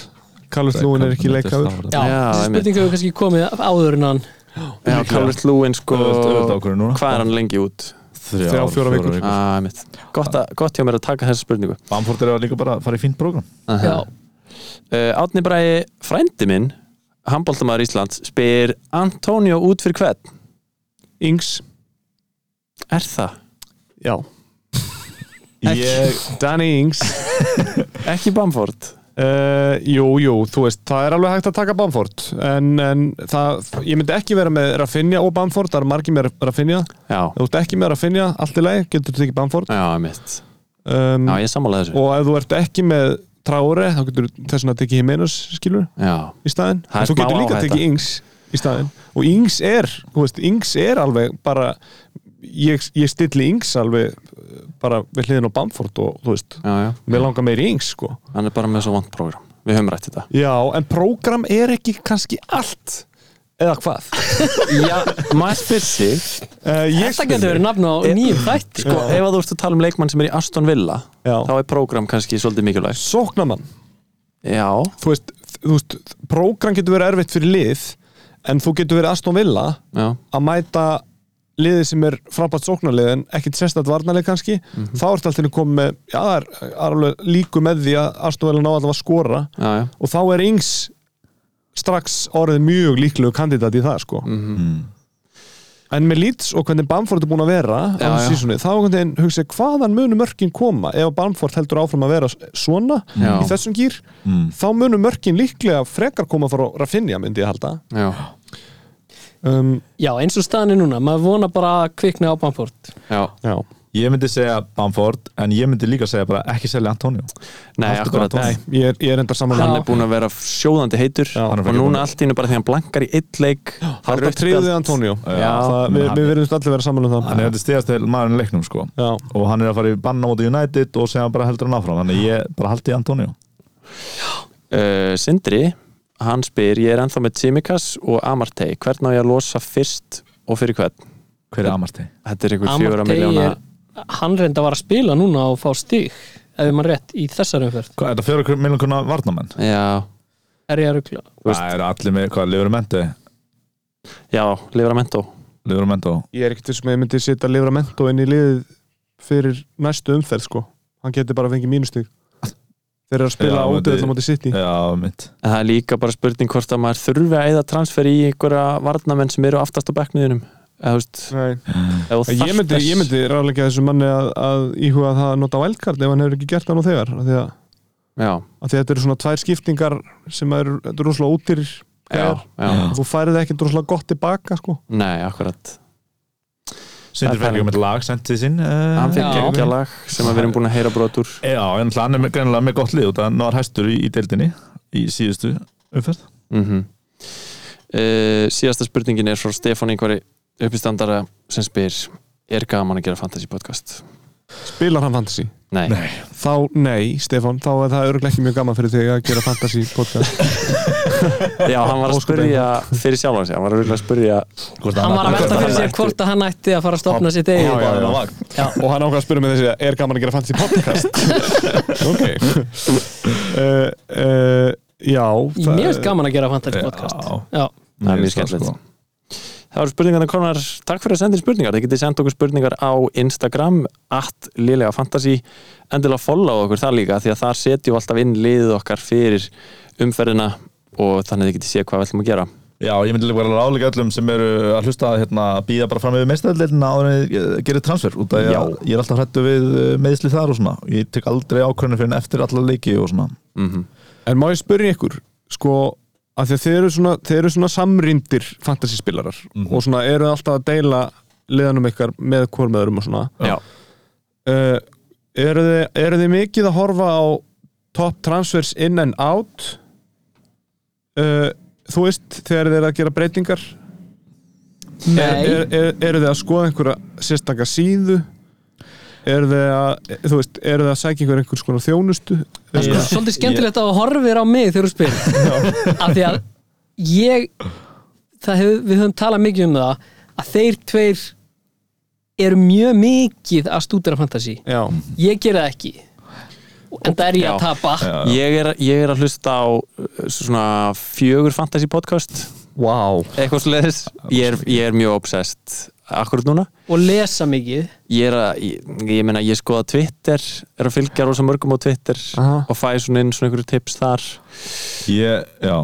Speaker 6: Kallur Lúin er ekki leikhaður
Speaker 4: Já,
Speaker 5: Já,
Speaker 4: þessi
Speaker 5: einmitt.
Speaker 4: spurning hefur kannski komið áður en hann
Speaker 5: Já, Calvert Lúin sko
Speaker 3: Auðvelt- auðvelt ákvörðun núna.
Speaker 5: hvað er hann lengi út
Speaker 6: Þrjá, fjóra vikur.
Speaker 5: ah, einmitt. gott, að, gott hjá mér að taka þessa spurningu
Speaker 3: Bamford er að líka bara að fara í fínt program
Speaker 4: Já,
Speaker 5: uh, Átni Bræði, frændi minn handbóltamæður Íslands spyr Antonio út fyrir hvern
Speaker 6: Ings
Speaker 5: er það?
Speaker 6: Já
Speaker 3: Ég,
Speaker 6: Danny Ings
Speaker 5: ekki Bamford
Speaker 6: uh, Jú, jú, þú veist, það er alveg hægt að taka Bamford en, en það, ég myndi ekki vera með Rafinha og Bamford það er margir með Rafinha Ef
Speaker 5: já,
Speaker 6: þú ert ekki með Rafinha, allt í lagi, getur þú ekki Bamford
Speaker 5: já, mitt
Speaker 6: um,
Speaker 5: já, ég sammála þessu
Speaker 6: og ef þú ert ekki með Traore, þá getur þú þess vegna að tekið Jimenez, skilur,
Speaker 5: já,
Speaker 6: í staðinn
Speaker 5: Það er
Speaker 6: en þú
Speaker 5: smá
Speaker 6: getur líka að
Speaker 5: áhætta.
Speaker 6: tekið Ings í staðinn og Ings er, þú veist, Ings er alveg bara, ég, ég stilli Ings alveg uh, bara við hliðin á Bamford og þú veist
Speaker 5: já, já
Speaker 6: mér langar meir í Ings, sko
Speaker 5: hann er bara með svo vant program við höfum rætt þetta
Speaker 6: Já, en prógram er ekki kannski allt eða hvað
Speaker 5: já, maður spyr sig
Speaker 6: uh,
Speaker 4: þetta getur verið nafn á nýjum þætti
Speaker 5: sko, ef að þú ert að tala um leikmann sem er í Aston Villa
Speaker 6: Já.
Speaker 5: þá er prógram kannski svolítið mikilvægt
Speaker 6: Sóknamann,
Speaker 5: já,
Speaker 6: þú veist, þú veist prógram getur verið erfitt fyrir lið en þú getur verið Aston Villa
Speaker 5: já,
Speaker 6: að mæta liðið sem er frábært sóknarlið en ekkit sérstætt varnarlið kannski þá ertu alltaf komið með, já það er, er alveg líku með því að Aston Villa ná alltaf að skora
Speaker 5: já, já.
Speaker 6: og þá er yngs strax orðið mjög líklegu kandidat í það sko
Speaker 5: Mhm.
Speaker 6: en með Leeds og hvernig Bamford er búin að vera á
Speaker 5: Já, já.
Speaker 6: þessu sísunni, þá er hvernig einn hugsa hvaðan munu mörkin koma ef Bamford heldur áfram að vera svona
Speaker 5: Já. Mm.
Speaker 6: í þessum gýr, þá munu mörkin líklega frekar koma frá Rafinha myndi ég halda
Speaker 5: já.
Speaker 6: um,
Speaker 4: Já, eins og staðan er núna, maður vonar bara að kvikna á Bamford
Speaker 5: já.
Speaker 6: já.
Speaker 3: Ég myndi segja Bamford en ég myndi líka segja bara ekki selja Antonio
Speaker 5: Nei,
Speaker 3: Haltu bara
Speaker 5: akkurat
Speaker 3: tónum.
Speaker 5: Nei.
Speaker 6: ég er, ég er enda saman
Speaker 5: Hann
Speaker 4: Já.
Speaker 5: er búin að vera sjóðandi heitur
Speaker 3: hann er
Speaker 5: og
Speaker 3: bara búinn.
Speaker 5: núna allt í hennu bara því hann blankar í eitt leik það er
Speaker 6: Harda
Speaker 5: rautt
Speaker 6: tríðið
Speaker 5: spjald.
Speaker 6: Antonio
Speaker 5: Já.
Speaker 6: það, við, við verðumst allir vera saman um það
Speaker 3: Hann er þetta stigast til maðurinn í leiknum sko
Speaker 6: Já.
Speaker 3: og hann er að fara í banna móti United og segja bara heldur hann áfram þannig ég bara haldi í Antonio
Speaker 5: uh, Sindri, hann spyr ég er ennþá með Tsimikas og Amartey hvern á ég að losa fyrst og fyrir hvern
Speaker 3: Hver er Amartey?
Speaker 5: þetta er einhver fjóra
Speaker 4: Amartey
Speaker 5: miljóna
Speaker 4: er eh, hann reynda var að spila núna og fá stig ef maður rétt í þessar umferð
Speaker 3: Hvað, er þetta fjóra miljón kuna varnamenn?
Speaker 5: já,
Speaker 4: er ég að rugla
Speaker 5: Þú veist-
Speaker 3: Það eru allir með, hvað, Livermento?
Speaker 5: já, Livramento
Speaker 3: Livermento
Speaker 6: ég er ekkert sem ég myndi setja Livramento inn í liðið fyrir næstu umferð sko. hann getur bara að fengi mínustig þeir eru að
Speaker 3: Já,
Speaker 6: spila
Speaker 3: myndi-
Speaker 6: út eða móti sitt í
Speaker 3: Já, mitt
Speaker 5: en það er líka bara spurning hvort að maður þurfi að eða transfer í einhverja varnamenn sem eru aftast á bekkniðinum eða þú veist, ef þú
Speaker 6: ég
Speaker 5: þarft
Speaker 6: myndi,
Speaker 5: þess-
Speaker 6: ég myndi ráðleika þessu manni að, að íhuga það að nota wildcard ef hann hefur ekki gert það nú þegar af því að,
Speaker 5: já,
Speaker 6: af því að þetta eru svona tvær skiptingar sem eru þetta eru rosalega útýrir
Speaker 5: já,
Speaker 6: gæjar.
Speaker 5: já,
Speaker 6: þú færið ekki rosalega gott tilbaka sko.
Speaker 5: nei, akkurat
Speaker 3: Sindri
Speaker 5: Það er
Speaker 3: fær ekki með lag sent til sín
Speaker 5: hann
Speaker 3: uh,
Speaker 5: fyrir
Speaker 4: Já.
Speaker 5: geggja lag sem að við erum búin að heyra brotur
Speaker 3: Já, en hann er með- greinilega með gott lið og það náður hæstur í, í deildinni í síðustu umferð
Speaker 5: mm Eh, síðasta spurningin er frá Stefán einhverju uppistandara sem spyr er gaman að gera fantasy podcast
Speaker 6: spilar hann fantasy
Speaker 5: nei,
Speaker 6: þá nei, Stefán, þá er það örglega ekki mjög gaman fyrir þig að gera fantasy podcast
Speaker 5: já hann var að
Speaker 6: Ósköp
Speaker 5: spyrja fyrir sjálfan sig, hann var að rúglega að spyrja
Speaker 4: hann var að velta fyrir sér hvort að hann ætti að fara að stopna sitt eigið
Speaker 6: já, já.
Speaker 3: já.
Speaker 6: og hann ákvað að spyrja mig þessi er gaman að gera fantasy podcast ok uh, uh, já það-
Speaker 4: mér finnst gaman að gera fantasy
Speaker 3: Já.
Speaker 4: podcast já.
Speaker 5: það er mjög skemmtilegt
Speaker 3: sko.
Speaker 5: Það eru spurningarna konar, takk fyrir að senda inn spurningar þið getið sendt okkur spurningar á Instagram at liðlega fantasy endilega follow okkur það líka því að þar setjum við alltaf inn liðið okkar fyrir umferðina og þannig að þið getið séð hvað við ætlum að gera
Speaker 3: Já, ég myndi líka bara ráðleika öllum sem eru að hlusta að hérna, býða bara fram yfir meistæðleilina áður en þið, eh, gerir transfer út að ég,
Speaker 5: Já.
Speaker 3: ég er alltaf hrættu við eh, meiðsli þar og svona ég tek aldrei ákvörðinu fyrir en eftir alla leiki og svona
Speaker 5: mm
Speaker 6: En má ég spyrja ykkur sko, að því að þeir eru svona, þeir eru svona samrýndir fantasyspilarar
Speaker 5: Mhm.
Speaker 6: og svona eru alltaf að deila liðanum ykkar með hvorm öðrum og svona
Speaker 5: Já,
Speaker 6: uh, eru, þið, eru þið mikið að horfa á top transfers in and out uh, þú veist þegar þið eru að gera breytingar
Speaker 4: Nei.
Speaker 6: er, er, eru þið að skoða einhverja sérstakar síðu eru þið að þú veist, eru þið að sækja ykkur einhvers konar þjónustu
Speaker 4: Það er sko
Speaker 3: Ég-
Speaker 4: svolítið skemmtilegt að þú horfir á mig þegar þú spyrir af því að ég það hef, við höfum talað mikið um það að þeir tveir eru mjög mikið að stúdera fantasi
Speaker 6: já,
Speaker 4: ég gera það ekki en það er ég að
Speaker 5: Já.
Speaker 4: tapa
Speaker 5: ég er, ég er að hlusta á uh, svona fjögur fantasy podcast
Speaker 6: wow
Speaker 5: eitthvað sliðis ég, er- ég er mjög obsessed akkurat núna
Speaker 4: og lesa mikið
Speaker 5: ég er að, ég, ég meina ég skoða Twitter er að fylgja rosa mörgum á Twitter
Speaker 6: Aha.
Speaker 5: og fæ svona inn svona einhverju tips þar
Speaker 3: Ég, já,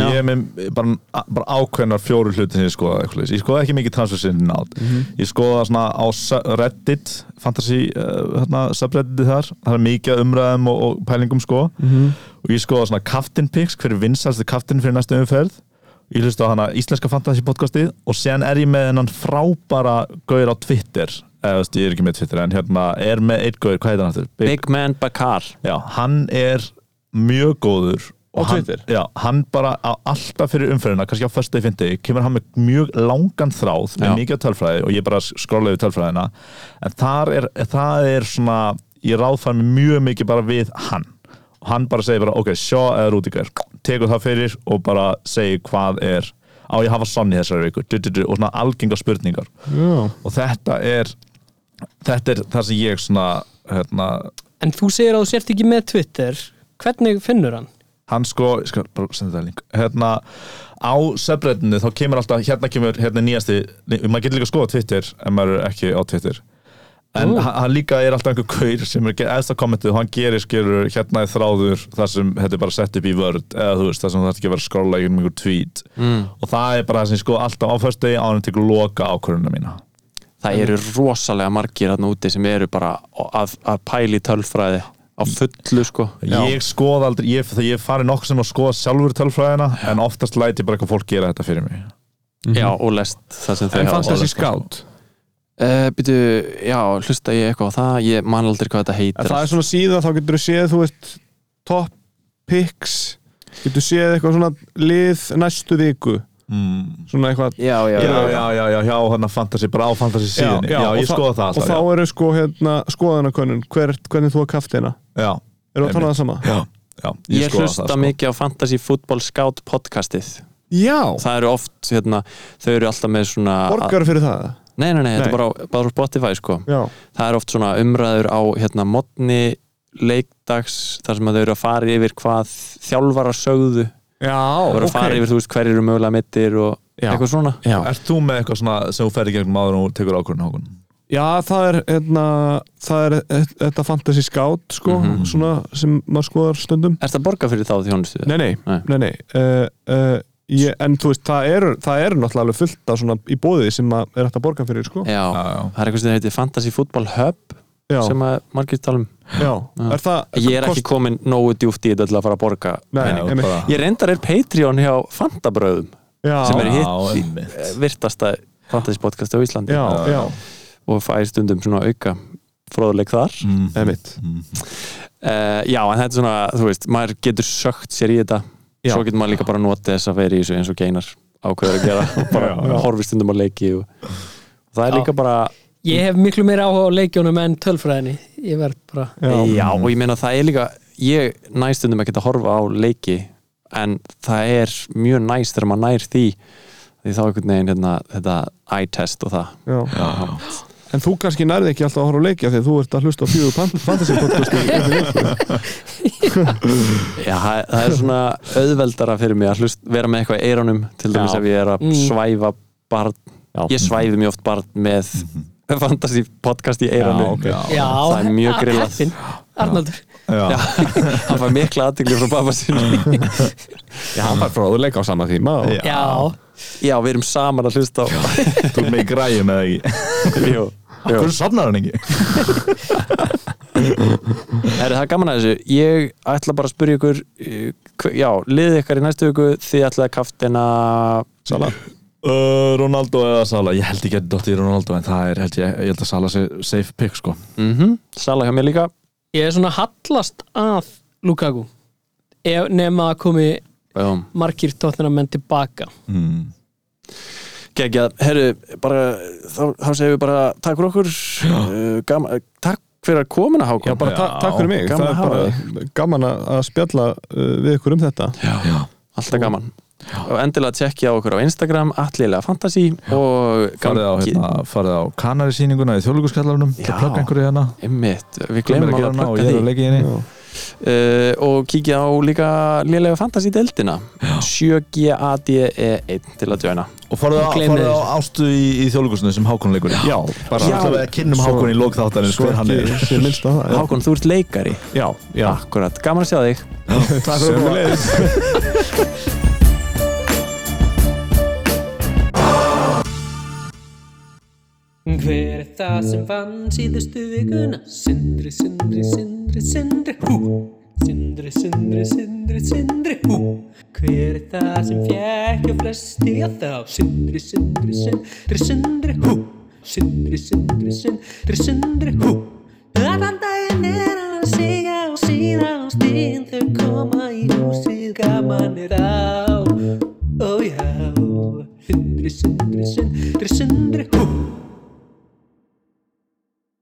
Speaker 3: ég er með bara, bara ákveðnar fjóru hluti sem ég skoða eitthvað leys. Ég skoða ekki mikið transfer sinni nátt Ég skoða svona á se- Reddit fantasy, uh, hérna, subredditi þar það er mikið af umræðum og, og pælingum sko og ég skoða svona captain picks hver er vinsalsti captain fyrir næstu umferð ég hlusta á hana íslenska fantasy podcastið og sen er ég með hennan frábara gauður á Twitter eða þú veist, ég er ekki með Twitter en hérna er með eitt gauður, hvað heitir hann aftur? Big-
Speaker 5: Big Man Bakar
Speaker 3: Já, hann er mjög góður
Speaker 6: Á
Speaker 3: og hann,
Speaker 6: Twitter?
Speaker 3: já, hann bara á, alltaf fyrir umferðina, kannski á fyrsta í fyndi kemur hann með mjög langan þráð með
Speaker 5: Já.
Speaker 3: mikið af tölfræði og ég bara skróla yfir tölfræðina en þar er, það er svona ég ráðfæði mig mjög mikið bara við hann og hann bara segir bara, ok, sjá eða Rúdíkar tekur það fyrir og bara segir hvað er á ég að hafa sann í þessari viku du, du, du, og svona algenga spurningar
Speaker 6: já
Speaker 3: og þetta er þetta er það sem ég svona hérna,
Speaker 4: en þú segir að þú sért ekki með Twitter hvernig finnur hann?
Speaker 3: hann sko, ég skal bara senda það link hérna á subreddinu þá kemur alltaf, hérna kemur hérna er nýjasti maður getur líka að skoða Twitter en maður er ekki á Twitter en hann, hann líka er alltaf einhver kaur sem er eðst að kommentið og hann gerir skilur hérna er þráður þar sem þetta er bara sett upp í vörd eða þú veist, þar sem það er ekki að vera að skrolla í um einhver tweet mm. og það er bara það sem ég skoða alltaf á föstu á hann tekur loka ákvörðuna mína
Speaker 5: það eru rosalega margir hann úti sem eru bara að, að pæli tölfræði á fullu sko
Speaker 3: ég skoða aldrei, ég, þegar ég fari nokkuð sem að skoða sjálfur tölfræðina en oftast
Speaker 6: Mhm.
Speaker 3: læti ég bara eitthvað fólk gera þetta fyrir mig
Speaker 5: já, og lest það sem þau
Speaker 6: En
Speaker 5: hafa
Speaker 6: fantasy
Speaker 5: skoðað, sko.
Speaker 6: scout
Speaker 5: uh, Býtu, já, hlusta ég eitthvað á það Ég man aldrei hvað þetta
Speaker 6: En
Speaker 5: heitir
Speaker 6: það er svona síða, þá getur þú séð, þú veist, top picks, getur séð eitthvað svona lið næstu viku,
Speaker 3: Mm.
Speaker 6: svona eitthvað.
Speaker 5: Já, já,
Speaker 3: Já,
Speaker 5: já,
Speaker 3: já, já, já, já, hjá hann að fantasy, bara á fantasy síðan Já,
Speaker 6: og
Speaker 3: ég skoða það
Speaker 6: Og þá
Speaker 3: alltaf
Speaker 6: eru sko hérna skoðanakönnun, hver, hvernig þú að kafti hérna.
Speaker 3: Já, já,
Speaker 6: Erum við að
Speaker 3: Einmitt.
Speaker 6: tala það sama?
Speaker 3: já, já,
Speaker 5: Ég,
Speaker 3: skoða
Speaker 5: hlusta
Speaker 3: það, sko.
Speaker 5: mikið á Fantasy Football Scout podcastið
Speaker 6: Já,
Speaker 5: Það eru oft, hérna, þau eru alltaf með svona
Speaker 6: borgar fyrir það.
Speaker 5: Nei, nei, nei, þetta
Speaker 6: Nei.
Speaker 5: er bara, á- bara á Spotify, sko
Speaker 6: Já,
Speaker 5: það er oft svona umræður á hérna modni leikdags þar sem að þau eru að fara yfir hvað þjálfara sögðu,
Speaker 6: já
Speaker 5: þau eru að fara yfir þú veist hverjir eru mögulega mittir og
Speaker 6: Já.
Speaker 5: eitthvað svona já.
Speaker 3: Ert þú með eitthvað svona sem þú ferði gegnum áður og tekur ákvörðin hákun?
Speaker 6: Já, það er, hérna, það er e- þetta fantasy scout, sko, svona sem maður skoðar stundum.
Speaker 5: Er það borga fyrir þá þjónustu?
Speaker 6: Nei, nei,
Speaker 5: Nei.
Speaker 6: nei, nei. Uh, uh, ég, en þú veist, það eru, það eru náttúrulega alveg fullt af svona í bóðið sem að er hægt að borga fyrir, sko.
Speaker 5: Já.
Speaker 3: Já, já.
Speaker 5: það er eitthvað sem heitir Fantasy Football Hub
Speaker 6: Já,
Speaker 5: sem að margir tala um
Speaker 6: já. Er það...
Speaker 5: Ég er ekki komin nógu djúft í þetta til að fara að borga
Speaker 6: Nei,
Speaker 3: Já,
Speaker 6: einmitt.
Speaker 3: bara-
Speaker 5: Ég reyndar er Patreon hjá Fantabröðum
Speaker 6: Já, Eh,
Speaker 5: sem er
Speaker 3: Já,
Speaker 5: hitt
Speaker 3: einmitt.
Speaker 5: virtasta Fantasy podcast á Íslandi
Speaker 6: já, já,
Speaker 5: og fæ stundum svona auka fróðuleik þar
Speaker 3: Mm.
Speaker 6: emitt.
Speaker 5: Uh, já, en þetta er svona, þú veist, maður getur sögt sér í þetta
Speaker 6: Já.
Speaker 5: Svo getur maður líka bara að nota þess að vera í þessu eins og geinar ákveður að gera og bara
Speaker 6: Já, já.
Speaker 5: horfi stundum á leiki og... og Það er
Speaker 4: Já.
Speaker 5: líka bara,
Speaker 4: Ég hef miklu meira áhuga á leikjónum en tölfræðinni Ég verð bara
Speaker 5: já.
Speaker 6: Já,
Speaker 5: og ég meina það er líka Ég næ stundum ekkert að horfa á leiki En það er mjög næst þegar maður nær því Því þá einhvern veginn hérna, þetta eye test og það
Speaker 6: já.
Speaker 3: Já,
Speaker 6: En þú kannski nærði ekki alltaf að horfa á leikja því að þú ert að hlusta á fjögur pan- fantasy podcast.
Speaker 5: Já, það það er svona auðveldara fyrir mig að hlust, vera með eitthvað í eironum til dæmis
Speaker 6: Já.
Speaker 5: ef ég er að
Speaker 4: Mm.
Speaker 5: svæfa barn,
Speaker 6: Já.
Speaker 5: ég svæfi mjög oft barn með fantasy podcast í
Speaker 3: já,
Speaker 5: eironum
Speaker 3: ok.
Speaker 4: Já,
Speaker 5: það er mjög
Speaker 4: he-
Speaker 5: grillað.
Speaker 4: heppinn. Arnaldur
Speaker 3: Já.
Speaker 5: hann fær mikla aðtigli frá pappa sinni
Speaker 6: Já, hann var fróðuleika á sama tíma.
Speaker 3: Já.
Speaker 4: Já,
Speaker 5: Já, við erum saman að hlusta á
Speaker 3: Þú ert með í græjum eða ekki
Speaker 5: Jú, jú.
Speaker 3: Hvernig safnar hann ekki?
Speaker 5: Er það er gaman að þessu? Ég ætla bara að spyrja ykkur eh, hve- Já, liðið ykkar í næstu viku þið ætlaði kaftina Sala
Speaker 3: Uh, Ronaldo eða Sala, ég held ekki að dotti í Ronaldo en það er held ég, ég held að Sala sé safe pick sko
Speaker 5: mm Sala hjá mér líka
Speaker 4: ég er svona hallast að Lukaku ef nema að komi
Speaker 5: Bum.
Speaker 4: margir tóttunamenn tilbaka
Speaker 3: mm.
Speaker 5: Gekkjað, herru, bara þá, þá segjum við bara takk fyrir okkur uh, gama, takk fyrir að komina Hákon
Speaker 6: Já, bara ta
Speaker 3: Já,
Speaker 6: takk fyrir mig.
Speaker 5: gaman
Speaker 6: Það
Speaker 5: að
Speaker 6: er
Speaker 5: hafa
Speaker 6: bara gaman að að spjalla uh, við ykkur um þetta.
Speaker 3: Já,
Speaker 5: alltaf gaman og endilega tjekkja á okkur á Instagram allilega fantasy og
Speaker 3: farið á,
Speaker 5: gangi-
Speaker 3: hérna, farið á kanarisýninguna í þjóðlíkuskallarunum
Speaker 5: Já.
Speaker 3: til að plugga einhverju hérna
Speaker 5: Einmitt, við glemum
Speaker 3: Gleymir
Speaker 5: alveg
Speaker 3: hana
Speaker 5: að
Speaker 3: og
Speaker 5: plugga
Speaker 3: ég er
Speaker 5: því
Speaker 3: að leika í hérna henni
Speaker 6: Já.
Speaker 5: uh, og kíkja á líka lélega fantasy deildina 7GADE1 E til að djöna
Speaker 3: Og farið á,
Speaker 4: Gleymið
Speaker 3: farið á
Speaker 4: þessu.
Speaker 3: ástu í, í þjóðlíkusinu sem Hákon leikur í Já, bara
Speaker 5: Já.
Speaker 3: alltaf að kynnum
Speaker 6: Svo-
Speaker 3: Hákon í lókþáttanins
Speaker 6: Svo
Speaker 3: hver hann er
Speaker 6: ekki sem minnst á það. Já.
Speaker 5: Hákon, þú ert leikari
Speaker 6: Já, já.
Speaker 5: akkurat, gaman að sjá þig
Speaker 6: Takk fyrir mig.
Speaker 1: Hver er það sem vann síðustu vikuna? Sindri, sindri, sindri, sindri, hú Sindri, sindri, sindri, sindri, hú Hver er það sem fjekk og flest stiga þá? Sindri, sindri, sindri, sindri, hú Sindri, sindri, sindri, sindri, hú